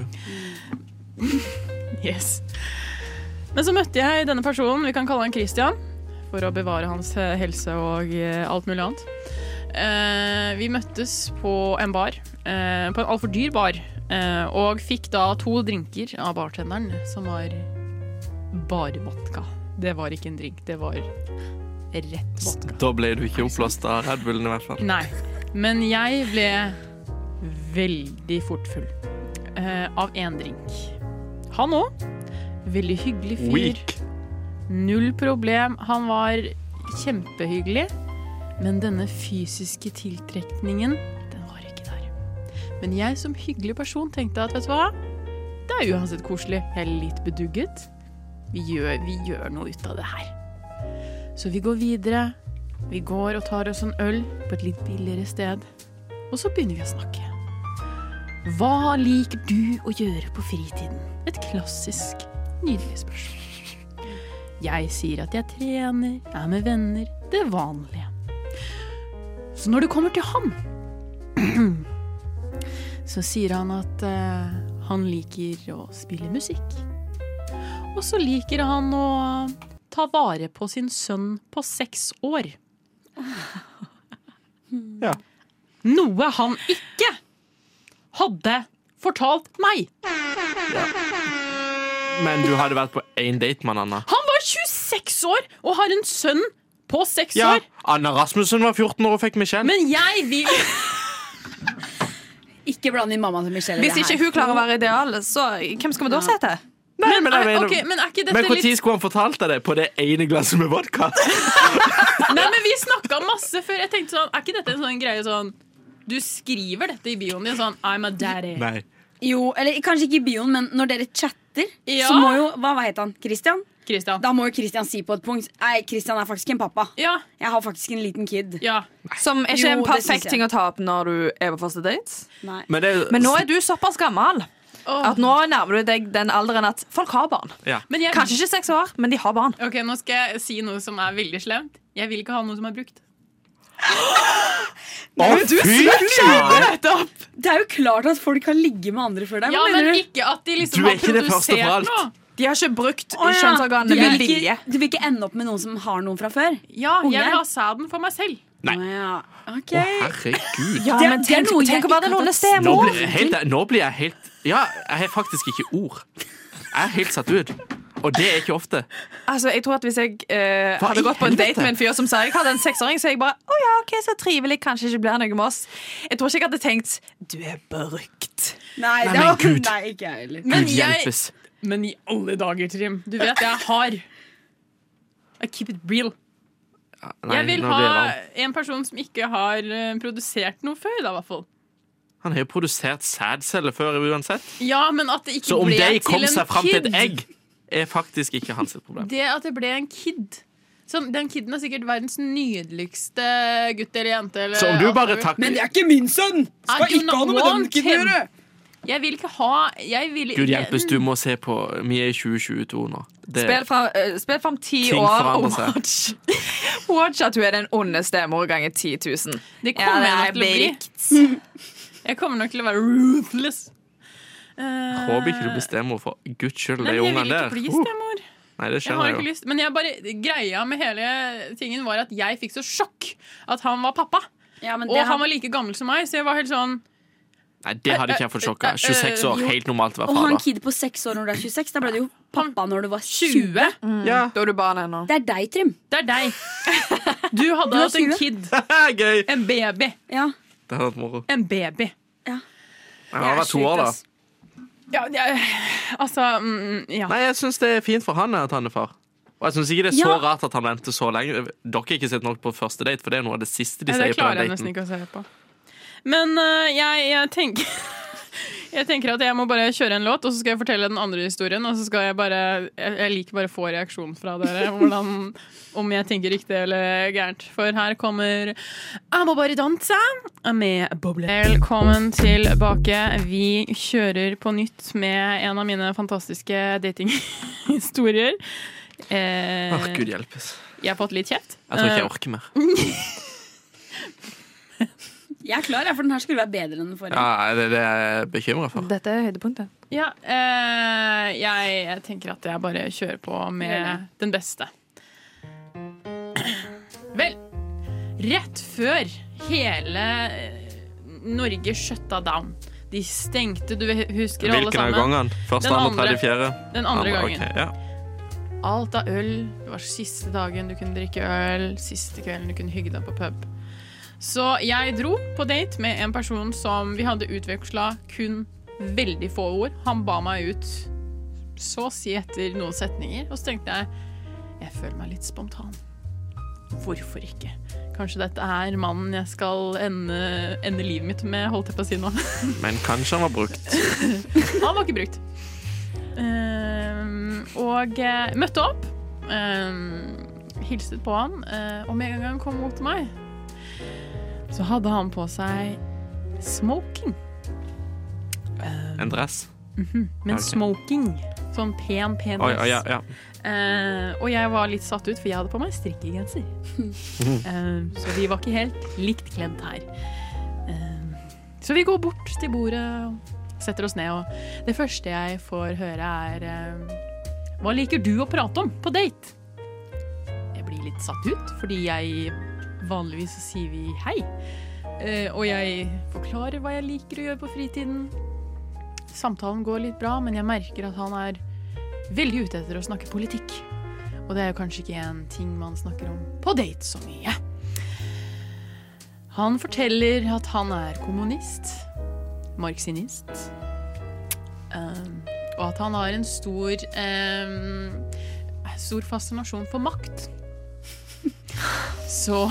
Speaker 5: Yes. Men så møtte jeg denne personen, vi kan kalle han Christian, for å bevare hans eh, helse og eh, alt mulig annet. Eh, vi møttes på en bar, eh, på en altfor dyr bar, eh, og fikk da to drinker av bartenderen, som var bare vodka. Det var ikke en drink, det var rett vodka.
Speaker 2: Da ble du ikke oppblåst av Red Bullen, i hvert fall.
Speaker 5: Nei. Men jeg ble veldig fort full eh, av én drink. Han òg. Veldig hyggelig fyr.
Speaker 2: Weak.
Speaker 5: Null problem. Han var kjempehyggelig. Men denne fysiske tiltrekningen, den var ikke der. Men jeg som hyggelig person tenkte at, vet du hva? Det er uansett koselig. Jeg er litt bedugget. Vi gjør, vi gjør noe ut av det her. Så vi går videre. Vi går og tar oss en øl på et litt billigere sted. Og så begynner vi å snakke. Hva liker du å gjøre på fritiden? Et klassisk, nydelig spørsmål. Jeg sier at jeg trener, er med venner, det vanlige. Så når det kommer til han, så sier han at eh, han liker å spille musikk. Og så liker han å ta vare på sin sønn på seks år.
Speaker 2: Ja.
Speaker 5: Noe han ikke hadde fortalt meg.
Speaker 2: Men du hadde vært på én date med han, Anna.
Speaker 5: Han var 26 år og har en sønn på seks
Speaker 2: Ja,
Speaker 5: år.
Speaker 2: Anna Rasmussen var 14 år og fikk Michelle.
Speaker 5: Men jeg vil
Speaker 6: Ikke bland inn mammaen til Michelle. i
Speaker 7: Hvis
Speaker 6: det her.
Speaker 7: ikke hun klarer å være ideal, så hvem skal vi da se til?
Speaker 2: Nei, men, jeg mener-
Speaker 5: Ok, men er ikke dette
Speaker 2: men hvor
Speaker 5: litt
Speaker 2: tid skulle han fortalt deg det? På det ene glasset med vodka?
Speaker 5: Nei, men vi snakka masse før. Jeg tenkte sånn, Er ikke dette en sånn greie sånn Du skriver dette i bioen din sånn I'm a daddy.
Speaker 2: Nei.
Speaker 6: Jo, eller kanskje ikke i bioen, men når dere chatter,
Speaker 5: Ja.
Speaker 6: så må jo Hva het han? Christian?
Speaker 5: Christian.
Speaker 6: Da må jo Christian si på et punkt Nei, Christian er faktisk en pappa.
Speaker 5: Ja.
Speaker 6: Jeg har faktisk en liten kid.
Speaker 5: Ja.
Speaker 7: Som er ikke
Speaker 6: Jo, det
Speaker 7: en
Speaker 6: synes
Speaker 7: perfekt
Speaker 6: jeg.
Speaker 7: ting å ta opp når du er på første date.
Speaker 6: Nei.
Speaker 2: Men, det,
Speaker 7: Men nå er du såpass gammel
Speaker 5: Åh.
Speaker 7: at nå nærmer du deg den alderen at folk har barn.
Speaker 2: ja.
Speaker 5: Men jeg,
Speaker 7: Kanskje ikke seks år, men de har barn.
Speaker 5: Ok, Nå skal jeg si noe som er veldig slemt. Jeg vil ikke ha noe som er brukt.
Speaker 2: Å, fy faen!
Speaker 6: Det er jo klart at folk kan ligge med andre før deg.
Speaker 5: Ja,
Speaker 6: Hva
Speaker 5: men
Speaker 6: mener du?
Speaker 5: ikke at de
Speaker 2: Du
Speaker 5: liksom
Speaker 2: er
Speaker 5: har
Speaker 2: ikke det første for
Speaker 5: produsert
Speaker 2: alt.
Speaker 5: noe.
Speaker 7: De har ikke brukt
Speaker 6: Å, ja.
Speaker 7: kjønnsorganene
Speaker 6: du,
Speaker 7: med
Speaker 6: vil ikke,
Speaker 7: vilje.
Speaker 6: du vil ikke ende opp med noen som har noen fra før?
Speaker 5: Ja, jeg
Speaker 6: Unger.
Speaker 5: vil ha sæden for meg selv.
Speaker 2: Nei.
Speaker 6: Å, ja. Ok.
Speaker 2: Å, herregud.
Speaker 7: Ja,
Speaker 6: Det-
Speaker 7: men
Speaker 6: det er
Speaker 7: tenk,
Speaker 6: noe jeg
Speaker 7: tenk å være
Speaker 6: ikke
Speaker 7: den onde
Speaker 6: hadde-
Speaker 2: Nå
Speaker 7: stemor.
Speaker 2: blir, helt, nå blir jeg helt Ja, jeg har faktisk ikke ord. Jeg er helt satt ut. Og det er ikke ofte.
Speaker 7: Altså, jeg tror at Hvis jeg eh,
Speaker 2: Hva i
Speaker 7: hadde gått på en
Speaker 2: helvete?
Speaker 7: date med en fyr som sa jeg hadde en seksåring, så jeg bare Å ja, ok, så trivelig. Kanskje ikke blir noe med oss. Jeg tror ikke jeg hadde tenkt Du er brukt.
Speaker 6: Nei, det
Speaker 2: men
Speaker 6: var,
Speaker 2: Gud.
Speaker 6: nei, ikke jeg heller.
Speaker 5: Men
Speaker 2: Gud
Speaker 5: jeg,
Speaker 2: hjelpes.
Speaker 5: men i alle dager, Trim. Du vet jeg er hard. I keep it real.
Speaker 2: Nei,
Speaker 5: jeg vil
Speaker 2: nå
Speaker 5: ha
Speaker 2: blir jeg varm.
Speaker 5: en person som ikke har eh, produsert noe før, da, i hvert fall.
Speaker 2: Han har jo produsert sædceller før uansett.
Speaker 5: Ja, men at det ikke
Speaker 2: Så om
Speaker 5: ble
Speaker 2: de
Speaker 5: til
Speaker 2: kom
Speaker 5: en
Speaker 2: seg fram til
Speaker 5: kid
Speaker 2: et egg, er faktisk ikke hans problem.
Speaker 5: Det at det ble en kid Sånn, Den kiden er sikkert verdens nydeligste gutt eller jente. Eller
Speaker 2: Så om du bare
Speaker 5: whatever.
Speaker 2: takker
Speaker 6: Men det er ikke min sønn!
Speaker 5: I
Speaker 6: Skal
Speaker 5: do
Speaker 6: ikke ha
Speaker 5: not
Speaker 6: noe med den
Speaker 5: want
Speaker 6: kiden å
Speaker 5: him.
Speaker 6: gjøre!
Speaker 5: Jeg vil ikke ha jeg vil,
Speaker 2: Gud hjelpes, du må se på Vi er i 2022 nå. Det,
Speaker 7: Spill fra, eh, spill fram ti
Speaker 2: Ting
Speaker 7: år og
Speaker 2: forandrer seg.
Speaker 7: watch. watch at hun er den onde stemor ganger 10 000.
Speaker 5: Det kommer
Speaker 7: Ja,
Speaker 5: jeg nok til å bli.
Speaker 7: brukt.
Speaker 5: Jeg kommer nok til å være ruthless. Eh,
Speaker 2: håper ikke du blir stemor, for guds skyld, de
Speaker 5: Nei, men jeg vil
Speaker 2: ungene
Speaker 5: ikke
Speaker 2: der.
Speaker 5: bli
Speaker 2: Uh,
Speaker 5: stemor.
Speaker 2: Nei, det
Speaker 5: Jeg har ikke
Speaker 2: skjønner jeg jo.
Speaker 5: lyst Men jeg bare, greia med hele tingen var at jeg fikk så sjokk at han var pappa.
Speaker 6: Ja, men
Speaker 5: Og
Speaker 6: det
Speaker 5: han var like gammel som meg, så jeg var helt sånn
Speaker 2: Nei, det hadde ikke jeg fått sjokk av. 26 år,
Speaker 5: øh, Jo.
Speaker 2: helt normalt å
Speaker 6: og
Speaker 2: være
Speaker 6: han
Speaker 2: far.
Speaker 6: kid på seks år når du er 26. Da ble du jo pappa når du var 20.
Speaker 5: 20.
Speaker 2: da. Ja,
Speaker 7: Da er du barn ennå.
Speaker 6: Det er deg, Trym.
Speaker 5: Det er deg. Du hadde hatt en
Speaker 6: 20.
Speaker 5: kid.
Speaker 2: gøy!
Speaker 5: En baby.
Speaker 6: Ja.
Speaker 2: Det hadde vært moro.
Speaker 5: En baby.
Speaker 2: Jeg har vært to år, da.
Speaker 5: Ja, ja altså mm, ja.
Speaker 2: Nei, jeg syns det er fint for han at han er far. Og jeg syns ikke det er så
Speaker 6: Ja.
Speaker 2: rart at han venter så lenge. Dere har ikke sett nok på første date, for det er noe av det siste de
Speaker 5: Nei, det
Speaker 2: sier på
Speaker 5: klarer jeg
Speaker 2: den
Speaker 5: nesten
Speaker 2: daten.
Speaker 5: ikke å se på. Men øh, jeg, jeg tenker Jeg tenker at jeg må bare kjøre en låt, og så skal jeg fortelle den andre historien. Og så skal jeg bare Jeg, jeg liker bare å få reaksjon fra dere hvordan, om jeg tenker riktig eller gærent. For her kommer 'Jeg må bare danse' med Boble. Velkommen tilbake. Vi kjører på nytt med en av mine fantastiske datinghistorier. Eh,
Speaker 2: Åh, Gud hjelpes.
Speaker 5: jeg har fått litt kjeft.
Speaker 2: Jeg tror ikke
Speaker 5: Eh,
Speaker 2: jeg orker mer.
Speaker 6: Jeg er klar, jeg, for den her skulle være bedre enn den forrige.
Speaker 2: Ja, det er det jeg er bekymra for.
Speaker 7: Dette er høydepunktet.
Speaker 5: Ja, eh, jeg, jeg tenker at jeg bare kjører på
Speaker 6: Gjør
Speaker 5: med
Speaker 6: det.
Speaker 5: den beste. Vel, rett før hele eh, Norge shutta down. De stengte, du husker alle
Speaker 2: Hvilken av
Speaker 5: sammen.
Speaker 2: gangene? Første,
Speaker 5: Den
Speaker 2: andre, tredje,
Speaker 5: andre.
Speaker 2: fjerde?
Speaker 5: Den andre gangen.
Speaker 2: ok, ja.
Speaker 5: Alt av øl. Det var siste dagen du kunne drikke øl, siste kvelden du kunne hygge deg på pub. Så jeg dro på date med en person som vi hadde utveksla kun veldig få ord. Han ba meg ut så å si etter noen setninger, og så tenkte jeg jeg føler meg litt spontan. Hvorfor ikke? Kanskje dette er mannen jeg skal ende, ende livet mitt med, holdt jeg på å si nå.
Speaker 2: Men kanskje han var brukt.
Speaker 5: Han var ikke brukt. Ehm, og eh, møtte opp. Ehm, hilset på han. eh, og med en gang han kom mot meg, så hadde han på seg smoking.
Speaker 2: En dress?
Speaker 5: Men
Speaker 2: Ok.
Speaker 5: smoking. Sånn pen, pen
Speaker 2: Oi,
Speaker 5: dress.
Speaker 2: oi, ja, ja.
Speaker 5: Eh, og jeg var litt satt ut, for jeg hadde på meg strikkegenser. Eh, så vi var ikke helt likt kledd her. Eh, så vi går bort til bordet og setter oss ned, og det første jeg får høre, er eh, Hva liker du å prate om på date? Jeg blir litt satt ut, fordi jeg vanligvis så sier vi hei. Eh, og jeg forklarer hva jeg liker å gjøre på fritiden. Samtalen går litt bra, men jeg merker at han er veldig ute etter å snakke politikk. Og det er jo kanskje ikke en ting man snakker om på date så mye. Han forteller at han er kommunist, marxinist, um, og at han har en stor um, stor fascinasjon for makt. Så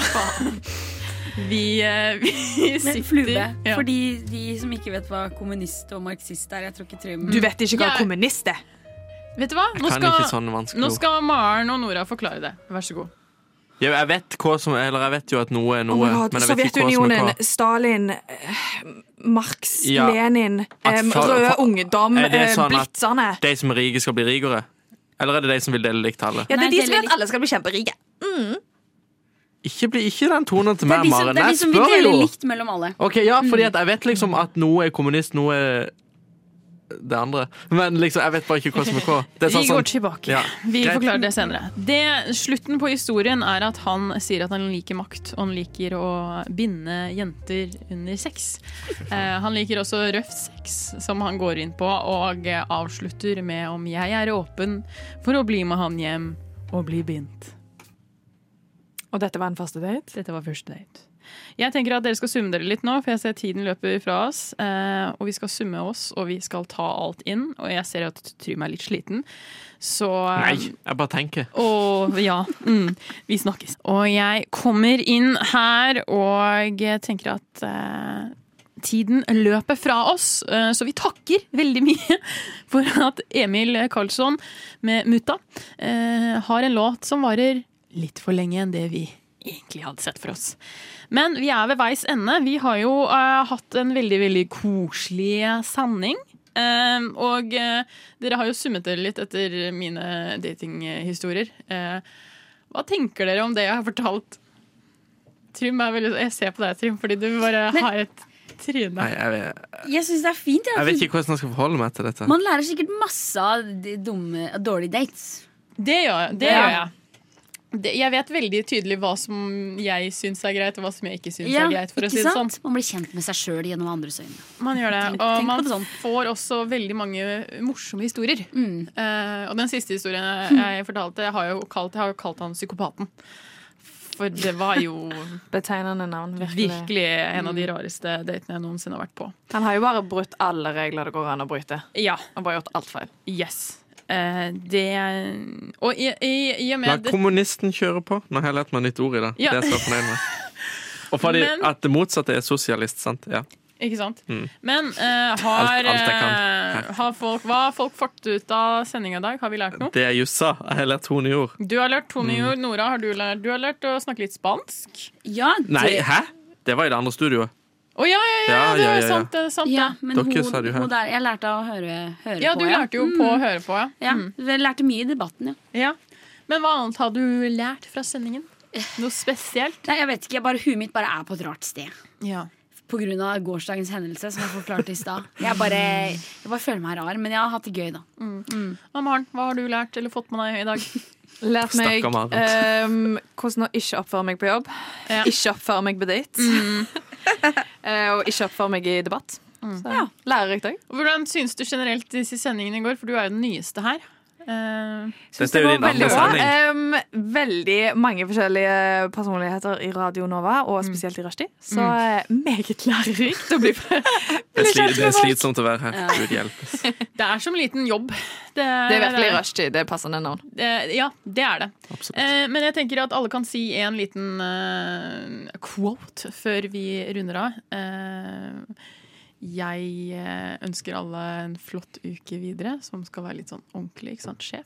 Speaker 5: vi, eh, vi sitter
Speaker 6: Men flue,
Speaker 5: Ja.
Speaker 6: for de, de som ikke vet hva kommunist og marxist er Jeg tror ikke Trym
Speaker 7: Du vet ikke hva
Speaker 5: Ja.
Speaker 7: kommunist er.
Speaker 5: Vet du hva? Nå
Speaker 2: Kan
Speaker 5: skal,
Speaker 2: ikke sånn vanskelig
Speaker 5: nå skal Maren og Nora forklare det. Vær så god.
Speaker 2: Jo, jeg, vet hva som, eller jeg vet jo at noe er noe, men jeg vet ikke hva som er
Speaker 7: Sovjetunionen,
Speaker 2: hva.
Speaker 7: Stalin, eh, Marx,
Speaker 2: Ja.
Speaker 7: Lenin,
Speaker 2: At
Speaker 7: em,
Speaker 2: for-
Speaker 7: rød
Speaker 2: for-
Speaker 7: ungdom,
Speaker 2: Er det
Speaker 7: eh,
Speaker 2: sånn at-
Speaker 7: blitzerne.
Speaker 2: De som er rike, skal bli rikere? Eller er det de som vil dele likt alle?
Speaker 7: Ja, det
Speaker 6: Nei,
Speaker 7: er de
Speaker 6: det
Speaker 7: som
Speaker 6: er
Speaker 7: vil at alle skal bli kjemperike.
Speaker 2: Ikke, bli, ikke den tonen til
Speaker 6: Det er
Speaker 2: meg,
Speaker 6: de som,
Speaker 2: Maren.
Speaker 6: det er de
Speaker 2: Jeg
Speaker 6: som vil
Speaker 2: spør
Speaker 6: dele
Speaker 2: jo!
Speaker 6: likt mellom alle
Speaker 2: Ok, ja, fordi at jeg vet liksom at noe er kommunist, noe er det andre. Men liksom, jeg vet bare ikke hva som er hva. Det er
Speaker 5: Vi
Speaker 2: sånn
Speaker 5: går
Speaker 2: som
Speaker 5: tilbake.
Speaker 2: Ja,
Speaker 5: Vi
Speaker 2: greit.
Speaker 5: forklarer det senere. Det, slutten på historien er at han sier at han liker makt, og han liker å binde jenter under sex. Eh, han liker også røff sex, som han går inn på, og eh, avslutter med om jeg er åpen for å bli med han hjem og bli bindt.
Speaker 7: Og dette var en første date?
Speaker 5: Dette var første date. Jeg tenker at dere skal summe dere litt nå, for jeg ser tiden løper fra oss. Eh, og vi skal summe oss, og vi skal ta alt inn. Og jeg ser at Trym er litt sliten, så eh,
Speaker 2: Nei, jeg bare tenker.
Speaker 5: og ja, mm, vi snakkes. Og jeg kommer inn her og tenker at eh, tiden løper fra oss, eh, så vi takker veldig mye for at Emil Karlsson med Mutta eh, har en låt som varer litt for lenge enn det vi egentlig hadde sett for oss. Men vi er ved veis ende. Vi har jo eh, hatt en veldig, veldig koselig sending. Eh, og eh, dere har jo summet dere litt etter mine datinghistorier. Eh, hva tenker dere om det jeg har fortalt? Trym er veldig, Jeg ser på deg, Trym, fordi du bare har et tryne.
Speaker 2: Nei, jeg, vet-
Speaker 6: Jeg synes det er fint ja,
Speaker 2: jeg vet
Speaker 6: at
Speaker 2: ikke hvordan jeg skal forholde meg til dette.
Speaker 6: Man lærer sikkert masse av de dumme, av dårlige dates
Speaker 5: Det gjør, det
Speaker 6: Ja.
Speaker 5: gjør jeg. Det, jeg vet veldig tydelig hva som jeg syns er greit, og hva som jeg ikke syns er greit. For å si
Speaker 6: ikke
Speaker 5: det sånn.
Speaker 6: sant? Man blir kjent med seg selv gjennom andres øyne
Speaker 5: Man gjør det,
Speaker 6: Tenk-
Speaker 5: og
Speaker 6: tenk på
Speaker 5: man
Speaker 6: det sånn.
Speaker 5: får også veldig mange morsomme historier.
Speaker 6: Mm.
Speaker 5: Eh, og den siste historien jeg fortalte, jeg har jo kalt, jeg har jo kalt han psykopaten. For det var jo
Speaker 7: Betegnende navn. Virkelig.
Speaker 5: virkelig en av de
Speaker 6: Mm.
Speaker 5: rareste datene jeg noensinne har vært på.
Speaker 7: Han har jo bare brutt alle regler det går an å bryte.
Speaker 5: Ja,
Speaker 7: Han har bare gjort alt feil.
Speaker 5: yes. Eh, det Og i, i, i og
Speaker 2: La
Speaker 5: med det,
Speaker 2: kommunisten kjøre på. Nå har jeg lært meg nytt ord i dag.
Speaker 5: Ja.
Speaker 2: Det er jeg så fornøyd med. Og fordi
Speaker 5: Men-
Speaker 2: at det motsatte er sosialist, sant? Ja.
Speaker 5: Ikke sant?
Speaker 2: Mm.
Speaker 5: Men eh,
Speaker 2: Alt-
Speaker 5: har,
Speaker 2: alt jeg kan.
Speaker 5: eh, har folk, hva har folk fått ut av sendinga i dag? Har vi lært noe?
Speaker 2: Det jeg just sa. Jeg har lært to nye ord.
Speaker 5: Du har lært Tone
Speaker 2: Mm.
Speaker 5: Jord. Nora, har du lært, du har lært å snakke litt spansk?
Speaker 6: Ja, det,
Speaker 2: Nei, hæ? Det var i det andre studioet.
Speaker 5: Å ja, ja, ja,
Speaker 2: Ja,
Speaker 5: det
Speaker 2: ja,
Speaker 5: er
Speaker 2: ja, ja.
Speaker 5: sant. Det, er sant
Speaker 6: ja
Speaker 5: ja.
Speaker 6: men
Speaker 2: Dere
Speaker 6: hun,
Speaker 2: sa det jo her.
Speaker 6: hun der, jeg lærte å høre, høre
Speaker 5: ja,
Speaker 6: på
Speaker 5: du lærte jo
Speaker 6: Mm.
Speaker 5: på å høre på, ja.
Speaker 6: Ja,
Speaker 5: Mm.
Speaker 6: jeg lærte mye i debatten, ja.
Speaker 5: ja. Men hva annet har du lært fra sendingen? Noe spesielt?
Speaker 6: Nei, jeg vet ikke, jeg bare, huet mitt bare er på et rart sted.
Speaker 5: Ja.
Speaker 6: På grunn av gårsdagens hendelse, som jeg forklarte i stad. Jeg, bare- jeg bare føler meg rar, men jeg har hatt det gøy, da.
Speaker 5: Maren, hva har du lært eller fått med deg i dag?
Speaker 7: Lært meg
Speaker 2: Stakkar Maren.
Speaker 7: ehm, hvordan å ikke oppføre meg på jobb.
Speaker 5: Ja.
Speaker 7: Ikke oppføre meg på date. Eh, og ikke oppføre meg i debatt. Så, Mm. ja, Lærerikt òg.
Speaker 5: Hvordan syns du generelt disse sendingene går? For du er jo den nyeste her. Eh,
Speaker 2: Dette er jo din andre
Speaker 7: Veldig bra.
Speaker 2: sending.
Speaker 7: Ehm, veldig mange forskjellige personligheter i Radio Nova, og spesielt i Rushdie. Så eh, meget lærerikt å bli
Speaker 2: Det er, sli,
Speaker 7: kjent
Speaker 2: det
Speaker 7: med
Speaker 2: er slitsomt å være her. Gud hjelpes.
Speaker 5: det er som liten jobb. Det
Speaker 7: Det er virkelig Rushdie. Det er passende navn.
Speaker 5: Eh, ja, det er det.
Speaker 2: Absolutt.
Speaker 5: Eh, men jeg tenker at alle kan si en liten eh, quote før vi runder av. Eh, Jeg eh, ønsker alle en flott uke videre, som skal være litt sånn ordentlig, ikke sant, sjef.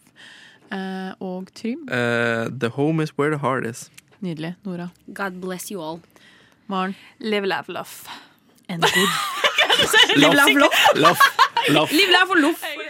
Speaker 5: Eh, og Trym.
Speaker 2: Eh, the home is where the heart is.
Speaker 5: Nydelig. Nora.
Speaker 6: God bless you all.
Speaker 5: Maren.
Speaker 7: Live, laugh, love.
Speaker 5: En god
Speaker 2: Laff. Laff. Laff.
Speaker 6: Liv, lær for loff.